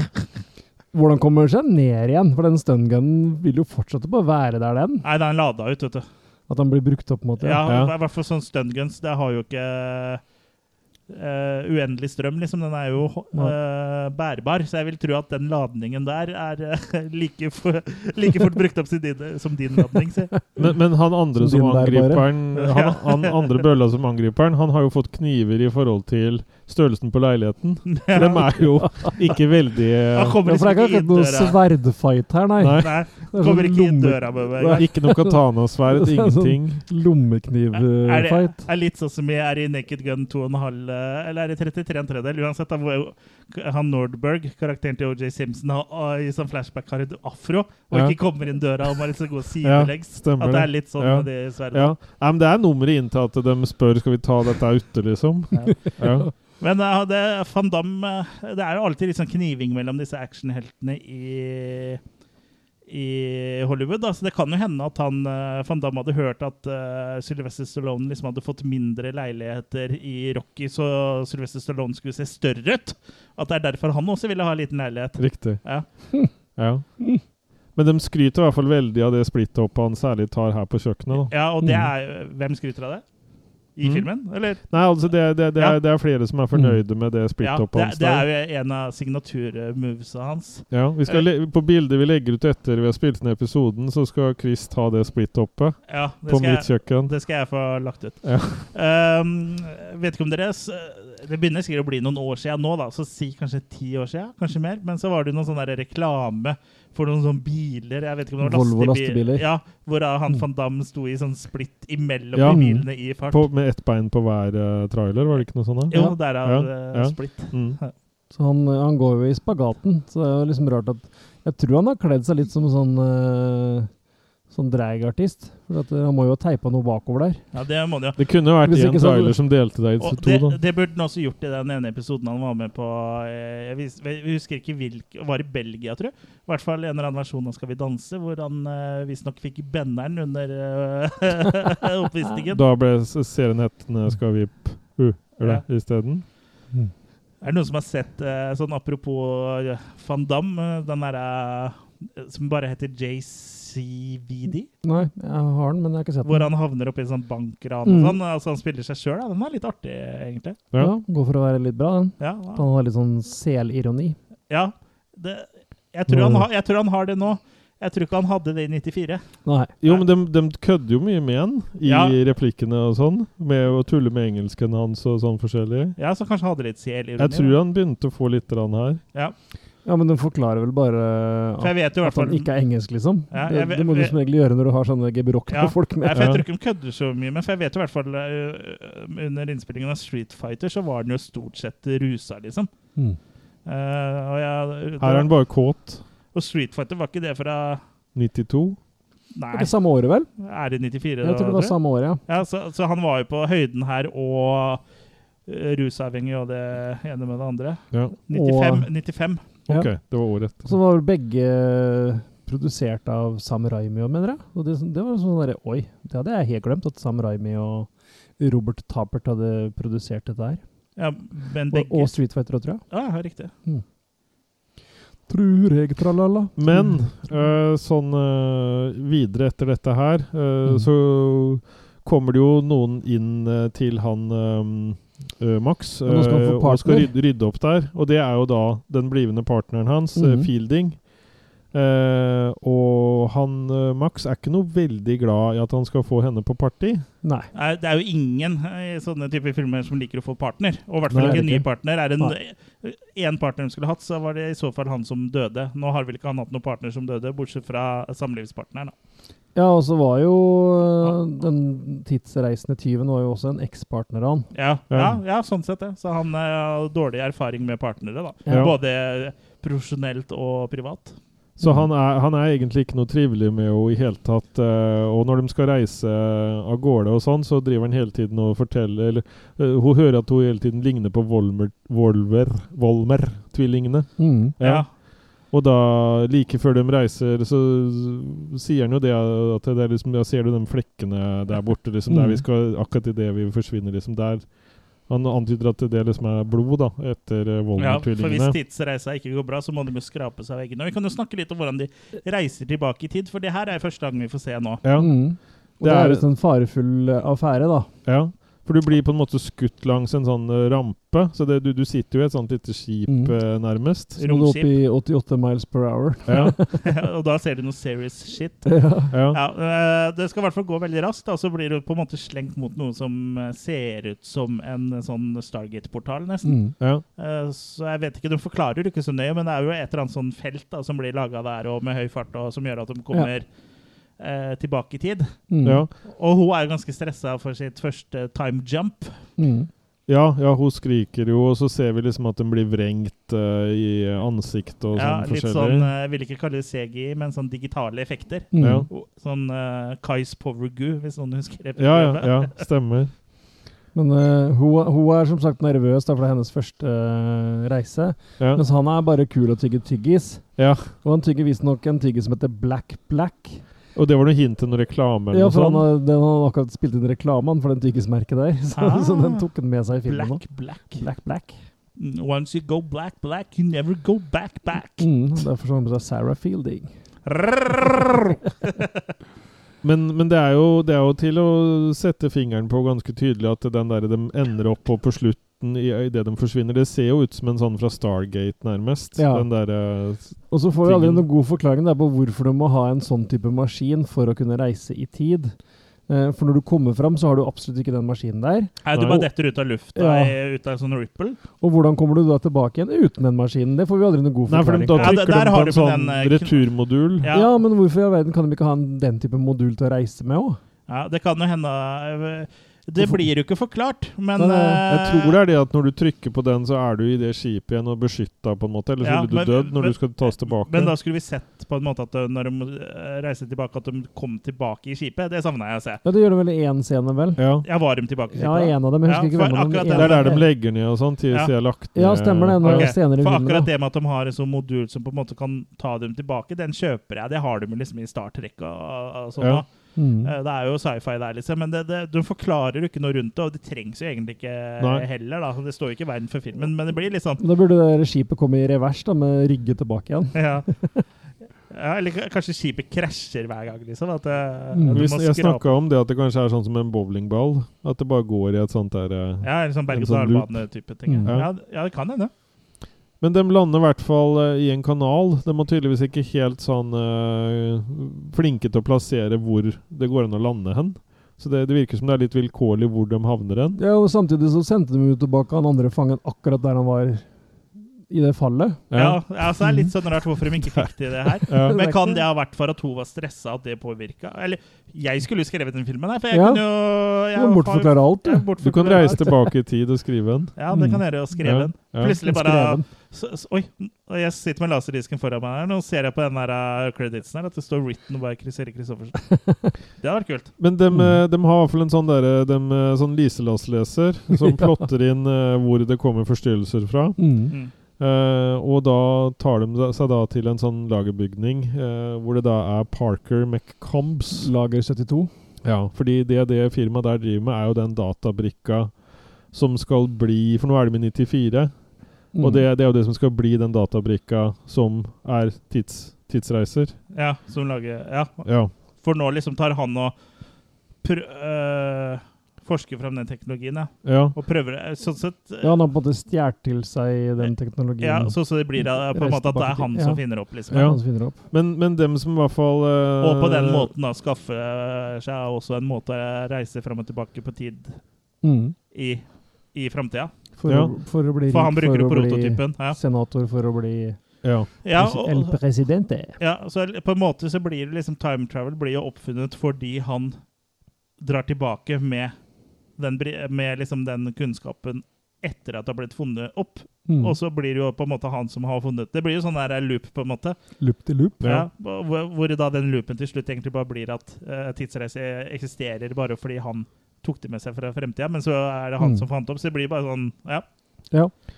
Speaker 2: hvordan kommer han seg ned igjen? For den stungunen vil jo fortsette på å være der, den.
Speaker 3: Nei, den lada ut, vet du.
Speaker 2: At han blir brukt opp, på en måte.
Speaker 3: Ja,
Speaker 1: Ja.
Speaker 3: I hvert fall sånn stunguns. Det har jo ikke eh, uendelig strøm, liksom. Den er jo eh, bærbar, så jeg vil tro at den ladningen der er eh, <laughs> like, for, like fort brukt opp som din, som din ladning. Si.
Speaker 1: Men, men han andre
Speaker 2: Som
Speaker 1: som
Speaker 2: din der bare.
Speaker 1: angriper han, han, han andre bølla som angriper han, han har jo fått kniver i forhold til størrelsen på leiligheten. For dem er jo ikke veldig
Speaker 3: Han
Speaker 1: eh,
Speaker 2: Ja,
Speaker 3: kommer
Speaker 2: for det er ikke
Speaker 3: liksom ikke
Speaker 2: akkurat
Speaker 3: inn
Speaker 2: noe
Speaker 3: døra.
Speaker 2: sverdfight her, nei.
Speaker 1: Nei.
Speaker 3: Nei,
Speaker 2: <laughs> Det er sånn
Speaker 3: kommer ikke inn
Speaker 2: lomme-
Speaker 3: døra med
Speaker 2: Nei.
Speaker 3: meg.
Speaker 1: Ikke noe katanasverd,
Speaker 2: <laughs> Det er sånn-
Speaker 1: ingenting. eh,
Speaker 3: Er det
Speaker 2: Lommeknivfight.
Speaker 3: er litt sånn som jeg er i Naked Gun 2,5 eh, Eller er det 33 en tredjedel? Uansett, da, hvor han Nordberg, karakteren til OJ Simpson, har- har- i sånn flashback har et afro og
Speaker 1: Ja.
Speaker 3: ikke kommer inn døra og må liksom gå
Speaker 1: Ja,
Speaker 3: sidelengs.
Speaker 1: stemmer
Speaker 3: At det er
Speaker 1: det.
Speaker 3: litt sånn
Speaker 1: Ja.
Speaker 3: med de sverdene.
Speaker 1: Ja. Nei, men det er nummeret inn til at de spør skal vi ta dette ute, liksom. <laughs> Ja.
Speaker 3: Men eh, det, Van Damme eh, Det er jo alltid litt sånn kniving mellom disse actionheltene i i Hollywood, da. så det kan jo hende at han eh, Van Damme hadde hørt at eh, Sylvester Stallone liksom hadde fått mindre leiligheter i Rocky, så Sylvester Stallone skulle se større ut. At det er derfor han også ville ha en liten leilighet.
Speaker 1: Riktig.
Speaker 3: Ja.
Speaker 1: Ja. Men de skryter i hvert fall veldig av det splitthoppet han særlig tar her på kjøkkenet. Da.
Speaker 3: Ja, og det er Hvem skryter av det? I
Speaker 1: Mm.
Speaker 3: filmen, eller?
Speaker 1: Nei, altså det, det, det, er, det er flere som er fornøyde med det
Speaker 3: Ja,
Speaker 1: splitthoppet
Speaker 3: det,
Speaker 1: hans.
Speaker 3: det
Speaker 1: der.
Speaker 3: er jo en av signaturmovesa hans.
Speaker 1: Ja, vi skal le På bildet vi legger ut etter vi har spilt ned episoden, så skal Chris ta det splitthoppet
Speaker 3: Ja, det
Speaker 1: på
Speaker 3: skal jeg-
Speaker 1: mitt kjøkken.
Speaker 3: Det skal jeg få lagt ut.
Speaker 1: Ja.
Speaker 3: Ehm, vet ikke om dere s- Det begynner sikkert å bli noen år siden nå, da, så si kanskje ti år siden, kanskje mer. Men så var det jo noen sånn der reklame for noen sånne biler jeg vet ikke om det var
Speaker 2: Volvo lastebiler.
Speaker 3: Ja, Hvor da han van Damme sto i sånn splitt imellom
Speaker 1: Ja.
Speaker 3: de bilene i fart.
Speaker 1: På, med ett bein på hver eh, trailer, var det ikke noe sånt? da?
Speaker 3: jo, derav
Speaker 1: Ja,
Speaker 3: eh,
Speaker 1: ja.
Speaker 3: splitt.
Speaker 1: Mm.
Speaker 2: Så han, han går jo i spagaten. Så det er jo liksom rart at Jeg tror han har kledd seg litt som sånn eh, Sånn dragartist. For at, eh, han må jo ha teipa noe bakover der.
Speaker 3: Ja, det må det jo.
Speaker 1: Det kunne jo vært
Speaker 2: Hvis
Speaker 1: Ian
Speaker 2: ikke så-
Speaker 1: Tyler som delte deg i to,
Speaker 3: Og det,
Speaker 1: da.
Speaker 3: det burde han også gjort i den ene episoden han var med på. eh, Jeg, vis, jeg husker ikke hvilken Var i Belgia, tror jeg. I hvert fall en eller annen versjon av Skal vi danse, hvor han eh, visstnok fikk benneren under eh, <laughs> oppvisningen.
Speaker 1: Da ble s- serien hetende Skal vi pule
Speaker 3: Ja.
Speaker 1: isteden?
Speaker 3: Er det noen som har sett eh, sånn apropos eh, Van Damme, eh, den derre eh, som bare heter JCVD?
Speaker 2: Nei, jeg har den, men jeg har ikke sett
Speaker 3: Hvor
Speaker 2: den.
Speaker 3: han havner oppi en sånn bankran og
Speaker 2: Mm.
Speaker 3: sånn. Altså han spiller seg sjøl, den er litt artig, egentlig.
Speaker 1: Ja.
Speaker 2: Ja, Går for å være litt bra, den.
Speaker 3: Ja,
Speaker 2: At Han har litt sånn selironi.
Speaker 3: ja det, jeg, tror
Speaker 2: Mm.
Speaker 3: han har, jeg tror han har det nå. Jeg tror ikke han hadde det i 94.
Speaker 2: Nei.
Speaker 1: Jo, men de, kødder jo mye med han i
Speaker 3: Ja.
Speaker 1: replikkene og sånn. Med å tulle med engelsken hans og sånn forskjellig.
Speaker 3: Ja, så kanskje han hadde litt selironi.
Speaker 1: Jeg tror
Speaker 3: da.
Speaker 1: han begynte å få litt rann her.
Speaker 3: Ja,
Speaker 2: Ja, men den forklarer vel bare
Speaker 3: for jeg
Speaker 2: at,
Speaker 3: vet jo i
Speaker 2: at
Speaker 3: hvert
Speaker 2: han
Speaker 3: fall
Speaker 2: ikke er engelsk, liksom.
Speaker 3: Ja,
Speaker 2: det,
Speaker 3: jeg vet-
Speaker 2: det må du
Speaker 3: jeg-
Speaker 2: som regel gjøre når du har sånne gebrokne
Speaker 3: Ja,
Speaker 2: folk
Speaker 3: Nei,
Speaker 2: med.
Speaker 3: for Jeg tror ikke de kødder så mye, men for jeg vet jo i hvert fall eh, under innspillingen av Street Fighter så var den jo stort sett rusa, liksom.
Speaker 2: Mm.
Speaker 3: Eh, og jeg,
Speaker 1: Her er han bare kåt.
Speaker 3: Og Street Fighter var ikke det fra
Speaker 1: 92.
Speaker 3: Nei,
Speaker 2: Var det samme året, vel?
Speaker 3: er det 94?
Speaker 2: Jeg tror det var samme året, ja.
Speaker 3: Ja, så, så han var jo på høyden her og eh, rusavhengig og det ene med det andre.
Speaker 1: Ja,
Speaker 3: 95. 95.
Speaker 2: Ja.
Speaker 1: OK. Det var året etter.
Speaker 2: Så var vel begge produsert av Sam Raimi òg, mener jeg. Og det, det var sånn derre Oi, det hadde jeg helt glemt, at Sam Raimi og Robert Tapert hadde produsert dette her.
Speaker 3: Ja, men
Speaker 2: Og,
Speaker 3: begge
Speaker 2: og Street Fighter òg, tror jeg.
Speaker 3: Ja, ja, riktig.
Speaker 2: Tror jeg, tralala.
Speaker 1: Men
Speaker 2: Mm.
Speaker 1: øh, sånn øh, videre etter dette her, øh,
Speaker 2: Mm.
Speaker 1: så kommer det jo noen inn øh, til han øh, øh, Max
Speaker 2: Ja, nå skal han få
Speaker 1: øh, og skal
Speaker 2: partner.
Speaker 1: rydde, rydde opp der. Og det er jo da den blivende partneren hans, øh,
Speaker 2: Mhm.
Speaker 1: Fielding. Eh, og han øh, Max er ikke noe veldig glad i at han skal få henne på party.
Speaker 2: Nei.
Speaker 3: Nei, Det er jo ingen eh, i sånne typer filmer som liker å få partner. Og i hvert fall
Speaker 2: Nei,
Speaker 3: ikke en ny
Speaker 2: ikke.
Speaker 3: partner. Er det en, en partner hun skulle hatt, så var det i så fall han som døde. Nå har vel ikke han hatt noen partner som døde, bortsett fra samlivspartneren. da.
Speaker 2: Ja, og så var jo øh, den tidsreisende tyven var jo også en ekspartner av han.
Speaker 3: Ja, ja,
Speaker 1: Ja.
Speaker 3: ja, sånn sett det. Så han eh, har dårlig erfaring med partnere, da.
Speaker 1: Ja.
Speaker 3: Både profesjonelt og privat.
Speaker 1: Så han, er, han er egentlig ikke noe trivelig med henne i hele tatt. eh, og når de skal reise av gårde og sånn, så driver han hele tiden og forteller Eller eh, hun hører at hun hele tiden ligner på Volmer, Volver, Volmer-tvillingene. Ja.
Speaker 3: Ja.
Speaker 1: Og da, like før de reiser, så sier han jo det at det er liksom Ja, ser du de flekkene der borte, liksom? Der
Speaker 3: Mm.
Speaker 1: vi skal Akkurat idet vi forsvinner, liksom. Der Han antyder at det liksom er blod, da, etter eh,
Speaker 3: Ja, for
Speaker 1: Volmer-tvillingene.
Speaker 3: hvis tidsreisa ikke går bra, så må de jo skrape seg av veggene. Og Vi kan jo snakke litt om hvordan de reiser tilbake i tid, for det her er første gang vi får se nå. <laughs>
Speaker 1: Ja.
Speaker 2: Mm. Og
Speaker 1: Det
Speaker 2: det
Speaker 1: er-
Speaker 2: er visst en farefull affære, da.
Speaker 1: Ja, for du blir på en måte skutt langs en sånn eh, rampe. Så det, du, du sitter jo i et sånt lite skip,
Speaker 2: Mm.
Speaker 1: eh, nærmest.
Speaker 2: Som lå oppe i 88 miles per hour.
Speaker 1: Ja,
Speaker 3: og da ser du noe serious shit.
Speaker 1: <laughs>
Speaker 2: <laughs>
Speaker 1: ja.
Speaker 3: Ja, eh, det skal i hvert fall gå veldig raskt, og så blir du på en måte slengt mot noe som eh, ser ut som en sånn Stargate-portal, nesten.
Speaker 2: Mm.
Speaker 1: ja.
Speaker 3: Eh, Så jeg vet ikke, de forklarer det ikke så nøye, men det er jo et eller annet sånn felt da, som blir laga der, og med høy fart, og som gjør at de kommer eh, tilbake i tid.
Speaker 2: Mm.
Speaker 1: Ja.
Speaker 3: Og hun er jo ganske stressa for sitt første time jump.
Speaker 2: Mm.
Speaker 1: Ja, ja, hun skriker jo, og så ser vi liksom at den blir vrengt eh, i ansiktet og
Speaker 3: Ja,
Speaker 1: sånn
Speaker 3: litt sånn,
Speaker 1: forskjellig.
Speaker 3: eh, jeg vil ikke kalle det CGI, men sånn digitale effekter.
Speaker 2: Mm.
Speaker 1: Ja.
Speaker 3: Og Sånn eh, Kais Power Goo, hvis noen husker det.
Speaker 1: Ja, ja, ja, stemmer.
Speaker 2: Men øh, hun, hun er som sagt nervøs, da, for det er hennes første øh, reise.
Speaker 1: Ja.
Speaker 2: Mens han er bare kul og tygger tyggis.
Speaker 1: ja.
Speaker 2: Og han tygger visstnok en tyggis som heter Black Black.
Speaker 1: Og det var noe hint til noen reklame eller
Speaker 2: Ja,
Speaker 1: noe sånn?
Speaker 2: for han
Speaker 1: sånt?
Speaker 2: har, den har akkurat spilt inn reklamen for den tyggismerket der. <laughs> Så,
Speaker 3: Ah.
Speaker 2: så den tok han med seg i filmen
Speaker 3: Black,
Speaker 2: nå.
Speaker 3: black.
Speaker 2: Black Black.
Speaker 3: Mm, Once you go black, black, you never go back, back.
Speaker 2: Mm, derfor så har han på seg Sarah Fielding.
Speaker 3: Rrrr.
Speaker 1: Men, men det, er jo, det er jo til å sette fingeren på ganske tydelig at den der de ender opp på på slutten i, i det de forsvinner, det ser jo ut som en sånn fra Stargate, nærmest.
Speaker 2: Ja.
Speaker 1: Den eh, derre
Speaker 2: Og så får vi aldri
Speaker 1: Tingen.
Speaker 2: noen god forklaring der på hvorfor du må ha en sånn type maskin for å kunne reise i tid. Eh, For når du kommer fram, så har du absolutt ikke den maskinen der.
Speaker 3: Nei, du
Speaker 1: Nei.
Speaker 3: bare detter ut av lufta,
Speaker 2: Ja.
Speaker 3: eh, ut av en sånn ripple.
Speaker 2: Og hvordan kommer du da tilbake igjen uten den maskinen? Det får vi aldri noen god
Speaker 1: Nei, for de,
Speaker 2: forklaring
Speaker 1: da
Speaker 2: på.
Speaker 3: Ja,
Speaker 1: trykker
Speaker 3: der
Speaker 1: de på en
Speaker 3: har du på
Speaker 1: sånn
Speaker 3: den, eh, kn-
Speaker 1: returmodul.
Speaker 3: Ja,
Speaker 2: Ja. men hvorfor i all verden kan de ikke ha en, den type modul til å reise med òg?
Speaker 3: ja, det kan jo hende eh, Det blir jo ikke forklart, men
Speaker 2: Nei,
Speaker 3: eh,
Speaker 2: nei,
Speaker 1: Jeg tror det er det at når du trykker på den, så er du i det skipet igjen og beskytta, på en måte. Ellers
Speaker 3: Ja,
Speaker 1: ville du
Speaker 3: men-
Speaker 1: dødd når
Speaker 3: men-
Speaker 1: du skal tas tilbake.
Speaker 3: Men da skulle vi sett på en måte at uh, når de uh, reiste tilbake, at de kom tilbake i skipet. Det savna jeg å se.
Speaker 2: Ja, det gjør det vel i én scene, vel?
Speaker 1: ja.
Speaker 3: Jeg var dem tilbake i
Speaker 2: Ja,
Speaker 3: skipet. da.
Speaker 2: en av dem. Jeg husker
Speaker 3: Ja,
Speaker 2: ikke
Speaker 3: for
Speaker 2: hvem av dem.
Speaker 3: akkurat
Speaker 2: men
Speaker 1: Det er
Speaker 2: en av
Speaker 1: der de
Speaker 2: dem.
Speaker 1: legger ned og sånn, til
Speaker 3: Ja.
Speaker 1: siden jeg har lagt ned
Speaker 2: Ja, stemmer det. Når
Speaker 3: Ok,
Speaker 2: senere i
Speaker 3: For
Speaker 2: filmen,
Speaker 3: akkurat
Speaker 2: da.
Speaker 3: det med at de har en sånn modul som på en måte kan ta dem tilbake, den kjøper jeg. Det har de jo liksom i Star Trek og, og sånn.
Speaker 1: Ja.
Speaker 3: da.
Speaker 2: Mm.
Speaker 3: Eh, Det er jo sci-fi der, liksom. Men det, det, du forklarer jo ikke noe rundt det, og det trengs jo egentlig ikke
Speaker 1: Nei.
Speaker 3: heller. da. Det står jo ikke i verden for filmen, men det blir
Speaker 1: <laughs>
Speaker 3: litt sånn
Speaker 2: Da burde det skipet komme i revers, da, med rygge tilbake igjen.
Speaker 3: ja. ja, Eller k- kanskje skipet krasjer hver gang, liksom. At det,
Speaker 2: Mm.
Speaker 3: du
Speaker 1: Vi,
Speaker 3: må
Speaker 1: jeg
Speaker 3: skrape.
Speaker 1: snakka om det at det kanskje er sånn som en bowlingball. At det bare går i et sånt der eh.
Speaker 3: Ja, en sånn
Speaker 1: en sånn loop.
Speaker 3: berg-og-dal-bane-type ting.
Speaker 2: Mm.
Speaker 3: Ja. Ja, det- ja, det kan hende.
Speaker 1: Men de lander i hvert fall eh, i en kanal. De er tydeligvis ikke helt sånn eh, flinke til å plassere hvor det går an å lande hen. Så det, det virker som det er litt vilkårlig hvor de havner hen.
Speaker 2: Ja, og Samtidig så sendte de jo tilbake han andre fangen akkurat der han var i det fallet.
Speaker 3: Ja, ja, så det er litt sånn rart hvorfor de ikke fikk til det her.
Speaker 1: <laughs> Ja.
Speaker 3: Men kan det ha vært for at hun var stressa, at det påvirka? Eller jeg skulle jo skrevet den filmen her, for jeg
Speaker 2: Ja.
Speaker 3: kunne jo
Speaker 2: Du
Speaker 3: jeg
Speaker 2: må bortforklare alt,
Speaker 3: jeg
Speaker 2: du.
Speaker 1: Du kan
Speaker 3: bortforklarer
Speaker 1: reise
Speaker 3: alt.
Speaker 1: tilbake i tid og skrive en.
Speaker 3: Ja, det kan jeg gjøre. Og skrevet den. Plutselig bare
Speaker 2: Skreven.
Speaker 3: så, så, Oi, og jeg sitter med laserdisken foran meg her. Nå ser jeg på den der uh, creditsen her at det står 'written by Chris Erik
Speaker 2: <laughs>
Speaker 3: Christoffersen'. Det hadde vært kult.
Speaker 1: Men de,
Speaker 2: Mm.
Speaker 1: har i hvert fall en sånn, derre- dem, eh, sånn liselassleser som
Speaker 2: <laughs> Ja.
Speaker 1: plotter inn eh, hvor det kommer forstyrrelser fra.
Speaker 2: Mm.
Speaker 3: Mm.
Speaker 1: Eh, og da tar de da- seg da til en sånn lagerbygning eh, hvor det da er Parker McCombs.
Speaker 2: Lager 72.
Speaker 1: Ja, fordi det det firmaet der driver med, er jo den databrikka som skal bli For nå er det med 94,
Speaker 2: Mm.
Speaker 1: og det, det er jo det som skal bli den databrikka som er tids, tidsreiser.
Speaker 3: Ja, som lager Ja.
Speaker 1: Ja.
Speaker 3: For nå liksom tar han og pr øh, forsker fram den teknologien, ja.
Speaker 1: ja.
Speaker 3: Og prøver det. Sånn sett
Speaker 2: Ja, han har på en måte stjålet til seg den teknologien.
Speaker 3: Ja, så, så det blir uh, på en måte at det er han
Speaker 2: Ja.
Speaker 3: som finner opp, liksom.
Speaker 2: Det er
Speaker 1: Ja.
Speaker 2: han som finner opp.
Speaker 1: Men, men dem som i hvert fall eh,
Speaker 3: Og på den måten da skaffe seg også en måte å reise fram og tilbake på tid
Speaker 2: Mm.
Speaker 3: i, i framtida.
Speaker 2: For,
Speaker 1: Ja.
Speaker 2: å, for å bli
Speaker 3: For han
Speaker 2: rik,
Speaker 3: bruker jo
Speaker 2: å bli
Speaker 3: prototypen. Ja.
Speaker 2: senator, for å bli
Speaker 1: Ja.
Speaker 3: Ja,
Speaker 2: presi- el
Speaker 3: og,
Speaker 2: presidente.
Speaker 3: ja, så på en måte så blir det liksom time travel blir jo oppfunnet fordi han drar tilbake med den, bri- med liksom den kunnskapen etter at det har blitt funnet opp.
Speaker 2: Mm.
Speaker 3: Og så blir det jo på en måte han som har funnet Det blir jo sånn der loop, på en måte.
Speaker 2: Loop til loop.
Speaker 3: Ja. hvor, hvor da den loopen til slutt egentlig bare blir at eh, tidsreise eksisterer bare fordi han tok det med seg fra fremtida, men så er det han
Speaker 2: Mm.
Speaker 3: som fant opp. Så det blir bare sånn Ja,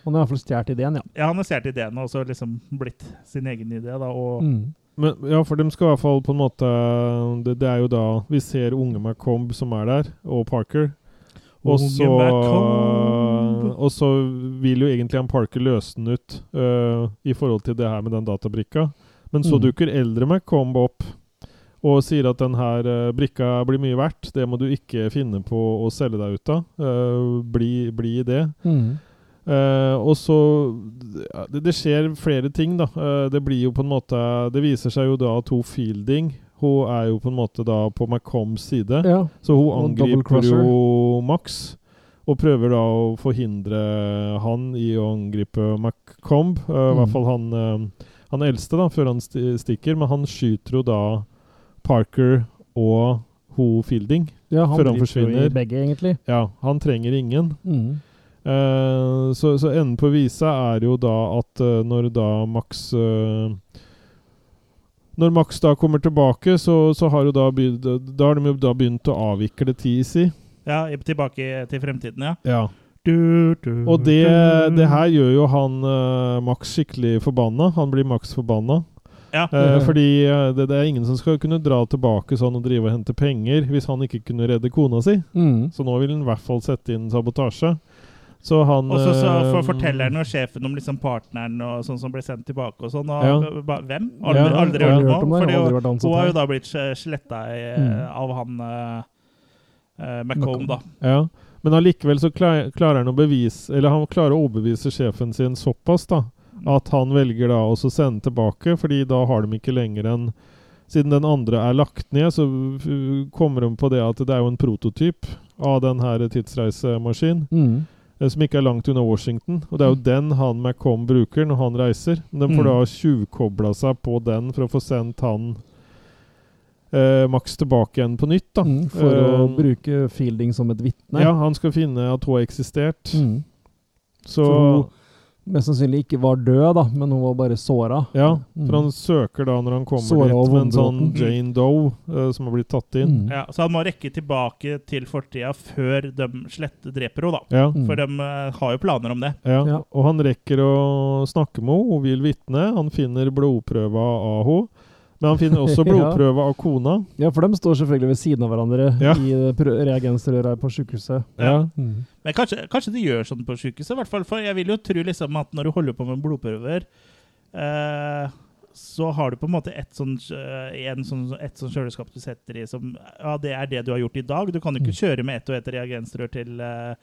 Speaker 2: Han har i hvert fall stjålet ideen, ja.
Speaker 3: ja han har stjålet ideen og så liksom blitt sin egen idé, da. Og
Speaker 2: Mm.
Speaker 1: Men, ja, for dem skal i hvert fall på en måte det, det er jo da vi ser unge McComb som er der, og Parker. Og
Speaker 3: Unge
Speaker 1: så,
Speaker 3: McComb.
Speaker 1: og så vil jo egentlig han Parker løse den ut øh, i forhold til det her med den databrikka. Men så
Speaker 2: Mm.
Speaker 1: dukker eldre McComb opp og sier at den her øh, brikka blir mye verdt. Det må du ikke finne på å selge deg ut av. Øh, bli, bli i det.
Speaker 2: Mm.
Speaker 1: Eh, og så ja, det, det skjer flere ting, da. Eh, det blir jo på en måte Det viser seg jo da at hun Fielding Hun er jo på en måte da på McCombs side.
Speaker 2: Ja.
Speaker 1: Så hun
Speaker 2: Og double
Speaker 1: angriper
Speaker 2: crosser.
Speaker 1: jo Max, og prøver da å forhindre han i å angripe McComb. Eh, I
Speaker 2: Mm.
Speaker 1: hvert fall han, eh, han eldste, da, før han sti stikker. Men han skyter jo da Parker og hun Fielding.
Speaker 2: ja, han
Speaker 1: Før han
Speaker 2: driter jo
Speaker 1: forsvinner.
Speaker 2: i begge, egentlig.
Speaker 1: Ja, han trenger ingen.
Speaker 2: Mm.
Speaker 1: Eh, så, så enden på visa er jo da at eh, når da Max eh, Når Max da kommer tilbake, så, så har jo da, begynt, da har de jo da begynt å avvikle TEC.
Speaker 3: ja, i- tilbake til fremtiden, ja.
Speaker 1: Ja.
Speaker 3: Du, du,
Speaker 1: Og det,
Speaker 3: du.
Speaker 1: det her gjør jo han eh, Max skikkelig forbanna. Han blir Max forbanna.
Speaker 3: Ja.
Speaker 1: Eh, fordi eh, det, det er ingen som skal kunne dra tilbake sånn og drive og hente penger hvis han ikke kunne redde kona si.
Speaker 2: Mm.
Speaker 1: Så nå vil han i hvert fall sette inn sabotasje. Så han
Speaker 3: Og så, så
Speaker 1: eh,
Speaker 3: for forteller han og sjefen om liksom partneren og sånn som ble sendt tilbake og sånn. Og
Speaker 1: Ja.
Speaker 3: ba, hvem? Aldri,
Speaker 1: Ja,
Speaker 3: aldri,
Speaker 1: aldri
Speaker 3: hørt
Speaker 2: hørt om
Speaker 3: om.
Speaker 2: det,
Speaker 3: Fordi
Speaker 2: aldri
Speaker 3: hun-
Speaker 2: vært ansatt
Speaker 3: hun har
Speaker 2: her.
Speaker 3: jo da blitt sletta
Speaker 2: Mm.
Speaker 3: av han eh, eh, McComb, da.
Speaker 1: Ja, men allikevel så klar, klarer han å bevise Eller han klarer å overbevise sjefen sin såpass, da,
Speaker 2: Mm.
Speaker 1: at han velger da også å sende tilbake, fordi da har de ikke lenger en siden den andre er lagt ned, så uh, kommer de på det at det er jo en prototyp av den her tidsreisemaskinen,
Speaker 2: Mm.
Speaker 1: eh, som ikke er langt unna Washington. Og det er jo den han McComb bruker når han reiser. Men de får
Speaker 2: Mm.
Speaker 1: da tjuvkobla seg på den for å få sendt han eh, Max tilbake igjen på nytt. da.
Speaker 2: Mm, for å
Speaker 1: Eh,
Speaker 2: bruke Fielding som et vitne.
Speaker 1: Ja, han skal finne at hun har eksistert.
Speaker 2: Mm.
Speaker 1: Så,
Speaker 2: Så hun mest sannsynlig ikke var død, da, men hun var bare såra.
Speaker 1: ja,
Speaker 2: Mm.
Speaker 1: for han søker da når han kommer
Speaker 2: Såret
Speaker 1: dit
Speaker 2: og
Speaker 1: med en sånn
Speaker 2: vondbroten.
Speaker 1: Jane Doe eh, som har blitt tatt inn.
Speaker 2: Mm.
Speaker 3: Ja, så han må rekke tilbake til fortida før de slette dreper henne, da.
Speaker 1: Ja,
Speaker 2: Mm.
Speaker 3: For de eh, har jo planer om det.
Speaker 1: ja.
Speaker 2: Ja.
Speaker 1: Og han rekker å snakke med henne, hun vil vitne. Han finner blodprøva av henne. Men han finner også
Speaker 2: <laughs> Ja.
Speaker 1: blodprøva av kona.
Speaker 2: Ja, for de står selvfølgelig ved siden av hverandre
Speaker 1: Ja.
Speaker 2: i eh, prø- reagensrøra på sjukehuset.
Speaker 1: Ja.
Speaker 2: Mm.
Speaker 3: Men kanskje, kanskje de gjør sånn på sykehuset, i hvert fall. For jeg vil jo tro liksom at når du holder på med blodprøver, eh, så har du på en måte et sånn, eh, en sånn, et sånn kjøleskap du setter i som Ja, det er det du har gjort i dag. Du kan jo
Speaker 1: Mm.
Speaker 3: ikke kjøre med ett og ett reagensrør til eh,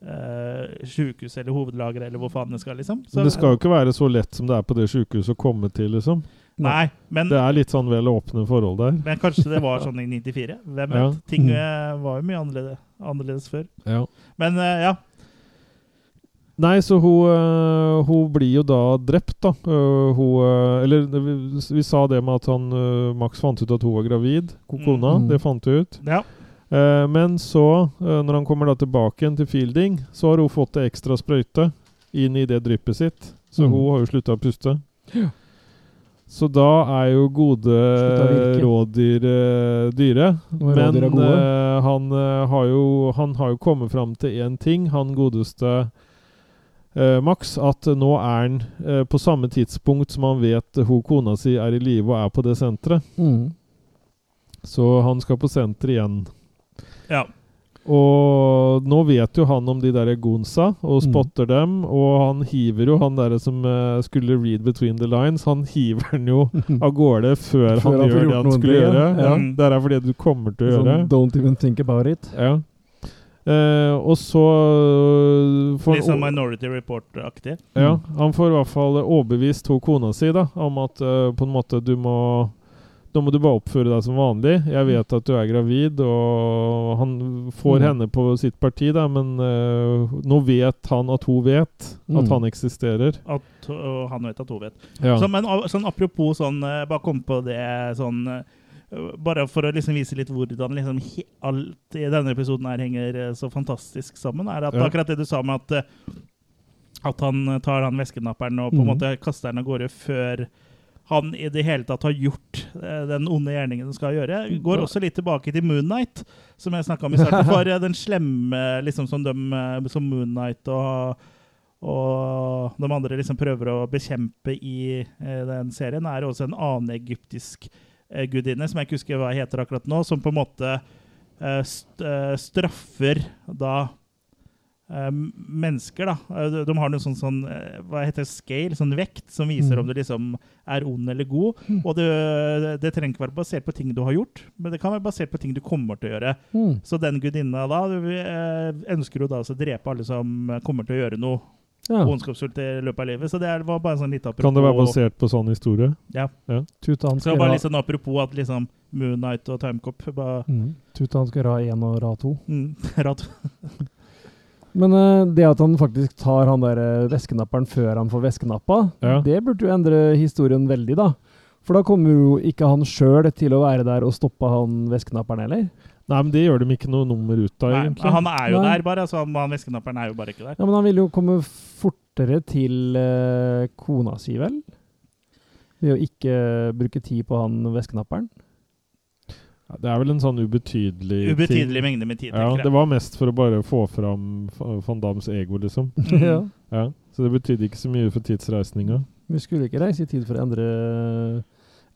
Speaker 3: eh, sjukehus eller hovedlager eller hvor faen det skal, liksom. Så-
Speaker 1: Men det skal jo ikke være så lett som det er på det sjukehuset å komme til, liksom.
Speaker 3: Nei, men,
Speaker 1: Det er litt sånn vel åpne forhold der.
Speaker 3: men kanskje det var sånn i 94. Hvem vet?
Speaker 1: Ja. Mm.
Speaker 3: Ting eh, var jo mye annerledes, annerledes før.
Speaker 1: Ja.
Speaker 3: Men eh, ja.
Speaker 1: Nei, så hun, øh, hun blir jo da drept, da. Øh, hun øh, Eller det vi, vi sa det med at han øh, Max fant ut at hun var gravid. ko- Kona.
Speaker 2: Mm.
Speaker 1: Det fant hun ut.
Speaker 3: ja.
Speaker 1: Eh, men så, øh, når han kommer da tilbake igjen til Fielding, så har hun fått ei ekstra sprøyte inn i det dryppet sitt. Så
Speaker 2: Mm.
Speaker 1: hun har jo slutta å puste. Så da er jo gode
Speaker 2: Slutta å virke.
Speaker 1: rådyr øh, dyre.
Speaker 2: Når rådyr er
Speaker 1: Men
Speaker 2: gode.
Speaker 1: eh, han, eh, har jo, han har jo kommet fram til én ting, han godeste eh, Max, at nå er han eh, på samme tidspunkt som han vet hun kona si er i live og er på det senteret.
Speaker 2: Mm.
Speaker 1: Så han skal på senter igjen.
Speaker 3: ja.
Speaker 1: Og nå vet jo han om de der gonsa, og
Speaker 2: Mm.
Speaker 1: spotter dem. Og han hiver jo han der som eh, skulle read between the lines, han hiver den
Speaker 2: <laughs>
Speaker 1: jo av gårde før,
Speaker 2: Før
Speaker 1: han,
Speaker 2: han får
Speaker 1: gjør det
Speaker 2: gjort
Speaker 1: han
Speaker 2: noen
Speaker 1: skulle
Speaker 2: ting, ja.
Speaker 1: gjøre. Ja.
Speaker 3: Ja.
Speaker 1: Det her er fordi du kommer til å
Speaker 2: Sånn,
Speaker 1: gjøre.
Speaker 2: don't even think about it.
Speaker 1: Ja. Eh, og så øh, får
Speaker 3: Litt sånn
Speaker 1: han,
Speaker 3: Minority Report-aktig.
Speaker 1: å- ja, han får i hvert fall overbevist hun kona si da, om at eh, på en måte du må Nå må du bare oppføre deg som vanlig. Jeg vet at du er gravid, og han får
Speaker 2: Mm.
Speaker 1: henne på sitt parti, da, men eh, nå vet han at hun vet
Speaker 2: Mm.
Speaker 1: at han eksisterer.
Speaker 3: At og han vet at hun vet.
Speaker 1: Ja.
Speaker 3: Så, men av- sånn, apropos sånn eh, Bare kom på det sånn eh, Bare for å liksom vise litt hvordan liksom he- alt i denne episoden her henger eh, så fantastisk sammen, er at
Speaker 1: Ja.
Speaker 3: akkurat det du sa med at eh, At han tar han væskenapperen og på
Speaker 1: Mm.
Speaker 3: en
Speaker 2: Mhm.
Speaker 3: måte kaster den av gårde før han i det hele tatt har gjort eh, den onde gjerningen han skal gjøre. Går også litt tilbake til Moon Knight, som jeg snakka om
Speaker 1: <laughs>
Speaker 3: i starten. For eh, den slemme liksom som, dem, eh, som Moon Knight og, og de andre liksom prøver å bekjempe i eh, den serien, er også en annen egyptisk eh, gudinne, som jeg ikke husker hva heter akkurat nå, som på en måte eh, st eh, straffer da eh, mennesker, da. Eh, De, de har noe sånn, sånn eh, hva heter det, scale, sånn vekt, som viser om du liksom er ond eller god. Og det, det trenger ikke være basert på ting du har gjort, men det kan være basert på ting du kommer til å gjøre.
Speaker 2: Mm.
Speaker 3: Så den gudinna da eh, ønsker jo da å drepe alle som kommer til å gjøre noe
Speaker 2: Ja.
Speaker 3: ondskapsfullt i løpet av livet. Så det er- var bare en sånn liten apropos.
Speaker 1: Kan det være basert på sånn historie?
Speaker 3: Ja.
Speaker 2: Tuta han skal
Speaker 3: Så det var bare
Speaker 2: ha
Speaker 3: litt sånn apropos at liksom Moon Knight og Timecop bare
Speaker 2: mm. Tuta han skal ha én og ra to.
Speaker 3: mm, <laughs> rad.
Speaker 2: Men eh, det at han faktisk tar han der eh, væskenapperen før han får væskenappa,
Speaker 1: Ja.
Speaker 2: det burde jo endre historien veldig, da. For da kommer jo ikke han sjøl til å være der og stoppe han væskenapperen heller.
Speaker 1: Nei, men det gjør de ikke noe nummer ut av,
Speaker 3: Nei,
Speaker 1: egentlig.
Speaker 3: han er jo
Speaker 2: Nei.
Speaker 3: der, bare. Så han, han væskenapperen er jo bare ikke der.
Speaker 2: Ja, Men han ville jo komme fortere til eh, kona si, vel? Ved å ikke bruke tid på han væskenapperen.
Speaker 1: Ja, Det er vel en sånn ubetydelig, ting.
Speaker 3: Ubetydelig mengde med tid,
Speaker 1: Ja,
Speaker 3: tenker
Speaker 1: det
Speaker 3: jeg.
Speaker 1: var mest for å bare få fram Fa- van Dams ego, liksom.
Speaker 3: Mm.
Speaker 2: <laughs> ja.
Speaker 1: Ja, Så det betydde ikke så mye for tidsreisninga.
Speaker 2: Vi skulle ikke reise i tid for å endre,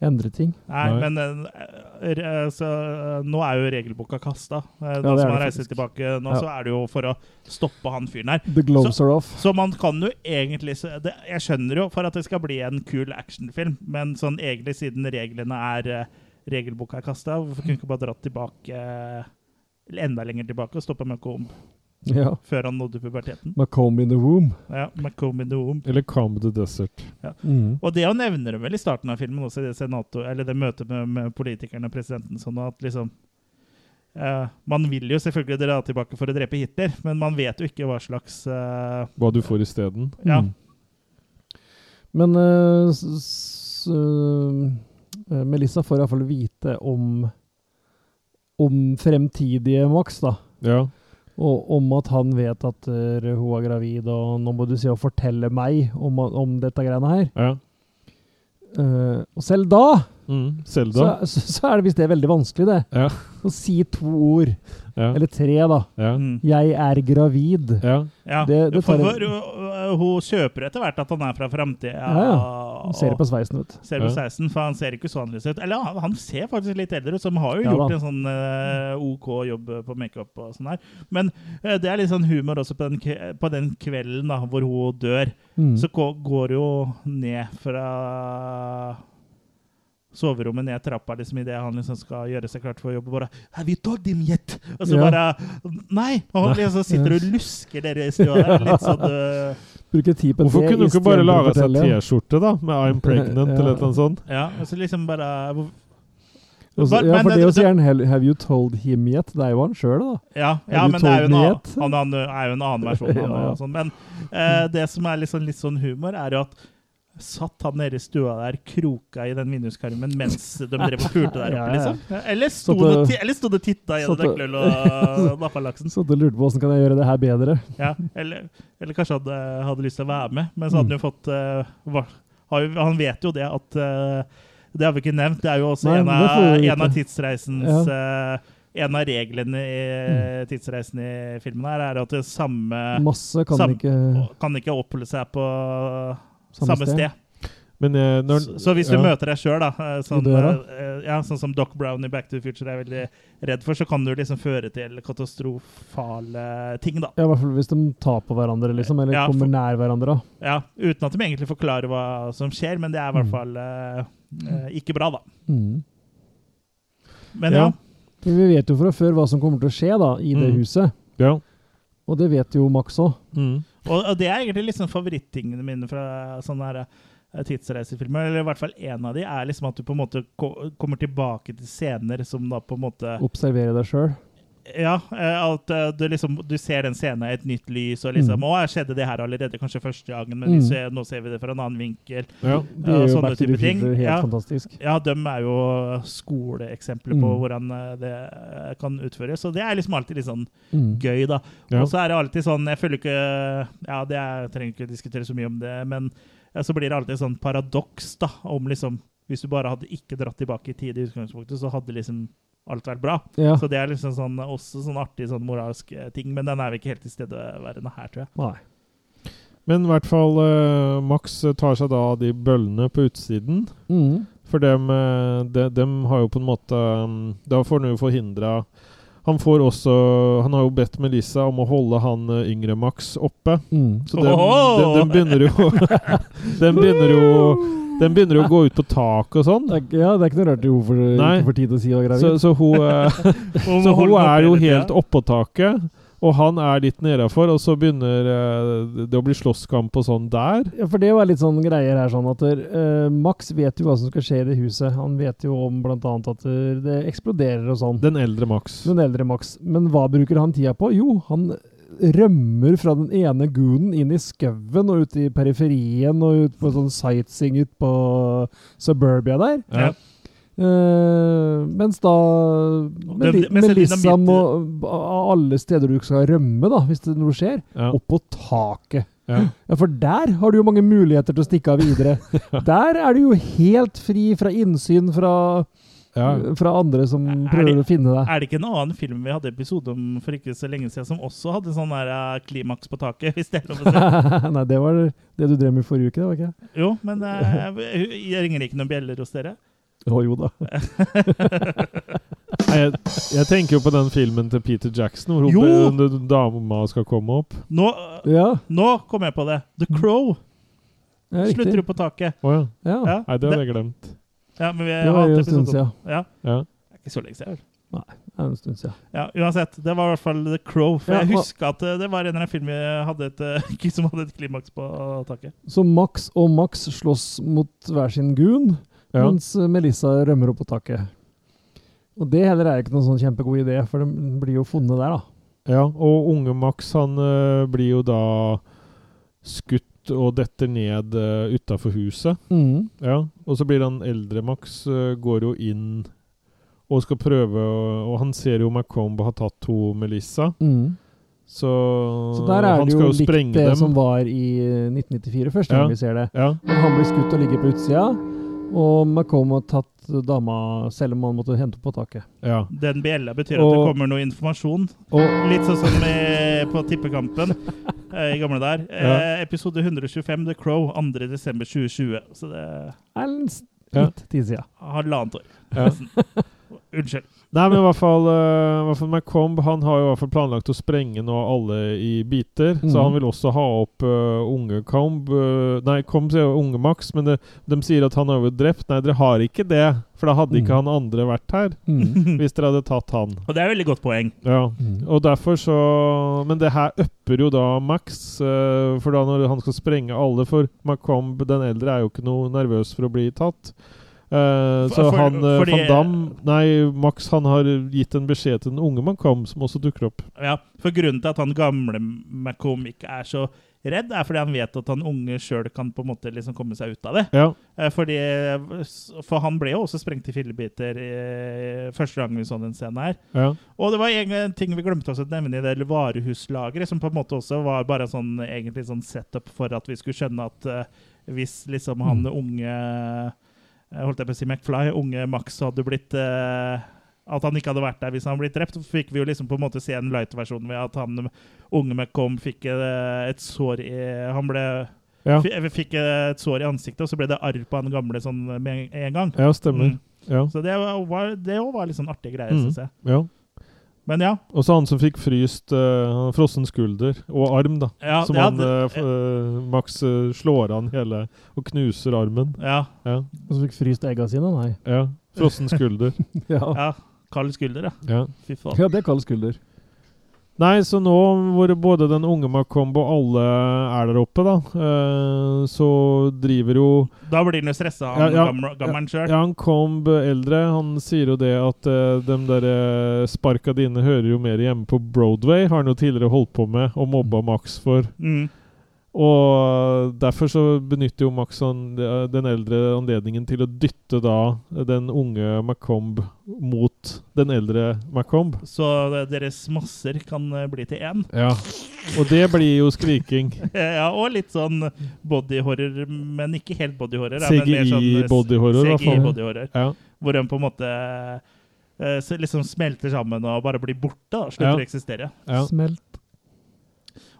Speaker 2: endre ting.
Speaker 3: Nei,
Speaker 1: Nei.
Speaker 3: men eh, r- eh, så, eh, nå er jo regelboka kasta. Ja,
Speaker 2: det
Speaker 3: nå
Speaker 2: er
Speaker 3: som han
Speaker 2: det
Speaker 3: reiser
Speaker 2: faktisk.
Speaker 3: tilbake nå,
Speaker 2: Ja.
Speaker 3: så er det jo for å stoppe han fyren her.
Speaker 2: The gloves are off.
Speaker 3: Så man kan jo egentlig så det, Jeg skjønner jo for at det skal bli en kul actionfilm, men sånn egentlig siden reglene er eh, Regelboka er kasta, hvorfor kunne vi ikke bare dratt tilbake eh, enda lenger tilbake og stoppa Macomb
Speaker 2: Ja.
Speaker 3: før han nådde puberteten?
Speaker 2: Macomb in the womb.
Speaker 3: Ja, Macomb in the womb.
Speaker 1: Eller Calm the Desert.
Speaker 2: Mm.
Speaker 3: Og det å nevner de vel i starten av filmen, også i det, senato, eller det møtet med, med politikerne og presidenten, sånn at liksom eh, Man vil jo selvfølgelig dra tilbake for å drepe Hitler, men man vet jo ikke hva slags eh,
Speaker 1: Hva du får isteden.
Speaker 3: Ja.
Speaker 2: Mm. Men eh, s, s, eh, Eh, Melissa får iallfall vite om, om fremtidige Max, da.
Speaker 1: Ja.
Speaker 2: Og om at han vet at eh, hun er gravid, og nå må du si og fortelle meg om, om dette greiene her.
Speaker 1: ja.
Speaker 2: Eh, og selv da,
Speaker 1: Mm. Selda.
Speaker 2: så, så, så er det visst det veldig vanskelig, det.
Speaker 1: Ja.
Speaker 2: Å si to ord.
Speaker 1: Ja.
Speaker 2: Eller tre, da.
Speaker 1: Ja.
Speaker 3: Mm.
Speaker 2: Jeg er gravid.
Speaker 1: ja.
Speaker 3: Ja.
Speaker 2: Det- det tar-
Speaker 3: for, for, uh, hun kjøper etter hvert at han er fra framtida.
Speaker 2: Ja, Han Ser det på sveisen, vet du.
Speaker 3: Ser på
Speaker 1: Ja.
Speaker 3: 16, for han ser ikke så annerledes ut. Eller han, han ser faktisk litt eldre ut, som har jo
Speaker 2: Ja
Speaker 3: gjort
Speaker 2: da.
Speaker 3: en sånn eh, OK jobb på makeup og sånn her. Men eh, det er litt sånn humor også på den, kve- på den kvelden da, hvor hun dør.
Speaker 2: Mm.
Speaker 3: Så gå- går jo ned fra soverommet ned trappa liksom idet han liksom skal gjøre seg klart for jobb. og Bare 'Have you told him yet?' Og så
Speaker 2: Ja.
Speaker 3: bare Nei! Og han liksom sitter og lusker dere i stua. der, Litt
Speaker 2: <laughs>
Speaker 3: sånn eh,
Speaker 2: Bruker tid på
Speaker 1: Hvorfor
Speaker 2: det
Speaker 1: kunne du ikke bare
Speaker 2: istedenfor å
Speaker 1: laga seg
Speaker 2: fortelle?
Speaker 1: T-skjorte da, med 'I'm pregnant'
Speaker 2: <laughs> Ja.
Speaker 1: eller noe sånt?
Speaker 3: Ja, og så liksom bare
Speaker 2: Og så-
Speaker 3: Men-
Speaker 2: Ja,
Speaker 3: men
Speaker 2: for det
Speaker 3: det-
Speaker 2: å si er en hel- Have you told him yet? Det er jo han sjøl, da.
Speaker 3: Ja,
Speaker 2: Er
Speaker 3: ja
Speaker 2: du
Speaker 3: men det er jo en annen,
Speaker 2: tålmodighet?
Speaker 3: han, han er jo en annen versjon.
Speaker 2: <laughs>
Speaker 3: Han,
Speaker 2: Ja, ja.
Speaker 3: og sånn. Men eh, det som er litt sånn, litt sånn humor, er jo at Satt han nede i stua der, kroka i den vinduskarmen mens de drev og pulte der
Speaker 2: Ja, ja,
Speaker 3: oppe?
Speaker 2: ja.
Speaker 3: liksom? Eller sto
Speaker 2: Satt
Speaker 3: det
Speaker 2: og-
Speaker 3: ti- eller sto det og titta i
Speaker 2: satt
Speaker 3: en
Speaker 2: og-
Speaker 3: nøkkelhull og nappa laksen?
Speaker 2: Så du lurte på åssen kan jeg gjøre det her bedre?
Speaker 3: Ja, eller, eller kanskje han eh, hadde lyst til å være med, men så hadde han
Speaker 2: Mm.
Speaker 3: jo fått eh, var- har jo, Han vet jo det at eh, Det har vi ikke nevnt. Det er jo også
Speaker 2: Nei,
Speaker 3: en,
Speaker 2: det
Speaker 3: av,
Speaker 2: får vi vite.
Speaker 3: en av tidsreisens eh, En av reglene i
Speaker 2: Mm.
Speaker 3: tidsreisen i filmen her er at det samme
Speaker 2: Masse kan
Speaker 3: Sam-
Speaker 2: ikke
Speaker 3: kan ikke oppholde seg på
Speaker 2: Samme
Speaker 3: samme
Speaker 2: sted.
Speaker 3: sted.
Speaker 1: Men eh, når
Speaker 3: Så, så hvis du
Speaker 1: ja.
Speaker 3: møter deg sjøl, da, eh, sånn,
Speaker 2: døra?
Speaker 3: eh, ja, sånn som Doc Brown i Back to the Future er veldig redd for, så kan du liksom føre til katastrofale ting, da.
Speaker 2: ja, I hvert fall hvis de tar på hverandre, liksom. Eller
Speaker 3: Ja,
Speaker 2: kommer
Speaker 3: for-
Speaker 2: nær hverandre. da.
Speaker 3: Ja, Uten at de egentlig forklarer hva som skjer, men det er i hvert
Speaker 2: Mm.
Speaker 3: fall eh, eh, ikke bra, da.
Speaker 2: Mm.
Speaker 3: Men ja.
Speaker 1: Ja.
Speaker 2: Men vi vet jo fra før hva som kommer til å skje da, i det
Speaker 1: Mm.
Speaker 2: huset.
Speaker 1: Ja.
Speaker 2: Og det vet jo Max òg.
Speaker 1: Mm.
Speaker 3: Og, og det er egentlig liksom favorittingene mine fra sånne her eh, tidsreisefilmer. Eller i hvert fall én av de er liksom at du på en måte ko kommer tilbake til scener som da på en måte
Speaker 2: Observere deg sjøl.
Speaker 3: Ja, eh, at eh, du liksom Du ser den scenen i et nytt lys, og liksom
Speaker 2: Mm.
Speaker 3: Å, skjedde det her allerede kanskje første gangen, men
Speaker 2: Mm.
Speaker 3: vi ser, nå ser vi det fra en annen vinkel.
Speaker 1: ja.
Speaker 2: Det
Speaker 3: Ja,
Speaker 2: gjør jo
Speaker 3: sånne
Speaker 2: Back to the
Speaker 3: type ting.
Speaker 2: Future helt
Speaker 3: Ja.
Speaker 2: fantastisk.
Speaker 3: Ja, de er jo skoleeksempler på
Speaker 2: Mm.
Speaker 3: hvordan eh, det eh, kan utføres, og det er liksom alltid litt sånn
Speaker 2: Mm.
Speaker 3: gøy, da.
Speaker 1: Ja.
Speaker 3: Og så er det alltid sånn Jeg føler ikke Ja, det er, jeg trenger ikke diskutere så mye om det, men ja, så blir det alltid sånn paradoks, da, om liksom Hvis du bare hadde ikke dratt tilbake i tid i utgangspunktet, så hadde liksom alt vært bra.
Speaker 2: Ja.
Speaker 3: Så det er liksom sånn også sånn artig sånn moralsk eh, ting, men den er vel ikke helt tilstedeværende her, tror jeg.
Speaker 2: Nei.
Speaker 1: Men i hvert fall eh, Max tar seg da av de bøllene på utsiden.
Speaker 2: Mm.
Speaker 1: For dem, eh, de, dem har jo på en måte mm, Da får han jo forhindra Han får også Han har jo bedt Melissa om å holde han eh, yngre Max oppe.
Speaker 2: Mm.
Speaker 3: Sånn.
Speaker 1: Så dem, dem,
Speaker 3: Oho!
Speaker 1: dem begynner jo <laughs> Dem begynner jo Dem begynner jo å gå ut på tak og sånn.
Speaker 2: Det er, ikke- ja, det er ikke noe rart du hvorfor du
Speaker 1: Nei.
Speaker 2: ikke får tid til å si å
Speaker 1: Så,
Speaker 2: er gravid.
Speaker 1: så hun, eh,
Speaker 3: Og
Speaker 1: <laughs> så hun
Speaker 3: holde den oppe
Speaker 1: er jo
Speaker 3: hele tida.
Speaker 1: helt oppå taket, og han er litt nedafor, og så begynner eh, det å bli slåsskamp og sånn der.
Speaker 2: Ja, for det var litt sånn greier her, sånn at eh, Max vet jo hva som skal skje i det huset. Han vet jo om blant annet at eh, det eksploderer og sånn.
Speaker 1: Den eldre Max.
Speaker 2: Den eldre Max. Men hva bruker han tida på? Jo, han rømmer fra den ene goonen inn i skauen og ut i periferien og ut på sånn sightseeing ut på suburbia der.
Speaker 1: Ja.
Speaker 2: Eh, mens da Meli
Speaker 3: det- mens
Speaker 2: Melissa
Speaker 3: Elina
Speaker 2: må av alle steder du skal rømme, da, hvis det noe skjer,
Speaker 1: Ja.
Speaker 2: opp på taket.
Speaker 1: Ja.
Speaker 2: Ja, for der har du jo mange muligheter til å stikke av <laughs> videre. Der er du jo helt fri fra innsyn fra,
Speaker 1: Ja.
Speaker 2: fra andre som
Speaker 3: Er
Speaker 2: prøver
Speaker 3: det-
Speaker 2: å finne deg.
Speaker 3: Er det ikke en annen film vi hadde episode om for ikke så lenge siden, som også hadde sånn der eh, klimaks på taket? <laughs> hvis det er lov å
Speaker 1: <laughs>
Speaker 3: si?
Speaker 2: <laughs> Nei, det var det du drev med i forrige uke, det var ikke det?
Speaker 3: Jo, men eh, jeg ringer ikke noen bjeller hos dere?
Speaker 2: Å jo da.
Speaker 1: Nei, Jeg, jeg tenker jo på den filmen til Peter Jackson hvor hun
Speaker 3: Jo!
Speaker 1: be- hun- dama skal komme opp.
Speaker 3: Nå, eh,
Speaker 2: Ja,
Speaker 3: nå kom jeg på det. The Crow
Speaker 2: ja
Speaker 3: slutter
Speaker 2: riktig.
Speaker 3: opp på taket.
Speaker 1: Å ja.
Speaker 2: Ja,
Speaker 3: Ja,
Speaker 1: Nei, det hadde jeg glemt.
Speaker 3: ja, men vi
Speaker 2: det var
Speaker 3: hadde
Speaker 2: jo en stund
Speaker 3: episode om-
Speaker 2: siden.
Speaker 3: Ja,
Speaker 1: Ja.
Speaker 3: det er ikke så lenge siden. vel?
Speaker 2: Det er en stund siden.
Speaker 3: Ja, uansett, det var i hvert fall The Crow. For
Speaker 2: Ja,
Speaker 3: jeg
Speaker 2: og-
Speaker 3: husker at eh, det var en eller annen film vi hadde et, eh, <laughs> som hadde et klimaks på taket.
Speaker 2: Så Max og Max slåss mot hver sin goon,
Speaker 1: Ja.
Speaker 2: mens Melissa rømmer opp på taket. Og det heller er ikke noen sånn kjempegod idé, for de blir jo funnet der, da.
Speaker 1: eh, ja. Og unge Max, han øh, blir jo da skutt ut og detter ned uh, utafor huset.
Speaker 2: Mm.
Speaker 1: Ja, og så blir han eldre, Max, øh, går jo inn og skal prøve å Og han ser jo Macombe har tatt to Melissa,
Speaker 2: Mm.
Speaker 1: så,
Speaker 2: Så der er
Speaker 1: han
Speaker 2: det
Speaker 1: skal
Speaker 2: jo
Speaker 1: jo
Speaker 2: likt
Speaker 1: sprenge
Speaker 2: det
Speaker 1: dem.
Speaker 2: som var i eh, 1994, første
Speaker 1: Ja.
Speaker 2: gang vi ser det.
Speaker 1: Ja,
Speaker 2: Men han blir skutt og ligger på utsida, og Macomb har tatt eh, dama selv om han måtte hente opp på taket.
Speaker 1: ja.
Speaker 3: Den bjella betyr at det
Speaker 1: Og-
Speaker 3: kommer noe informasjon.
Speaker 1: Og,
Speaker 3: Litt sånn som i, på Tippekampen eh, i gamle der. Eh, episode 125, The Crow, 2.12.2020. Så det er
Speaker 2: Er en s-
Speaker 1: Ja.
Speaker 2: litt tid siden.
Speaker 3: halvannet år. <laughs>
Speaker 1: Ja.
Speaker 3: Unnskyld.
Speaker 1: nei, men i hvert fall, øh, i hvert fall Macombe han har jo i hvert fall planlagt å sprenge nå alle i biter.
Speaker 2: Mhm.
Speaker 1: Så han vil også ha opp øh, unge Combe øh, Nei, Combe sier jo unge Max, men det, de sier at han er jo drept. Nei, dere har ikke det, for da hadde ikke
Speaker 2: Mhm.
Speaker 1: han andre vært
Speaker 2: <laughs>
Speaker 1: her.
Speaker 2: Mm.
Speaker 1: Hvis dere hadde tatt han.
Speaker 3: Og det er et veldig godt poeng.
Speaker 1: Ja.
Speaker 2: Mm.
Speaker 1: Og derfor så Men det her upper jo da Max, eh, for da når han skal sprenge alle For Macomb den eldre er jo ikke noe nervøs for å bli tatt. Eh,
Speaker 3: For-
Speaker 1: så
Speaker 3: for-
Speaker 1: han eh,
Speaker 3: fordi-
Speaker 1: Van Damme Nei, Max han har gitt en beskjed til den unge Macomb, som også dukker opp.
Speaker 3: Ja, For grunnen til at han gamle Macomb ikke er så redd, er fordi han vet at han unge sjøl kan på en måte liksom komme seg ut av det.
Speaker 1: Ja,
Speaker 3: Eh, Fordi, for han ble jo også sprengt i fillebiter eh, første gang vi så den scenen her.
Speaker 1: ja,
Speaker 3: Og det var en ting vi glemte også å nevne i det hele varehuslageret, som på en måte også var bare sånn, egentlig sånn setup for at vi skulle skjønne at eh, hvis liksom han
Speaker 1: Mm.
Speaker 3: unge eh, Holdt jeg på å si McFly, unge Max hadde blitt eh, At han ikke hadde vært der hvis han hadde blitt drept. Så fikk vi jo liksom på en måte se en light-versjon ved at han unge McComb fikk eh, et sår i Han ble
Speaker 1: ja,
Speaker 3: fi- Fikk eh, et sår i ansiktet, og så ble det arr på han gamle sånn med en- en gang.
Speaker 1: ja stemmer.
Speaker 3: Mm.
Speaker 1: Ja,
Speaker 3: Så det var, det også var litt sånn artig greie,
Speaker 1: Mm.
Speaker 3: synes jeg.
Speaker 1: ja.
Speaker 3: Men ja,
Speaker 1: Og så han som fikk fryst eh, frossen skulder og arm, da.
Speaker 3: Ja,
Speaker 1: som
Speaker 3: ja,
Speaker 1: han,
Speaker 3: det-
Speaker 1: eh, f- eh, Max eh, slår an hele og knuser armen.
Speaker 3: ja,
Speaker 1: Ja,
Speaker 2: Og så fikk fryst egga sine, nei.
Speaker 1: ja. Frossen
Speaker 3: <laughs>
Speaker 1: skulder.
Speaker 2: Ja,
Speaker 3: ja. Kald skulder, ja.
Speaker 1: ja.
Speaker 3: Fy faen.
Speaker 2: ja det kalles skulder.
Speaker 1: Nei, så nå hvor både den unge Macombo og alle er der oppe, da, eh, så driver jo
Speaker 3: Da blir han jo stressa, han
Speaker 1: Ja, ja.
Speaker 3: gamle- gammelen sjøl.
Speaker 1: Ja, han Comb eldre, han sier jo det at eh, dem der eh, sparka dine hører jo mer hjemme på Broadway, har han jo tidligere holdt på med og mobba Max for.
Speaker 3: Mm.
Speaker 1: Og eh, derfor så benytter jo Max han, eh, den eldre anledningen til å dytte da den unge Macomb mot den eldre Macomb.
Speaker 3: Så eh, deres masser kan eh, bli til én. <laughs>
Speaker 1: Ja. Og det blir jo skriking.
Speaker 3: ja, og litt sånn bodyhorror, men ikke helt bodyhorror. da, men mer sånn, eh,
Speaker 1: CGI-bodyhorror, i hvert
Speaker 3: CGI
Speaker 1: fall.
Speaker 3: bodyhorror,
Speaker 1: Ja.
Speaker 3: Hvor en på en måte eh, så liksom smelter sammen og bare blir borte. Da, slutter
Speaker 1: Ja.
Speaker 3: å eksistere.
Speaker 1: Ja.
Speaker 2: Smelt.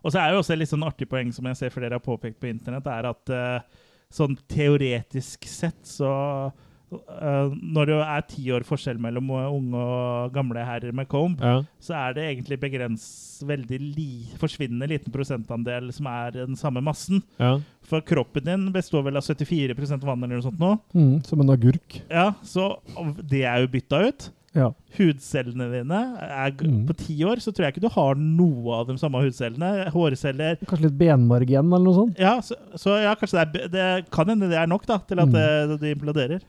Speaker 3: Og så er jo også et litt sånn artig poeng som jeg ser flere har påpekt på internett, er at eh, sånn teoretisk sett så eh, Når det jo er ti år forskjell mellom eh, unge og gamle herrer med comb,
Speaker 1: Ja.
Speaker 3: så er det egentlig begrens veldig li, forsvinnende liten prosentandel som er den samme massen.
Speaker 1: Ja.
Speaker 3: For kroppen din består vel av 74 vann eller noe sånt nå.
Speaker 2: Mm, som en agurk.
Speaker 3: Ja, så av- det er jo bytta ut.
Speaker 2: Ja.
Speaker 3: Hudcellene dine er, g-
Speaker 2: Mm.
Speaker 3: På ti år så tror jeg ikke du har noe av de samme hudcellene. Hårceller
Speaker 2: Kanskje litt benmarg igjen, eller noe sånt.
Speaker 3: Ja, så, så ja, kanskje det, er, b- det kan hende det er nok da, til at
Speaker 2: Mm.
Speaker 3: det, de imploderer.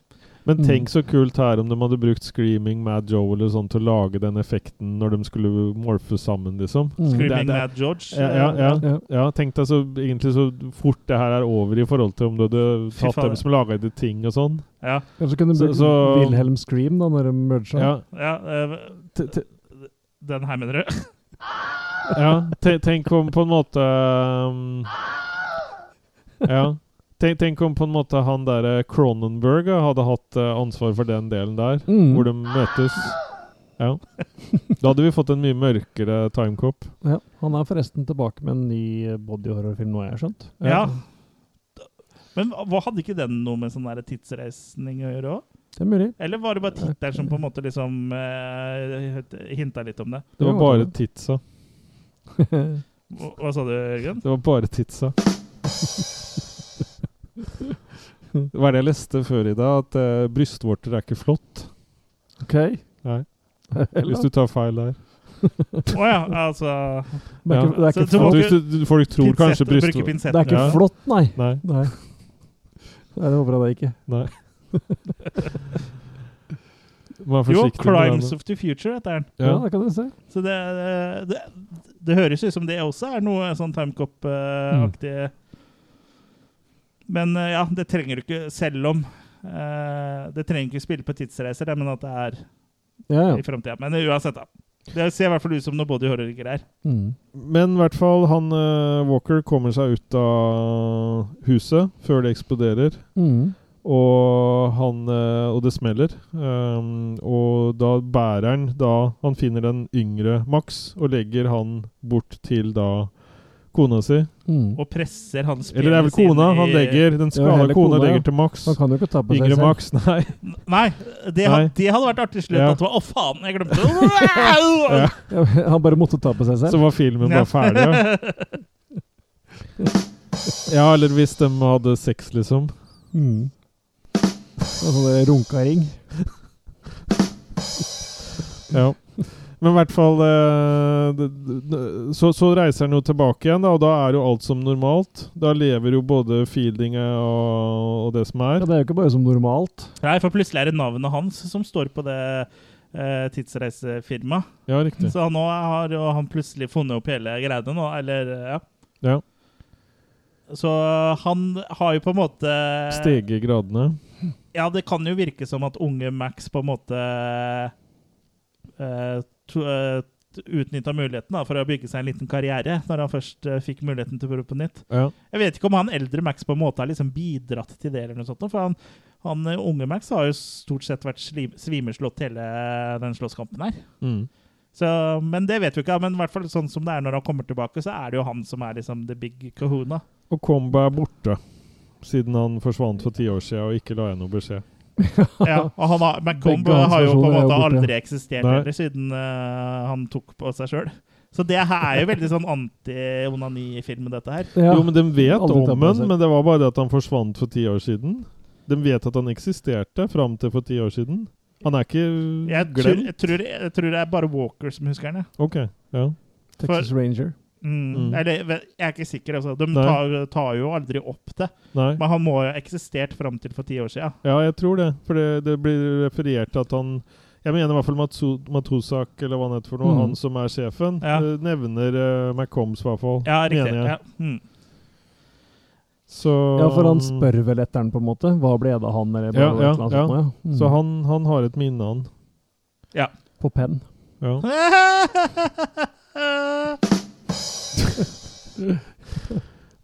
Speaker 1: Men
Speaker 2: Mm.
Speaker 1: tenk så kult her om de hadde brukt Screaming Mad Joe eller sånn til å lage den effekten når de skulle morfe sammen, liksom.
Speaker 2: Mm.
Speaker 1: Skru-
Speaker 3: Screaming
Speaker 1: det-
Speaker 3: Mad George. eh,
Speaker 1: Ja, ja, ja.
Speaker 2: Ja.
Speaker 1: ja tenk deg så egentlig så fort det her er over i forhold til om du hadde
Speaker 3: Fy
Speaker 1: tatt
Speaker 3: faen.
Speaker 1: dem som laga det ting og sånn.
Speaker 3: Ja,
Speaker 2: Kanskje kunne
Speaker 1: Så-
Speaker 2: brukt
Speaker 1: så-
Speaker 2: Wilhelm Scream da, når de merger.
Speaker 1: Ja,
Speaker 3: ja, eh,
Speaker 1: t- t-
Speaker 3: den her, mener du? <laughs>
Speaker 1: ja te- tenk om på en måte um, Ja. Tenk, tenk om på en måte han derre Cronenberg ja, hadde hatt eh, ansvar for den delen der,
Speaker 2: Mm.
Speaker 1: hvor de møtes. Ja. Da hadde vi fått en mye mørkere timecop.
Speaker 2: Ja. Han er forresten tilbake med en ny bodyhorrorfilm nå, har jeg skjønt.
Speaker 3: Ja. Men hva- hva hadde ikke den noe med sånn der tidsreisning å gjøre òg?
Speaker 2: Det er mulig.
Speaker 3: Eller var det bare tittelen som på en måte liksom eh, hinta litt om det?
Speaker 1: Det var
Speaker 2: Ja,
Speaker 1: bare
Speaker 2: det.
Speaker 1: titsa.
Speaker 3: Hva, hva sa du, Jørgen?
Speaker 1: <laughs> Det var bare titsa. Det var det jeg leste før i dag, at eh, brystvorter er ikke flott.
Speaker 2: Ok.
Speaker 1: Nei,
Speaker 2: <laughs> Eller?
Speaker 1: hvis du tar feil der.
Speaker 3: Å ja, altså
Speaker 2: Det er ikke, det er ikke,
Speaker 3: Så- så må
Speaker 1: At
Speaker 2: flott.
Speaker 1: hvis du, du- folk tror kanskje
Speaker 3: pinsetter, bruke
Speaker 1: brystvort
Speaker 2: Det er
Speaker 3: pinsetter.
Speaker 2: ikke
Speaker 1: Ja.
Speaker 2: flott, nei.
Speaker 1: Nei.
Speaker 2: Nei. Nei, det håper jeg det ikke.
Speaker 1: nei. Vær
Speaker 3: Jo,
Speaker 1: forsiktig. med det,
Speaker 3: 'Crimes
Speaker 1: da.
Speaker 3: of the Future' heter den.
Speaker 2: Ja,
Speaker 1: ja.
Speaker 2: det kan du se.
Speaker 3: Så det,
Speaker 1: Mm.
Speaker 3: det, det høres ut som det også er noe sånn timecop-aktig Men eh, ja, det trenger du ikke selv om. eh, det trenger ikke spille på tidsreiser, men at det er
Speaker 2: Ja, ja.
Speaker 3: i framtida. Men eh, uansett, da. Det ser i hvert fall ut som noe body horror-greier.
Speaker 2: Mm.
Speaker 1: Men i hvert fall, han eh, Walker kommer seg ut av huset før det eksploderer.
Speaker 2: Mm.
Speaker 1: Og, han, eh, og det smeller. Ehm, og da bærer han da Han finner den yngre Max og legger han bort til da kona si.
Speaker 2: Mm.
Speaker 3: Og presser hans
Speaker 1: Eller det er vel
Speaker 3: penis inn
Speaker 1: kona han
Speaker 3: i-
Speaker 1: legger. Den
Speaker 2: Ja,
Speaker 1: skada
Speaker 2: hele
Speaker 1: kona
Speaker 2: kona, ja.
Speaker 1: legger til Max.
Speaker 2: Man kan jo ikke ta på
Speaker 1: Yngre
Speaker 2: seg selv.
Speaker 1: Max, <laughs> nei.
Speaker 3: Nei, det,
Speaker 1: Nei.
Speaker 3: had- det hadde vært artig slutt.
Speaker 1: Ja.
Speaker 3: At det var, Å, faen, jeg glemte det!
Speaker 2: Ja, Han bare måtte ta på seg
Speaker 1: Så
Speaker 2: selv.
Speaker 1: var filmen
Speaker 3: Ja.
Speaker 1: bare ferdig,
Speaker 2: <laughs>
Speaker 1: ja. Ja, eller hvis de hadde sex, liksom.
Speaker 2: Mm. Og sånn runkaring.
Speaker 1: Ja. <laughs> Men i hvert fall eh, det- det- så, så reiser han jo tilbake igjen, da, og da er jo alt som normalt. Da lever jo både fieldinget og, og det som
Speaker 2: Ja,
Speaker 1: er.
Speaker 2: det er jo ikke bare som normalt.
Speaker 3: Nei, for plutselig er det navnet hans som står på det eh, tidsreisefirmaet.
Speaker 1: Ja, riktig.
Speaker 3: Så nå har jo han plutselig funnet opp hele greiene nå, eller eh, ja.
Speaker 1: Ja.
Speaker 3: Så han har jo på en måte
Speaker 1: Stege gradene.
Speaker 3: Ja, det kan jo virke som at unge Max på en måte uh, utnytta muligheten da, for å bygge seg en liten karriere, når han først eh, fikk muligheten til å prøve på nytt.
Speaker 1: Ja.
Speaker 3: Jeg vet ikke om han eldre Max på en måte har liksom bidratt til det, eller noe sånt. For han, han eh, unge Max har jo stort sett vært slim, svimeslått hele den slåsskampen her.
Speaker 1: Mm.
Speaker 3: Så, men det vet vi ikke. Men i hvert fall sånn som det er når han kommer tilbake, så er det jo han som er liksom the big kahuna.
Speaker 1: Og Komba er borte. Siden han forsvant for ti år siden og ikke la igjen noe beskjed.
Speaker 3: Ja, og han har, McComb
Speaker 2: Begge hans
Speaker 3: har jo på en
Speaker 2: versjoner er jo
Speaker 3: måte
Speaker 2: borte.
Speaker 3: aldri eksistert
Speaker 1: Nei.
Speaker 3: heller, siden eh, han tok på seg sjøl. Så det her er jo veldig sånn anti-onani-film, dette her.
Speaker 2: Ja.
Speaker 1: Jo, men de vet
Speaker 2: Aldri
Speaker 1: om
Speaker 2: tatt på
Speaker 1: den,
Speaker 2: seg.
Speaker 1: men det var bare det at han forsvant for ti år siden. De vet at han eksisterte fram til for ti år siden. Han er ikke
Speaker 3: Jeg tror,
Speaker 1: glemt.
Speaker 3: jeg, tror, jeg tror det er bare Walker som husker den. jeg.
Speaker 1: Ok, ja.
Speaker 2: Texas Ranger.
Speaker 3: Mm.
Speaker 1: Mm.
Speaker 3: Eller, ve- jeg er ikke sikker. Altså. De
Speaker 1: Nei.
Speaker 3: tar, tar jo aldri opp det.
Speaker 1: Nei.
Speaker 3: Men han må jo ha eksistert fram til for ti år siden.
Speaker 1: Ja, jeg tror det. For det, det blir referert til at han Jeg mener i hvert fall Matsu- Matosak, eller hva han heter for noe,
Speaker 2: Mm.
Speaker 1: han som er sjefen,
Speaker 3: Ja.
Speaker 1: eh, nevner uh, McCombs, i hvert fall.
Speaker 3: Ja, riktig.
Speaker 1: mener jeg.
Speaker 3: Ja. Mm. <laughs>
Speaker 1: Så, mm,
Speaker 2: Ja, for han spør vel etter den, på en måte. Hva ble det av han, eller
Speaker 1: Ja,
Speaker 2: bare
Speaker 1: ja,
Speaker 2: et eller annet sånt
Speaker 1: ja.
Speaker 2: noe, ja. Mm.
Speaker 1: Så han, han har et minne, han.
Speaker 2: På penn.
Speaker 1: Ja.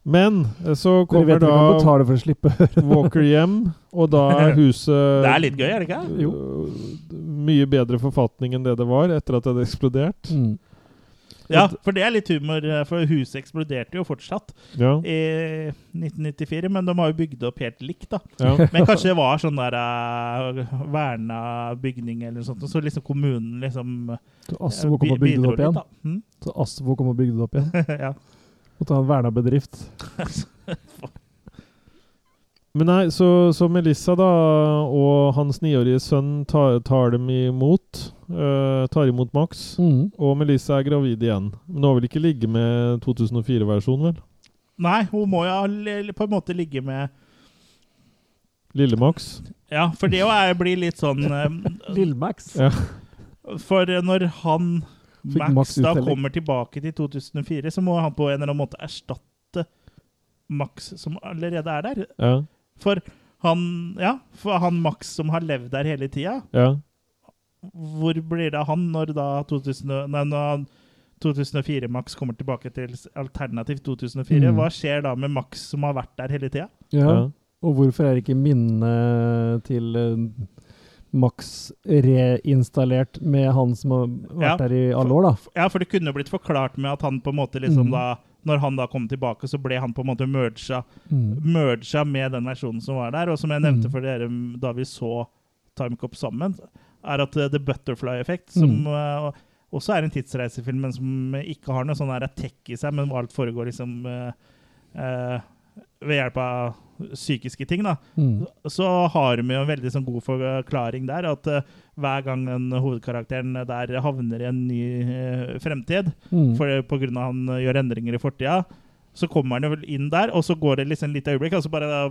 Speaker 1: Men eh, så
Speaker 2: Dere
Speaker 1: kommer
Speaker 2: vet ikke om
Speaker 1: da
Speaker 2: betaler <laughs> for å slippe å høre.
Speaker 1: Walker hjem, og da
Speaker 3: <laughs>
Speaker 1: er huset
Speaker 3: Det er litt gøy, er det ikke?
Speaker 1: eh, Mye bedre forfatning enn det det var etter at det hadde eksplodert.
Speaker 2: Mm.
Speaker 3: Ja, for det er litt humor. eh, For huset eksploderte jo fortsatt
Speaker 1: Ja,
Speaker 3: i 1994, men de har jo bygd opp helt likt, da.
Speaker 1: ja.
Speaker 3: Men kanskje det var sånn der eh, verna bygning eller noe sånt, og så liksom kommunen liksom eh,
Speaker 2: Så Asvo kom
Speaker 3: bi-
Speaker 2: og bygde det
Speaker 3: bidro
Speaker 2: opp igjen.
Speaker 3: litt, da. Mm? <laughs>
Speaker 2: Så Asvo kom og bygde det opp igjen.
Speaker 3: ja.
Speaker 2: Og ta en verna bedrift.
Speaker 1: Men nei, så, så Melissa da og hans niårige sønn tar, tar dem imot. eh, tar imot Max.
Speaker 2: Mm.
Speaker 1: Og Melissa er gravid igjen. Men hun vil ikke ligge med 2004-versjonen, vel?
Speaker 3: Nei, hun må jo ha li- på en måte ligge med
Speaker 1: Lille Max.
Speaker 3: Ja, for det jo er, blir litt sånn eh,
Speaker 2: Lillemax.
Speaker 1: Ja.
Speaker 3: For når han
Speaker 2: Fikk
Speaker 3: Max,
Speaker 2: Max
Speaker 3: da
Speaker 2: uttelling.
Speaker 3: kommer tilbake til 2004, så må han på en eller annen måte erstatte Max som allerede er der.
Speaker 1: Ja.
Speaker 3: For han, ja, for han Max som har levd der hele tida,
Speaker 1: ja.
Speaker 3: hvor blir det av han når da 2000, og- nei, når 2004-Max kommer tilbake til s- alternativ 2004?
Speaker 2: Mm.
Speaker 3: Hva skjer da med Max som har vært der hele tida?
Speaker 1: ja.
Speaker 2: Ja. Og hvorfor er ikke minnet til eh, Max reinstallert med han som har
Speaker 3: Ja,
Speaker 2: vært der i alle år, da?
Speaker 3: Ja, for det kunne jo blitt forklart med at han på en måte liksom
Speaker 2: Mm.
Speaker 3: da når han da kom tilbake, så ble han på en måte merga
Speaker 2: Mm.
Speaker 3: merga med den versjonen som var der. Og som jeg nevnte
Speaker 2: Mm.
Speaker 3: for dere mm, da vi så Timecop sammen, er at eh, The Butterfly Effect, som
Speaker 2: Mm.
Speaker 3: eh, også er en tidsreisefilm, men som ikke har noe sånn her tech i seg, men hvor alt foregår liksom eh, eh, ved hjelp av psykiske ting, da.
Speaker 2: Mm.
Speaker 3: Så har vi jo en veldig sånn god forklaring der, at eh, hver gang den hovedkarakteren der havner i en ny eh, fremtid,
Speaker 2: Mm.
Speaker 3: for, på grunn av han eh, gjør eh, endringer i fortida, Så kommer han jo vel inn der, og så går det liksom et lite øyeblikk, og så bare da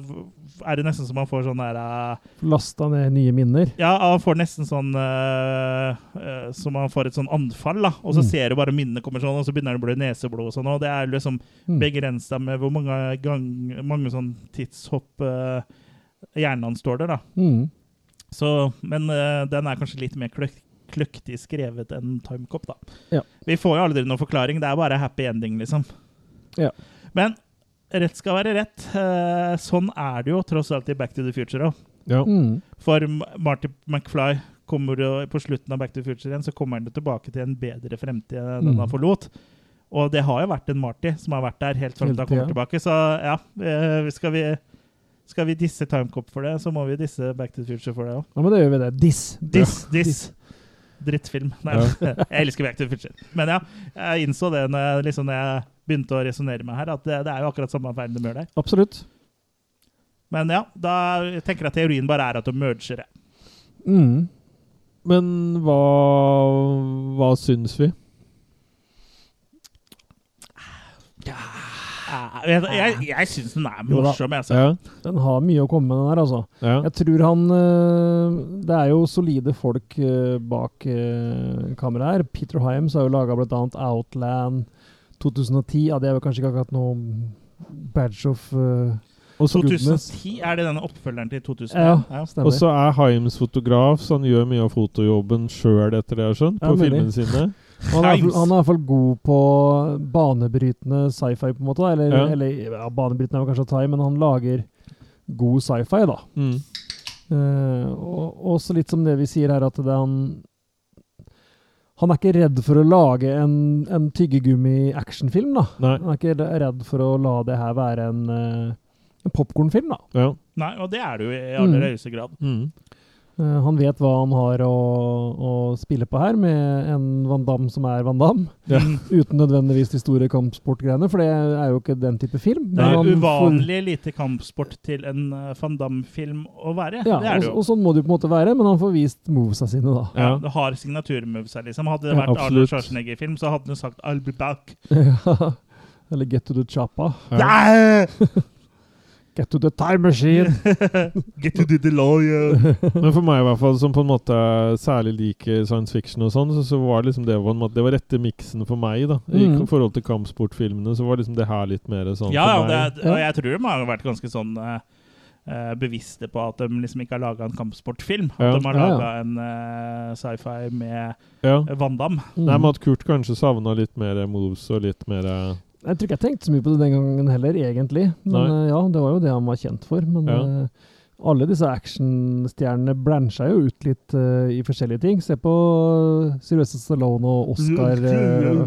Speaker 3: er det nesten som man får sånn der eh,
Speaker 2: Lasta ned nye minner.
Speaker 3: Ja, man får nesten sånn eh, eh, Så man får et sånn anfall, da. Og så
Speaker 2: Mm.
Speaker 3: ser du bare minnene kommer sånn, og så begynner det å blø neseblod og sånn. Og det er liksom
Speaker 2: Mm.
Speaker 3: begrensa med hvor mange, gang, mange sånn tidshopp eh, hjernen hans står der, da.
Speaker 2: Mm.
Speaker 3: Så, men eh, den er kanskje litt mer kløk kløktig skrevet enn Timecop, da.
Speaker 2: Ja.
Speaker 3: Vi får jo aldri noen forklaring. Det er bare happy ending, liksom.
Speaker 2: Ja.
Speaker 3: Men rett skal være rett. Eh, sånn er det jo tross alt i Back to the Future òg.
Speaker 1: Ja.
Speaker 2: Mm.
Speaker 3: For M- Marty McFly kommer jo på slutten av Back to the Future igjen, så kommer han jo tilbake til en bedre fremtid enn den
Speaker 2: Mm.
Speaker 3: han forlot. Og det har jo vært en Marty som har vært der helt fram til han kommer
Speaker 2: Helt,
Speaker 3: tilbake. Så ja, eh, skal vi, skal vi disse Timecop for det, så må vi disse Back to the Future for det òg.
Speaker 2: Ja, men da gjør vi det. Diss.
Speaker 3: Diss, diss. Drittfilm. Nei, <laughs> jeg elsker Back to the Future. Men ja, jeg innså det når jeg, liksom, når jeg begynte å resonnere med her, at det, det er jo akkurat samme feilen de gjør der.
Speaker 2: Absolutt.
Speaker 3: Men ja, da jeg tenker jeg at teorien bare er at de merger det.
Speaker 2: Mm.
Speaker 1: Men hva, hva syns vi?
Speaker 3: Eh, Jeg, jeg, jeg syns den er
Speaker 2: Jo da.
Speaker 3: morsom, jeg. Altså.
Speaker 1: Ja.
Speaker 2: Den har mye å komme med, den her, altså.
Speaker 1: ja.
Speaker 2: Jeg tror han eh, Det er jo solide folk eh, bak eh, kameraet her. Peter Hyams har jo laga bl.a. Outland 2010. Ja, det er vel kanskje ikke akkurat noe badge of eh,
Speaker 1: Og så-
Speaker 3: 2010 er det denne oppfølgeren til 2000.
Speaker 2: Ja,
Speaker 3: Ja.
Speaker 1: Og
Speaker 2: stemmer.
Speaker 1: så er Himes fotograf, så han gjør mye av fotojobben sjøl, etter det jeg har skjønt,
Speaker 2: Ja,
Speaker 1: på
Speaker 2: mulig.
Speaker 1: filmene sine.
Speaker 2: han, er,
Speaker 3: Himes.
Speaker 2: han er i hvert fall god på banebrytende sci-fi, på en måte. da. Eller,
Speaker 1: Ja.
Speaker 2: eller ja, banebrytende er vel kanskje å ta i, men han lager god sci-fi, da.
Speaker 1: Mm.
Speaker 2: Eh, og også litt som det vi sier her, at det er han Han er ikke redd for å lage en, en tyggegummi-actionfilm, da.
Speaker 1: Nei.
Speaker 2: Han er ikke re- redd for å la det her være en, eh, en popkornfilm, da.
Speaker 1: Ja.
Speaker 3: Nei, og det er det jo i aller
Speaker 2: Mm.
Speaker 3: høyeste grad.
Speaker 1: Mm.
Speaker 2: Eh, han vet hva han har å, å spille på her, med en Van Damme som er Van Damme.
Speaker 1: Ja.
Speaker 2: <laughs> Uten nødvendigvis de store kampsportgreiene, for det er jo ikke den type film.
Speaker 3: Det er
Speaker 2: han får-
Speaker 3: uvanlig lite kampsport til en eh, van Damme-film å være.
Speaker 2: Ja,
Speaker 3: det er det
Speaker 2: og,
Speaker 3: jo.
Speaker 2: og sånn må det jo på en måte være, men han får vist movesa sine, da.
Speaker 1: Ja.
Speaker 3: Ja. Det har signaturmoves her, liksom. Hadde det
Speaker 1: Ja,
Speaker 3: vært Arnold
Speaker 1: absolutt.
Speaker 3: Schwarzenegger-film, så hadde han jo sagt 'I'll be back'. <laughs>
Speaker 2: Ja. Eller Get to the Choppa.
Speaker 3: Nei!
Speaker 2: Get to the time
Speaker 3: <laughs>
Speaker 2: machine!
Speaker 3: Get to the lawyer.
Speaker 1: Men for meg, i hvert fall, som på en måte særlig liker science fiction og sånn, så, så var liksom det på en måte, Det var rette miksen for meg, da. I
Speaker 2: Mm.
Speaker 1: forhold til kampsportfilmene, så var liksom det her litt mer sånn
Speaker 3: Ja, ja,
Speaker 1: for
Speaker 3: det,
Speaker 1: meg.
Speaker 3: er- og jeg tror de har vært ganske sånn eh, eh, bevisste på at de liksom ikke har laga en kampsportfilm. At
Speaker 1: Ja.
Speaker 3: de har
Speaker 2: Ja, ja.
Speaker 3: laga en eh, sci-fi med
Speaker 1: Ja.
Speaker 3: Van Damme.
Speaker 1: Nei,
Speaker 2: Mm.
Speaker 1: men at Kurt kanskje savna litt mer moves og litt mer eh,
Speaker 2: Jeg tror ikke jeg tenkte så mye på det den gangen heller, egentlig. Men
Speaker 1: Nei.
Speaker 2: eh, ja, det var jo det han var kjent for. Men
Speaker 1: Ja.
Speaker 2: eh, alle disse actionstjernene blancha jo ut litt eh, i forskjellige ting. Se på uh, Sylvester Stallone og
Speaker 3: Mm,
Speaker 2: Oscar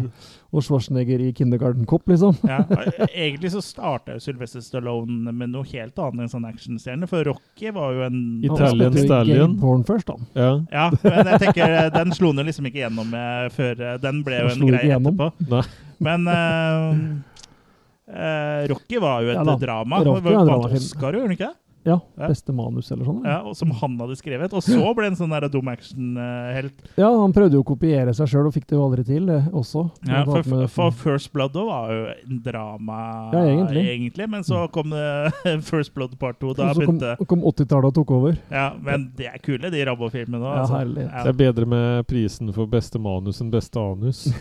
Speaker 2: eh, og Schwarzenegger i Kindergarten Cop, liksom. <laughs>
Speaker 3: Ja, Eh, egentlig så starta jo Sylvester Stallone med noe helt annet enn sånn actionstjerne, for Rocky var jo en
Speaker 2: Han
Speaker 1: Italian
Speaker 2: spilte jo i
Speaker 1: Stallion.
Speaker 2: Game Born først, da.
Speaker 1: Ja.
Speaker 3: Ja, men jeg tenker eh, den slo han jo liksom ikke gjennom eh, før eh, Den ble
Speaker 2: Den
Speaker 3: jo en
Speaker 2: slo ikke
Speaker 3: greie
Speaker 2: gjennom.
Speaker 3: etterpå.
Speaker 1: Nei.
Speaker 3: Men eh, eh, Rocky var jo et
Speaker 2: Ja da,
Speaker 3: drama.
Speaker 2: Rocky
Speaker 3: Rocky
Speaker 2: var en
Speaker 3: var
Speaker 2: dramafilm.
Speaker 3: Oscar, gjorde han ikke det?
Speaker 2: Ja,
Speaker 3: Ja.
Speaker 2: Beste manus eller sånn.
Speaker 3: Ja, og som han hadde skrevet. Og så ble en sånn der dum eh, actionhelt.
Speaker 2: Ja, han prøvde jo å kopiere seg sjøl, og fikk det jo aldri til, eh, også.
Speaker 3: Ja,
Speaker 2: Blant
Speaker 3: for,
Speaker 2: annet med-
Speaker 3: for First Blood også var jo en drama,
Speaker 2: Ja, egentlig.
Speaker 3: Men så kom det <laughs> First Blood part 2. Da
Speaker 2: Og så kom,
Speaker 3: begynte
Speaker 2: kom 80-tallet og tok over. <laughs>
Speaker 3: Ja, men de er kule, de Rabbo-filmene òg.
Speaker 2: Ja, herlig.
Speaker 1: Det er bedre med prisen for beste manus enn beste anus.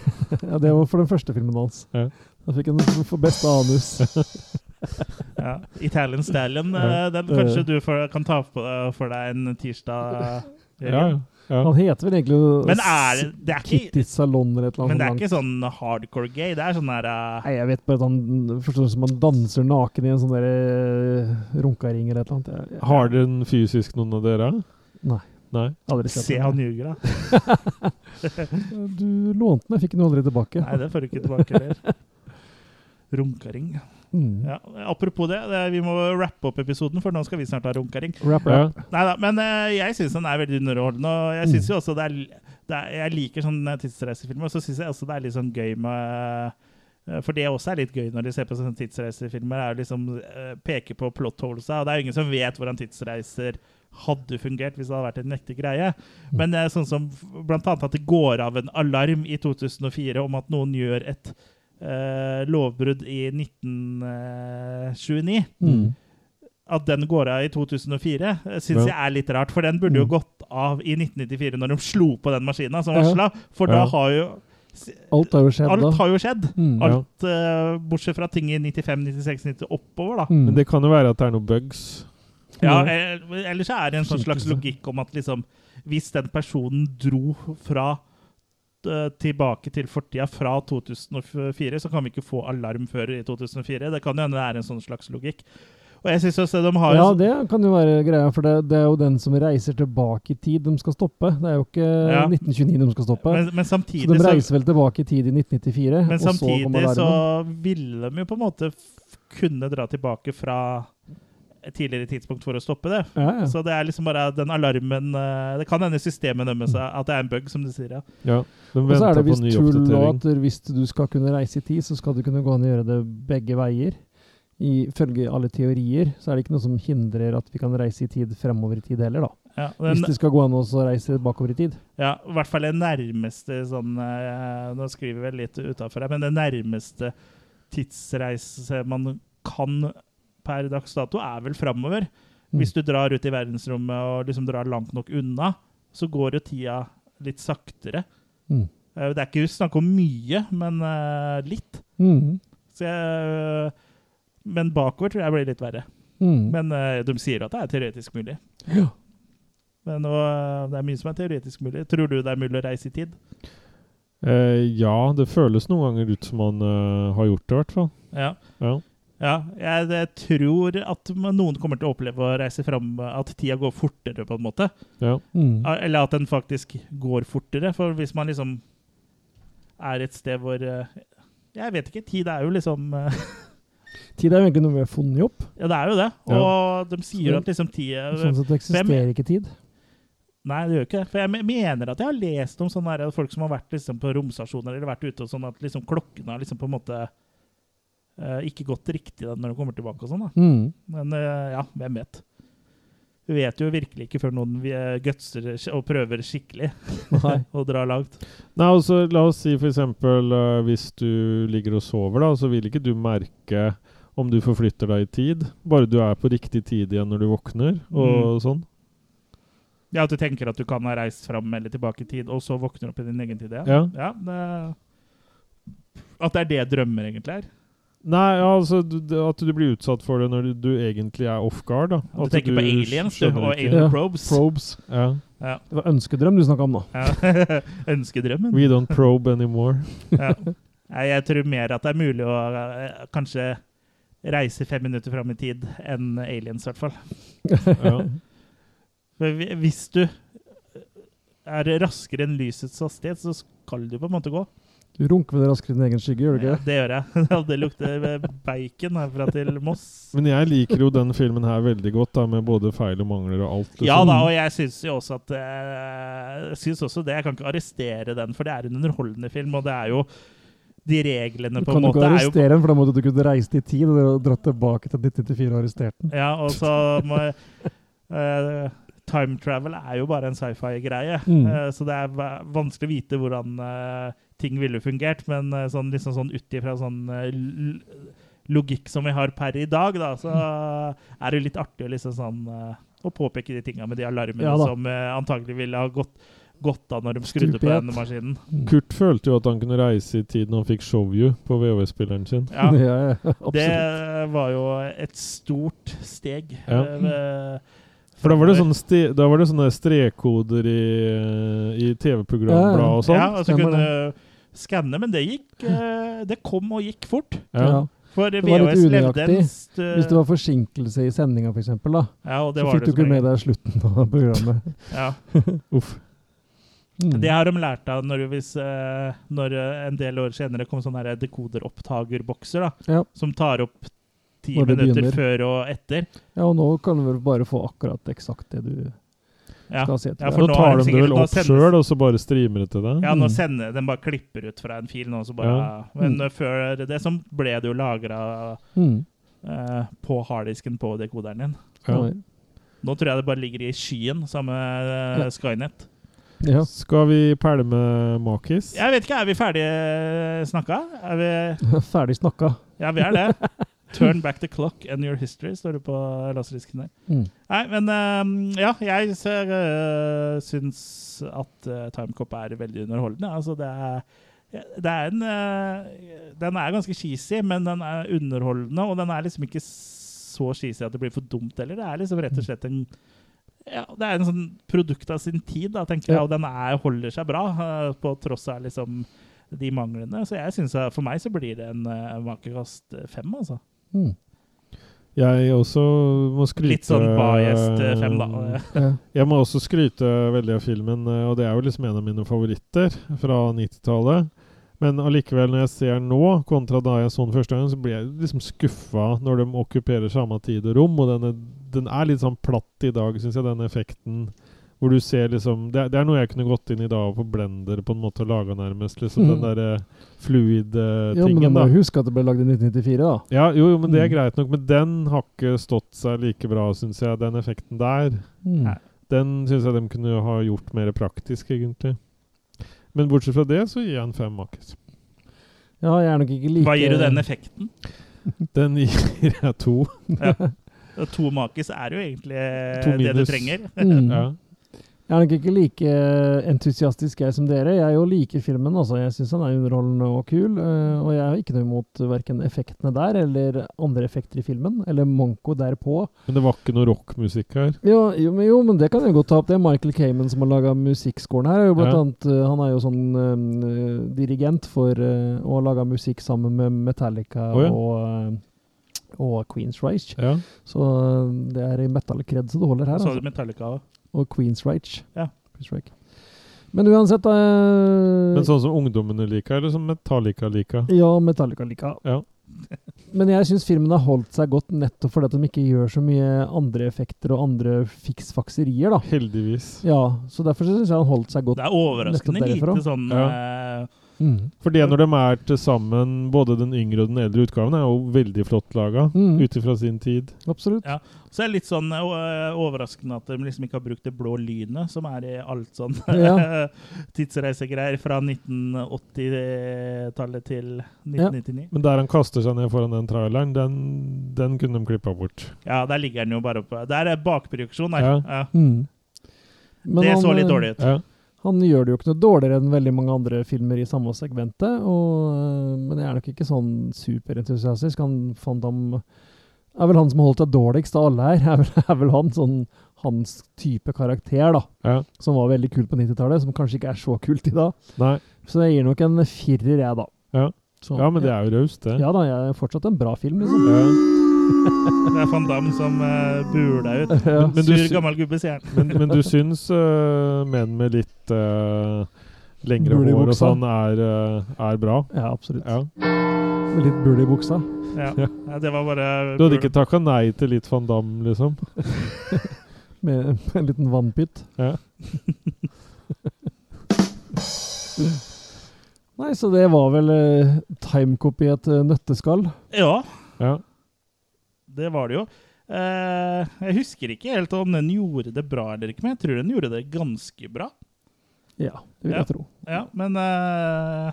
Speaker 2: Ja, Det var for den første filmen hans.
Speaker 1: Ja.
Speaker 2: Da fikk han for beste anus.
Speaker 3: Ja. Italian Stallion,
Speaker 1: Ja.
Speaker 3: eh, den kanskje du får, kan ta på, for deg en tirsdag.
Speaker 1: <laughs> Ja,
Speaker 3: Jørgen.
Speaker 1: ja.
Speaker 2: Han heter vel egentlig
Speaker 3: Men er det, det er ikke,
Speaker 2: Kitty Salon eller et eller annet.
Speaker 3: men det er
Speaker 2: sånt
Speaker 3: ikke
Speaker 2: langt.
Speaker 3: sånn hardcore gay. Det er sånn der eh,
Speaker 2: Nei, jeg vet bare at han forstår det som han danser naken i en sånn der eh, runkaring eller et eller annet. Jeg, jeg,
Speaker 1: Har dere en fysisk, noen av dere?
Speaker 2: Nei.
Speaker 1: Nei?
Speaker 2: har aldri sett
Speaker 3: Se
Speaker 2: den.
Speaker 3: han ljuger, da.
Speaker 2: Du lånte den, jeg fikk den jo aldri tilbake.
Speaker 3: Nei, det får du ikke tilbake
Speaker 2: <laughs>
Speaker 3: heller. Runkaring.
Speaker 2: Mm.
Speaker 3: Ja, apropos det, det, vi må rappe opp episoden, for nå skal vi snart ha runkaring.
Speaker 2: Rap,
Speaker 1: Ja.
Speaker 2: rap.
Speaker 3: Neida, men eh, jeg syns den er veldig underholdende. Og jeg synes jo også det er, det er Jeg liker sånne tidsreisefilmer, og så syns jeg også det er litt sånn gøy med eh, For det også er litt gøy når de ser på sånne tidsreisefilmer, er jo liksom eh, peker på plot holes, og det er jo ingen som vet hvordan tidsreiser hadde fungert hvis det hadde vært en ekte greie. Men eh, det er sånn som f- blant annet at det går av en alarm i 2004 om at noen gjør et eh, lovbrudd i eh, 1929
Speaker 2: Mm.
Speaker 3: at den går av i 2004, eh, syns
Speaker 1: Ja.
Speaker 3: jeg er litt rart. For den burde jo
Speaker 2: Mm.
Speaker 3: gått av i 1994, når de slo på den maskina som
Speaker 2: Ja.
Speaker 3: varsla. For da
Speaker 1: Ja.
Speaker 3: har jo
Speaker 2: Alt har jo skjedd da.
Speaker 3: Alt har jo skjedd.
Speaker 2: Mm.
Speaker 1: Ja.
Speaker 3: Alt eh, bortsett fra ting i 95, 96, 90 oppover, da.
Speaker 2: Mm.
Speaker 1: Men det kan jo være at det er noen bugs.
Speaker 3: Ja,
Speaker 2: Ja.
Speaker 3: eh, ellers så er det en sånn slags
Speaker 2: Skytelse.
Speaker 3: logikk om at liksom Hvis den personen dro fra eh, tilbake til fortida fra 2004, så kan vi ikke få alarm før i 2004. Det kan jo hende det er en sånn slags logikk. Og jeg synes også de har
Speaker 2: ja,
Speaker 3: en sånn-
Speaker 2: det kan jo være greia, for det, det er jo den som reiser tilbake i tid de skal stoppe. Det er jo ikke
Speaker 3: Ja.
Speaker 2: 1929 de skal stoppe.
Speaker 3: men, men
Speaker 2: så de
Speaker 3: samtidig så
Speaker 2: reiser vel tilbake i tid i 1994,
Speaker 3: <laughs> Men
Speaker 2: og så kommer
Speaker 3: samtidig
Speaker 2: alarmen.
Speaker 3: så ville de jo på en måte f- kunne dra tilbake fra et tidligere tidspunkt for å stoppe det.
Speaker 2: Ja, ja.
Speaker 3: Så det er liksom bare den alarmen eh, Det kan hende systemet dømmes at det er en bug, som du sier. ja.
Speaker 1: Ja. De
Speaker 2: Og så er
Speaker 1: venter på
Speaker 2: det visst
Speaker 1: en ny
Speaker 2: tull nå
Speaker 1: oppdatering.
Speaker 2: at hvis du skal kunne reise i tid, så skal du kunne gå an og gjøre det begge veier. Ifølge alle teorier så er det ikke noe som hindrer at vi kan reise i tid fremover i tid heller, da.
Speaker 3: Ja,
Speaker 2: Hvis
Speaker 3: den,
Speaker 2: det skal gå an å så reise bakover i tid.
Speaker 3: ja, I hvert fall det nærmeste sånn eh, Nå skriver jeg vel litt utafor her, men det nærmeste tidsreise man kan per dags dato, er vel framover. Hvis du drar ut i verdensrommet og liksom drar langt nok unna, så går jo tida litt saktere.
Speaker 2: Mm.
Speaker 3: Eh, Det er ikke snakk om mye, men eh, litt.
Speaker 2: Mm.
Speaker 3: Så jeg, eh, men bakover tror jeg blir litt verre.
Speaker 2: Mm.
Speaker 3: Men eh, de sier at det er teoretisk mulig.
Speaker 2: Ja.
Speaker 3: Men nå, eh, det er mye som er teoretisk mulig. Tror du det er mulig å reise i tid?
Speaker 1: Eh, ja, det føles noen ganger ut som man eh, har gjort det, i hvert fall.
Speaker 3: Ja.
Speaker 1: Ja.
Speaker 3: ja jeg, jeg tror at noen kommer til å oppleve å reise fram at tida går fortere, på en måte.
Speaker 1: Ja.
Speaker 2: Mm.
Speaker 3: Eller at den faktisk går fortere. For hvis man liksom er et sted hvor eh, Jeg vet ikke. Tid er jo liksom eh, <laughs>
Speaker 2: Tid er jo egentlig noe vi har funnet opp.
Speaker 3: Ja, det er jo det.
Speaker 1: Ja.
Speaker 3: Og de sier jo at liksom tida
Speaker 2: Sånn sett eksisterer ikke tid.
Speaker 3: Nei, det gjør ikke det. For jeg me- mener at jeg har lest om sånne her, folk som har vært liksom på romstasjoner eller vært ute, og sånn at liksom klokken har liksom på en måte eh, ikke gått riktig da, når de kommer tilbake og sånn. da.
Speaker 2: Mm.
Speaker 3: Men eh, ja, hvem vet. Du vet jo virkelig ikke før noen eh, gutser og prøver skikkelig
Speaker 2: Nei.
Speaker 3: <laughs> å dra langt.
Speaker 1: Nei, altså, la oss si f.eks. Uh, hvis du ligger og sover, da, så vil ikke du merke om du forflytter deg i tid. Bare du er på riktig tid igjen når du våkner, og
Speaker 3: Mm.
Speaker 1: sånn.
Speaker 3: Ja, At du tenker at du kan ha reist fram eller tilbake i tid, og så våkner du opp i din egen tid.
Speaker 1: Ja.
Speaker 3: ja det, at det er det drømmer egentlig er.
Speaker 1: Nei, ja, altså du, det- at du blir utsatt for det når du, du egentlig er off guard, da.
Speaker 3: Du
Speaker 1: At
Speaker 3: tenker på aliens du,
Speaker 1: skjønner
Speaker 3: og
Speaker 1: ikke-
Speaker 3: alien
Speaker 2: Ja.
Speaker 3: probes.
Speaker 2: Probes.
Speaker 1: Ja.
Speaker 2: Det var ønskedrøm du snakka om nå.
Speaker 3: Ja. <laughs> Ønskedrømmen.
Speaker 1: We don't probe anymore.
Speaker 3: Ja. Nei, Jeg tror mer at det er mulig å eh, kanskje reise fem minutter fram i tid enn aliens, i hvert fall. <laughs>
Speaker 1: Ja.
Speaker 3: For hvi- hvis du er raskere enn lysets hastighet, så skal du på en måte gå.
Speaker 2: Du runker vel raskere din egen skygge, gjør du ikke?
Speaker 3: Ja, det gjør jeg. <laughs> Ja, Det lukter bacon herfra til Moss.
Speaker 1: Men jeg liker jo den filmen her veldig godt, da, med både feil og mangler og alt.
Speaker 3: Ja
Speaker 1: liksom.
Speaker 3: da, og jeg syns jo også at eh, Jeg synes også det. Jeg kan ikke arrestere den, for det er en underholdende film, og det er jo de reglene
Speaker 2: Du
Speaker 3: på en
Speaker 2: kan jo
Speaker 3: måte
Speaker 2: ikke
Speaker 3: er jo
Speaker 2: arrestere den, for da måtte du kunne reist i tid og dratt tilbake til 1994 og arrestert den.
Speaker 3: Ja, og så må eh, Time travel er jo bare en sci-fi-greie,
Speaker 2: Mm.
Speaker 3: eh, så det er va- vanskelig å vite hvordan eh, ting ville fungert. Men eh, sånn, liksom sånn ut ifra sånn eh, l- logikk som vi har per i dag, da, så er det litt artig å liksom sånn eh, å påpeke de tinga med de alarmene
Speaker 2: Ja da.
Speaker 3: som eh, antagelig ville ha gått, gått av når de skrudde på
Speaker 2: Stupid.
Speaker 3: denne maskinen.
Speaker 1: Kurt følte jo at han kunne reise i tid når han fikk Show You på VHS-spilleren sin.
Speaker 3: Ja.
Speaker 2: <laughs> ja, ja, absolutt.
Speaker 3: Det var jo et stort steg.
Speaker 1: Ja.
Speaker 3: eh, ved-
Speaker 1: For da var det sånne, ste da var det sånne strekkoder i, eh, i TV-programblad og sånn.
Speaker 3: Ja, og så
Speaker 2: stemmer
Speaker 3: kunne skanne, men det gikk eh, Det kom og gikk fort.
Speaker 1: Ja.
Speaker 2: Ja.
Speaker 3: For
Speaker 2: var litt
Speaker 3: VHS levde en
Speaker 2: unøyaktig.
Speaker 3: st
Speaker 2: Hvis det var forsinkelse i sendinga, f.eks., da,
Speaker 3: ja, og det
Speaker 2: så
Speaker 3: var
Speaker 2: fikk du
Speaker 3: det
Speaker 2: ikke
Speaker 3: som
Speaker 2: med
Speaker 3: regel.
Speaker 2: deg slutten av
Speaker 3: <laughs>
Speaker 2: programmet.
Speaker 3: Ja.
Speaker 1: Uff.
Speaker 2: Mm.
Speaker 3: Det har de lært av når, hvis, eh, når eh, en del år senere kom sånne her dekoderopptagerbokser da,
Speaker 2: Ja.
Speaker 3: som tar opp ti
Speaker 2: Når det
Speaker 3: minutter
Speaker 2: begynner.
Speaker 3: før og etter.
Speaker 2: Ja, og nå kan du vel bare få akkurat eksakt det du
Speaker 3: Ja.
Speaker 2: skal se
Speaker 3: Ja,
Speaker 2: etter.
Speaker 3: for
Speaker 1: Nå
Speaker 3: nå er
Speaker 1: tar
Speaker 3: det
Speaker 1: de det
Speaker 3: sikkert-
Speaker 1: vel
Speaker 3: nå
Speaker 1: opp
Speaker 3: sendes-
Speaker 1: sjøl, og så bare streamer det til deg?
Speaker 3: Ja, nå
Speaker 2: Mm.
Speaker 3: sender den bare klipper ut fra en fil nå, så bare
Speaker 1: Ja.
Speaker 3: Men eh, før det så ble det jo lagra
Speaker 2: Mm.
Speaker 3: på harddisken på dekoderen din.
Speaker 1: Ja.
Speaker 2: Ja.
Speaker 3: Nå tror jeg det bare ligger i skyen, samme eh, Skynet.
Speaker 2: Ja. <laughs>
Speaker 1: Skal vi pælme Makis?
Speaker 3: Jeg vet ikke, er vi ferdige snakka? Er vi
Speaker 2: Ferdig snakka.
Speaker 3: Ja, vi er det. Turn back the clock and your history, står det på laserdisken der.
Speaker 2: Mm.
Speaker 3: Nei, men ehm, ja, jeg ser, eh, syns at eh, Timecop er veldig underholdende. Altså, det er, det er en eh, Den er ganske cheesy, men den er underholdende, og den er liksom ikke så cheesy at det blir for dumt heller. Det er liksom rett og slett en ja, det er en sånn produkt av sin tid, da, tenker jeg,
Speaker 2: Ja.
Speaker 3: og den er, holder seg bra eh, på tross av liksom de manglene. Så jeg synes at for meg så blir det en uh, makekast eh, fem, altså.
Speaker 2: Mm.
Speaker 1: Jeg også må skryte
Speaker 3: Litt sånn bajest eh,
Speaker 1: <laughs>
Speaker 3: fem, da.
Speaker 2: Ja.
Speaker 1: Jeg må også skryte veldig av filmen, eh, og det er jo liksom en av mine favoritter fra 90-tallet. Men allikevel, når jeg ser den nå, kontra da jeg så den første gang, så blir jeg liksom skuffa når de okkuperer samme tid og rom, og den er, den er litt sånn platt i dag, syns jeg, den effekten. Hvor du ser liksom det, er- det er noe jeg kunne gått inn i dag på blender på en måte og laga nærmest. liksom
Speaker 2: Mhm.
Speaker 1: Den derre fluid-tingen.
Speaker 2: ja, men du
Speaker 1: eh, da.
Speaker 2: må jo huske at det ble lagd i 1994, da.
Speaker 1: Ja, jo, jo, men det er
Speaker 2: Mm.
Speaker 1: greit nok. Men den har ikke stått seg like bra, syns jeg. Den effekten der.
Speaker 2: Mm.
Speaker 3: Nei.
Speaker 1: Den syns jeg de kunne ha gjort mer praktisk, egentlig. Men bortsett fra det, så gir jeg en fem makis.
Speaker 2: Ja, jeg er nok ikke like
Speaker 3: Hva gir du den effekten?
Speaker 1: Den gir jeg to.
Speaker 3: Og To makis er jo egentlig eh,
Speaker 1: To
Speaker 3: det du
Speaker 1: minus.
Speaker 3: trenger.
Speaker 2: Mm.
Speaker 1: Ja.
Speaker 2: Jeg er nok ikke like entusiastisk jeg som dere. Jeg jo liker filmen. altså. Jeg syns den er underholdende og kul. eh, Og jeg har ikke noe imot verken effektene der eller andre effekter i filmen. Eller manko derpå.
Speaker 1: Men det var ikke noe rockmusikk her.
Speaker 2: Jo, jo, men, jo, men det kan jeg godt ta opp. Det er Michael Kamen som har laga musikkskolen her. er Jo, blant
Speaker 1: Ja.
Speaker 2: annet, eh, han er jo sånn eh, dirigent for eh, å ha laga musikk sammen med Metallica
Speaker 1: Å, ja.
Speaker 2: og, eh, og Queens Rage.
Speaker 1: Ja.
Speaker 2: Så eh, det er i metallkred så det holder her.
Speaker 3: Så
Speaker 2: Altså.
Speaker 3: du Metallica også.
Speaker 2: Og Queens Rage.
Speaker 3: Ja.
Speaker 2: Queens Rage. Men uansett eh,
Speaker 1: Men sånn som ungdommene liker, eller som Metallica liker?
Speaker 2: Ja, Metallica liker
Speaker 1: Ja.
Speaker 2: <laughs> Men jeg syns filmen har holdt seg godt nettopp fordi at de ikke gjør så mye andre effekter og andre fiksfakserier, da.
Speaker 1: Heldigvis.
Speaker 2: Ja, så derfor syns jeg han holdt seg godt.
Speaker 3: Det er overraskende
Speaker 2: Nettopp derifra.
Speaker 3: lite sånn eh,
Speaker 2: Mm.
Speaker 1: For det når de er til sammen, både den yngre og den eldre utgaven, er jo veldig flott laga.
Speaker 2: Mm.
Speaker 1: Ut ifra sin tid.
Speaker 2: Absolutt.
Speaker 3: Ja. Så er det litt sånn eh, o- overraskende at de liksom ikke har brukt det blå lynet, som er i alt sånn
Speaker 2: Ja.
Speaker 3: <laughs> tidsreisegreier fra 1980-tallet til 1999.
Speaker 1: Men der han kaster seg ned foran den traileren, den, den kunne de klippa bort.
Speaker 3: Ja, der ligger den jo bare oppe. Der er bakproduksjon der.
Speaker 1: Ja.
Speaker 3: Ja.
Speaker 2: Mm. Men
Speaker 3: Det så
Speaker 2: han,
Speaker 3: litt
Speaker 2: eh,
Speaker 3: dårlig ut.
Speaker 1: Ja.
Speaker 2: Han gjør det jo ikke noe dårligere enn veldig mange andre filmer i samme segmentet, og, eh, men jeg er nok ikke sånn superentusiastisk. Han fant ham er vel han som har holdt seg dårligst av alle her. <laughs> Er vel, er vel han sånn hans type karakter, da.
Speaker 1: Ja.
Speaker 2: Som var veldig kult på 90-tallet, som kanskje ikke er så kult i dag.
Speaker 1: Nei.
Speaker 2: Så jeg gir nok en firer, jeg, da.
Speaker 1: Ja.
Speaker 2: Så-
Speaker 1: Ja, men det er jo raust, det.
Speaker 2: Ja da, jeg er fortsatt en bra film, liksom.
Speaker 1: Ja.
Speaker 3: Det er van Damme som uh, buler deg ut.
Speaker 2: Ja.
Speaker 1: Men du
Speaker 3: Sur,
Speaker 1: sy-
Speaker 3: gammel gubbe, sier han.
Speaker 1: Men, men du syns øh, menn med litt øh, lengre
Speaker 2: Bule i
Speaker 1: hår og
Speaker 2: buksa.
Speaker 1: sånn er, øh, er bra?
Speaker 2: Ja, absolutt.
Speaker 1: Ja.
Speaker 2: Med litt bul i buksa.
Speaker 3: Ja. Ja, det var bare
Speaker 1: Du hadde ikke takka nei til litt van Damme, liksom?
Speaker 2: Med <laughs> med en liten vannpytt.
Speaker 1: Ja.
Speaker 2: <laughs> Nei, så det var vel uh, timecop i et eh, nøtteskall.
Speaker 3: Ja,
Speaker 1: ja.
Speaker 3: det var det jo. Eh, jeg husker ikke helt om den gjorde det bra eller ikke, men jeg tror den gjorde det ganske bra.
Speaker 2: Ja, det vil
Speaker 3: Ja.
Speaker 2: jeg tro. <laughs>
Speaker 3: Ja, men eh,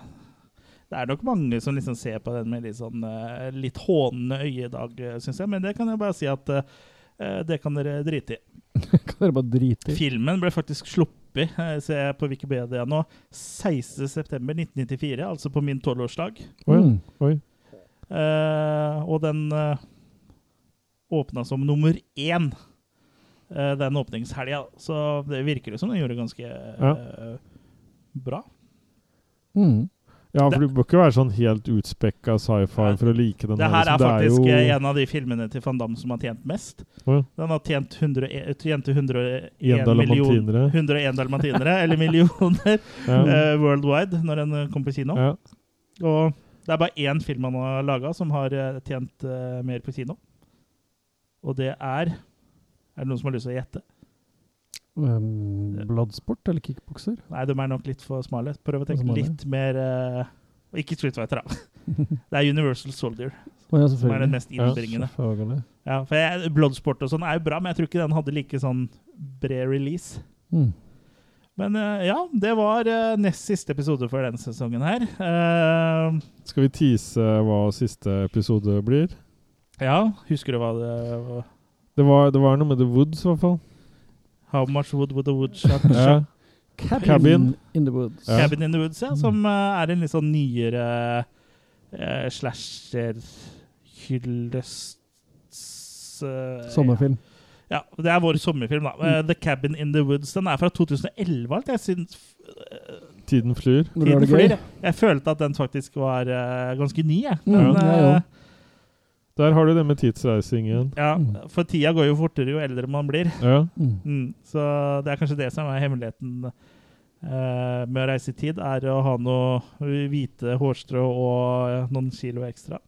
Speaker 3: det er nok mange som liksom ser på den med litt sånn eh, litt hånende øye i dag, syns jeg. Men det kan jeg bare si at eh, det kan dere drite i.
Speaker 2: kan dere bare drite i.
Speaker 3: Filmen ble faktisk sluppet, eh, ser jeg på Wikipedia nå, 16.9.1994, altså på min tolvårsdag.
Speaker 1: Oi.
Speaker 2: Mm.
Speaker 1: Oi.
Speaker 3: Eh, og den eh, åpna som nummer én eh, den åpningshelga. Så det virker jo som den gjorde ganske eh, bra.
Speaker 2: Mm.
Speaker 1: Ja, for
Speaker 3: Det-
Speaker 1: du bør ikke være sånn helt utspekka sci-fi
Speaker 3: Nei.
Speaker 1: for å like den.
Speaker 3: det her er faktisk
Speaker 1: liksom.
Speaker 3: eh, en av de filmene til van Damme som har tjent mest.
Speaker 1: Å ja.
Speaker 3: Den har tjent 101, tjent 101
Speaker 1: En
Speaker 3: million,
Speaker 1: dalmatinere.
Speaker 3: 101 dalmatinere, eller millioner,
Speaker 1: <laughs>
Speaker 3: <laughs>
Speaker 1: Ja.
Speaker 3: eh, worldwide når den eh, kom på kino.
Speaker 1: Ja.
Speaker 3: Og det er bare én film han har laga som har eh, tjent eh, mer på kino. Og det er Er det noen som har lyst til å gjette?
Speaker 2: Um, Bloodsport eller kickbokser?
Speaker 3: Nei, de er nok litt for smale. Prøv å tenke
Speaker 2: Smale.
Speaker 3: litt mer eh, og Ikke Street Fighter, da. <laughs> Det er Universal Soldier
Speaker 2: Å ja,
Speaker 3: som er
Speaker 2: selvfølgelig.
Speaker 3: den mest innbringende.
Speaker 2: Selvfølgelig.
Speaker 3: Ja, for jeg, Bloodsport og sånn er jo bra, men jeg tror ikke den hadde like sånn bred release.
Speaker 2: Mm.
Speaker 3: Men eh, ja, det var eh, nest siste episode for denne sesongen her. Eh,
Speaker 1: Skal vi tease eh, hva siste episode blir?
Speaker 3: ja, husker du hva det var?
Speaker 1: Det var, det var noe med The Woods, i hvert fall.
Speaker 3: How much wood would a
Speaker 2: <laughs>
Speaker 3: woodchuck
Speaker 1: Ja.
Speaker 2: Cabin,
Speaker 1: Cabin.
Speaker 2: in the woods.
Speaker 1: Ja.
Speaker 3: Cabin in the Woods, ja,
Speaker 2: Mm.
Speaker 3: som eh, er en litt sånn nyere eh, slasher-hyllest eh,
Speaker 2: Sommerfilm. Mm.
Speaker 3: Ja, det er vår sommerfilm, da. Eh, The Cabin in the Woods. Den er fra 2011, alt jeg syns eh,
Speaker 1: Tiden flyr.
Speaker 2: Når du har
Speaker 3: tiden
Speaker 2: det gøy.
Speaker 3: flyr. Jeg følte at den faktisk var eh, ganske ny, jeg.
Speaker 2: Mm,
Speaker 3: Men,
Speaker 2: jeg
Speaker 3: eh,
Speaker 2: òg.
Speaker 1: Der har du det med tidsreising igjen.
Speaker 3: ja,
Speaker 2: Mm.
Speaker 3: for tida går jo fortere jo eldre man blir.
Speaker 1: Ja.
Speaker 2: Mm.
Speaker 3: Mm, så det er kanskje det som er hemmeligheten eh, med å reise i tid, er å ha noe hvite hårstrå og eh, noen kilo ekstra.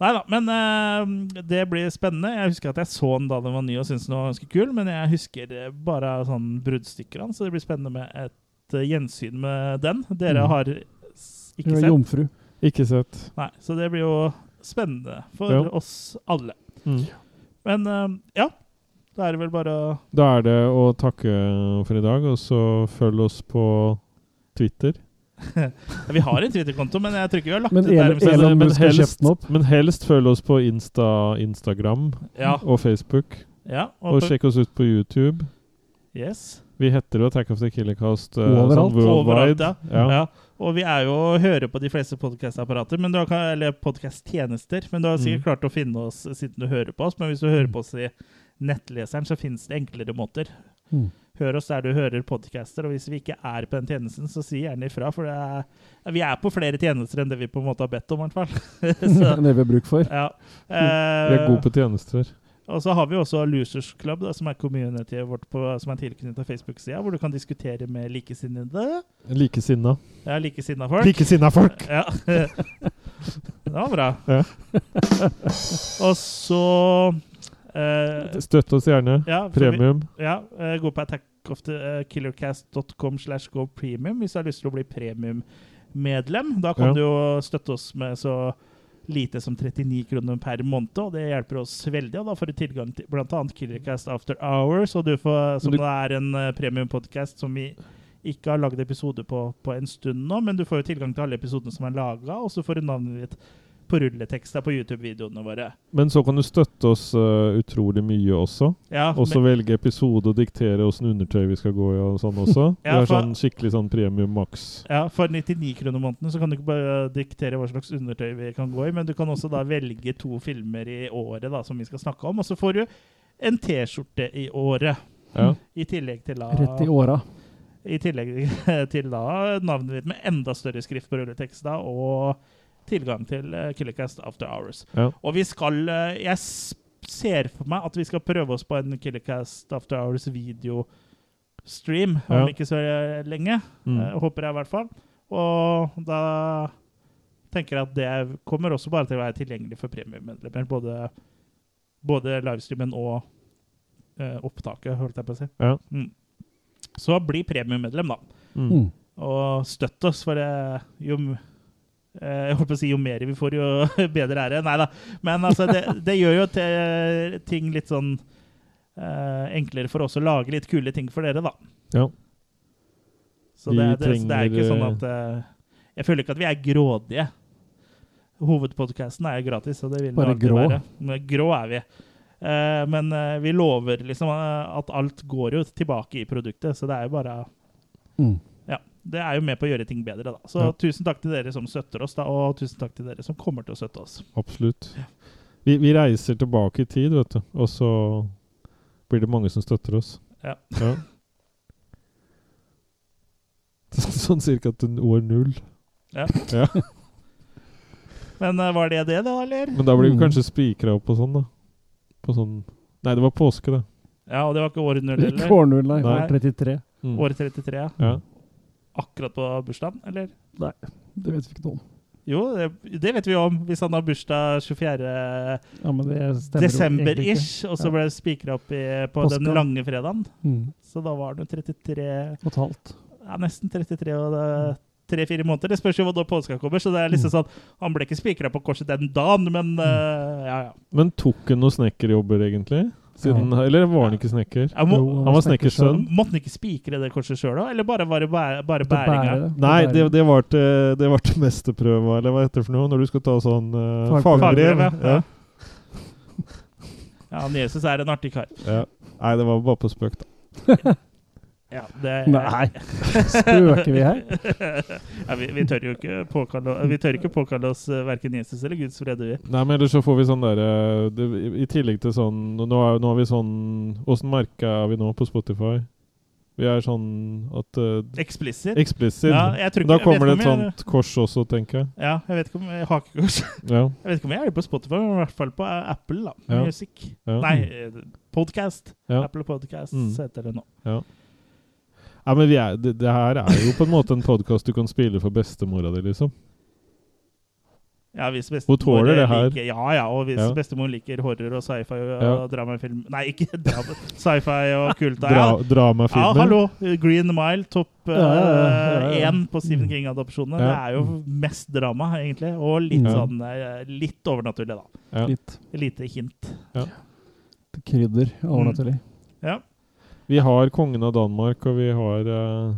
Speaker 3: Nei da, men eh, det blir spennende. Jeg husker at jeg så den da den var ny og syntes den var ganske kul, men jeg husker eh, bare sånn bruddstykker av den, så det blir spennende med et eh, gjensyn med den. Dere
Speaker 2: Mm.
Speaker 3: har s-
Speaker 2: Hun
Speaker 3: ikke
Speaker 2: er
Speaker 3: sett?
Speaker 2: Jomfru.
Speaker 1: Ikke sett.
Speaker 3: Nei, så det blir jo spennende for
Speaker 1: Ja.
Speaker 3: oss alle.
Speaker 1: Mm.
Speaker 3: Men eh, ja, da er det vel bare å
Speaker 1: Da er det å takke for i dag, og så følg oss på Twitter.
Speaker 3: Ja, Vi har en Twitter-konto, men jeg tror ikke vi har lagt
Speaker 2: Men
Speaker 3: ut der.
Speaker 2: Elon,
Speaker 3: om sesongen.
Speaker 2: Elon
Speaker 1: men
Speaker 2: Musk har
Speaker 1: helst-
Speaker 2: kjøpt den opp.
Speaker 1: Men helst følg oss på Insta, Instagram
Speaker 3: Ja,
Speaker 1: og Facebook.
Speaker 3: ja, og,
Speaker 1: Og sjekk oss ut på YouTube.
Speaker 3: yes.
Speaker 1: Vi heter jo Attack of the Killer Cast eh,
Speaker 2: Overalt.
Speaker 1: sånn worldwide.
Speaker 3: Overalt, ja.
Speaker 1: ja.
Speaker 3: Ja. Og vi er jo å høre på de fleste podkastapparater, men du har ka- eller podcasttjenester, Men du har sikkert
Speaker 1: Mm.
Speaker 3: klart å finne oss siden du hører på oss, men hvis du hører på oss i nettleseren, så finnes det enklere måter.
Speaker 2: Mm.
Speaker 3: Hør oss der du hører podcaster, og hvis vi ikke er på den tjenesten, så si gjerne ifra, for det er, vi er på flere tjenester enn det vi på en måte har bedt om, i hvert fall. <laughs>
Speaker 2: Det
Speaker 3: så,
Speaker 2: er det vi har bruk for.
Speaker 3: ja.
Speaker 1: Vi er
Speaker 3: Eh,
Speaker 1: gode på tjenester.
Speaker 3: Og så har vi også Losers Club, da, som er communityet vårt på, som er tilknyttet Facebook-sida, hvor du kan diskutere med likesinnede.
Speaker 1: Likesinna.
Speaker 3: Ja, likesinna folk.
Speaker 1: Likesinna folk!
Speaker 3: Ja. <laughs> det var bra.
Speaker 1: Ja.
Speaker 3: Og så eh,
Speaker 1: Støtt oss gjerne.
Speaker 3: ja, så vi-
Speaker 1: Premium.
Speaker 3: ja, eh, gå på attackofthekillercast.com slash go premium hvis du har lyst til å bli premiummedlem. Da kan
Speaker 1: Ja.
Speaker 3: du jo støtte oss med så lite som 39 kroner per måned, og det hjelper oss veldig. Og da får du tilgang til bl.a. Killercast After Hours, og du får, som
Speaker 1: Men du-
Speaker 3: det er en eh, premiumpodcast som vi ikke har lagd episode på på en stund nå, men du får jo tilgang til alle episodene som er laga, og så får du navnet ditt på rulleteksta på YouTube-videoene våre.
Speaker 1: Men så kan du støtte oss eh, utrolig mye også.
Speaker 3: Ja,
Speaker 1: Og så velge episode og diktere åssen undertøy vi skal gå i og sånn også. Det
Speaker 3: Ja,
Speaker 1: er
Speaker 3: for-
Speaker 1: sånn skikkelig sånn premium maks.
Speaker 3: Ja, For 99 kroner måneden så kan du ikke bare diktere hva slags undertøy vi kan gå i, men du kan også da velge to filmer i året da, som vi skal snakke om, og så får du en T-skjorte i året.
Speaker 1: Ja.
Speaker 3: I tillegg til da,
Speaker 2: Rett i åra.
Speaker 3: i tillegg <laughs> til da navnet ditt med enda større skrift på rulleteksta og tilgang til eh, Killercast After Hours.
Speaker 1: Ja.
Speaker 3: Og vi skal eh, Jeg s- ser for meg at vi skal prøve oss på en Killercast After Hours videostream
Speaker 1: Ja.
Speaker 3: om ikke så eh, lenge.
Speaker 1: Mm.
Speaker 3: Eh, håper jeg i hvert fall. Og da tenker jeg at det kommer også bare til å være tilgjengelig for premiemedlemmer. Både, både livestreamen og eh, opptaket, holdt jeg på å si.
Speaker 1: Ja.
Speaker 3: Mm. Så bli premiemedlem, da.
Speaker 1: Mm.
Speaker 2: Mm.
Speaker 3: Og støtt oss, for det, jo m- eh, jeg holdt på å si jo mer vi får, jo <laughs> bedre er det. Nei da. Men altså,
Speaker 1: <laughs>
Speaker 3: det, det gjør jo te- ting litt sånn eh, enklere for oss å lage litt kule ting for dere, da.
Speaker 1: Ja.
Speaker 3: Så
Speaker 1: Vi
Speaker 3: det, det, så det er ikke
Speaker 1: trenger,
Speaker 3: sånn at eh, Jeg føler ikke at vi er grådige. Hovedpodkasten er jo gratis, så det vil
Speaker 2: Bare
Speaker 3: det alltid
Speaker 2: grå.
Speaker 3: være. Men grå er vi. Eh, men eh, vi lover liksom eh, at alt går jo tilbake i produktet, så det er jo bare
Speaker 2: Mm.
Speaker 3: Ja. Det er jo med på å gjøre ting bedre, da. Så
Speaker 1: Ja.
Speaker 3: tusen takk til dere som støtter oss, da, og tusen takk til dere som kommer til å støtte oss.
Speaker 1: Absolutt. Vi, vi reiser tilbake i tid, vet du. Og så blir det mange som støtter oss.
Speaker 3: Ja.
Speaker 1: <laughs> sånn cirka til år null.
Speaker 3: Men eh, var det det, da, eller?
Speaker 1: Men da blir vi
Speaker 2: Mm.
Speaker 1: kanskje spikra opp og sånn, da. På sånn Nei, det var påske, det.
Speaker 3: Ja, og det var ikke året null,
Speaker 2: Ikke
Speaker 3: eller?
Speaker 2: år null, nei.
Speaker 1: Nei.
Speaker 2: År 33.
Speaker 1: Mm.
Speaker 3: Året 33, ja.
Speaker 1: Ja.
Speaker 3: Akkurat på bursdagen, eller?
Speaker 2: Det vet vi ikke noe om.
Speaker 3: Jo, det, det vet vi jo om. Hvis han har bursdag 24.
Speaker 2: Ja, men det stemmer jo egentlig ikke.
Speaker 3: desember-ish, og så
Speaker 2: Ja.
Speaker 3: ble det spikra opp i, på den
Speaker 2: Påsken.
Speaker 3: lange fredagen.
Speaker 2: Mm.
Speaker 3: Så da var det jo 33
Speaker 2: Og et halvt.
Speaker 3: Ja, nesten 33 og det- 3-4 måneder. Det spørs jo hva da påska kommer, så det er liksom
Speaker 2: Mm.
Speaker 3: sånn Han ble ikke spikra på korset den dagen, men eh, ja, ja.
Speaker 1: Men tok han noen snekkerjobber, egentlig? Siden, Eller var han ikke snekker?
Speaker 3: Jeg må,
Speaker 2: Jo, han
Speaker 1: Han var snekkersønn.
Speaker 3: Måtte han ikke spikre det korset sjøl, da? Eller bare, bare, bæ- bare
Speaker 2: Måtte bære
Speaker 3: bæringa?
Speaker 2: det.
Speaker 1: Nei,
Speaker 2: Måtte
Speaker 1: det,
Speaker 2: bære
Speaker 1: det, var til, det var til mesterprøva, eller hva heter det for noe? Når du skal ta sånn eh,
Speaker 2: Fagbrev.
Speaker 1: fagbrev.
Speaker 3: Fagbrev, ja.
Speaker 1: Ja.
Speaker 3: <laughs> Ja, han Jesus er en artig kar.
Speaker 1: Ja. Nei, det var bare på spøk, da.
Speaker 3: Ja, det
Speaker 2: <laughs> Nei, spøker vi her?
Speaker 3: <laughs> ja, vi, vi tør jo ikke påkalle, vi tør ikke påkalle oss eh, verken Jesus eller Guds frede, vi.
Speaker 1: Nei, men ellers så får vi sånn derre I tillegg til sånn Nå, er, nå har vi sånn Åssen merke er vi nå på Spotify? Vi er sånn at eh,
Speaker 3: Eksplisitt.
Speaker 1: Explicit.
Speaker 3: Ja, jeg tror ikke-
Speaker 1: da
Speaker 3: jeg
Speaker 1: kommer det
Speaker 3: vet
Speaker 1: et sånn-
Speaker 3: ikke om jeg-
Speaker 1: sånt kors også, tenker jeg.
Speaker 3: Ja, jeg vet ikke om jeg har ikke kors.
Speaker 1: Ja.
Speaker 3: Jeg vet ikke om jeg er på Spotify, men i hvert fall på eh, Apple da.
Speaker 1: Ja.
Speaker 3: Music.
Speaker 1: Ja.
Speaker 3: Nei, eh, podcast.
Speaker 1: Ja.
Speaker 3: Apple Podcast
Speaker 1: Mm.
Speaker 3: heter det nå.
Speaker 1: Nei, men vi er, det, det her er jo på en måte en podkast du kan spille for bestemora di, liksom.
Speaker 3: Ja, hvis
Speaker 1: Hun
Speaker 3: bestemor
Speaker 1: tåler det her.
Speaker 3: Liker, ja, ja, og hvis
Speaker 1: Ja.
Speaker 3: bestemor liker horror og sci-fi og
Speaker 1: Ja.
Speaker 3: dramafilm Nei, ikke <laughs> drama. sci-fi
Speaker 1: <laughs>
Speaker 3: og kult.
Speaker 1: Dra,
Speaker 3: Ja, ja,
Speaker 1: Dramafilmer.
Speaker 3: hallo! Green Mile, topp én
Speaker 2: Ja, ja, ja, ja, ja.
Speaker 3: på Stephen King-adopsjonene.
Speaker 1: Ja.
Speaker 3: Det er jo mest drama, egentlig. Og litt
Speaker 1: Ja.
Speaker 3: sånn eh, litt overnaturlig, da.
Speaker 1: Ja.
Speaker 2: Litt
Speaker 3: Lite hint.
Speaker 2: krydder, overnaturlig.
Speaker 3: Ja.
Speaker 1: Vi har kongen av Danmark, og vi har eh,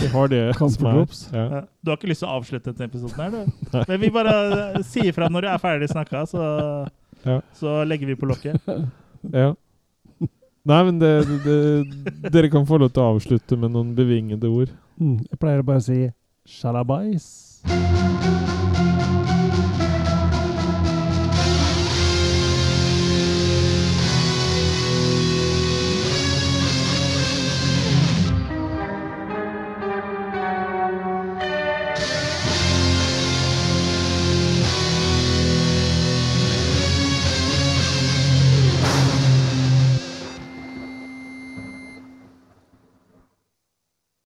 Speaker 1: Vi har det som er
Speaker 2: Kamferdrops.
Speaker 1: ja.
Speaker 3: Ja. Du har ikke lyst til å avslutte denne episoden her, du? Men vi bare eh, sier fra når du er ferdig snakka, så,
Speaker 1: Ja.
Speaker 3: så legger vi på lokket.
Speaker 1: Ja. Nei, men det, det Dere kan få lov til å avslutte med noen bevingede ord.
Speaker 2: Mm, Jeg pleier å bare si shalabais.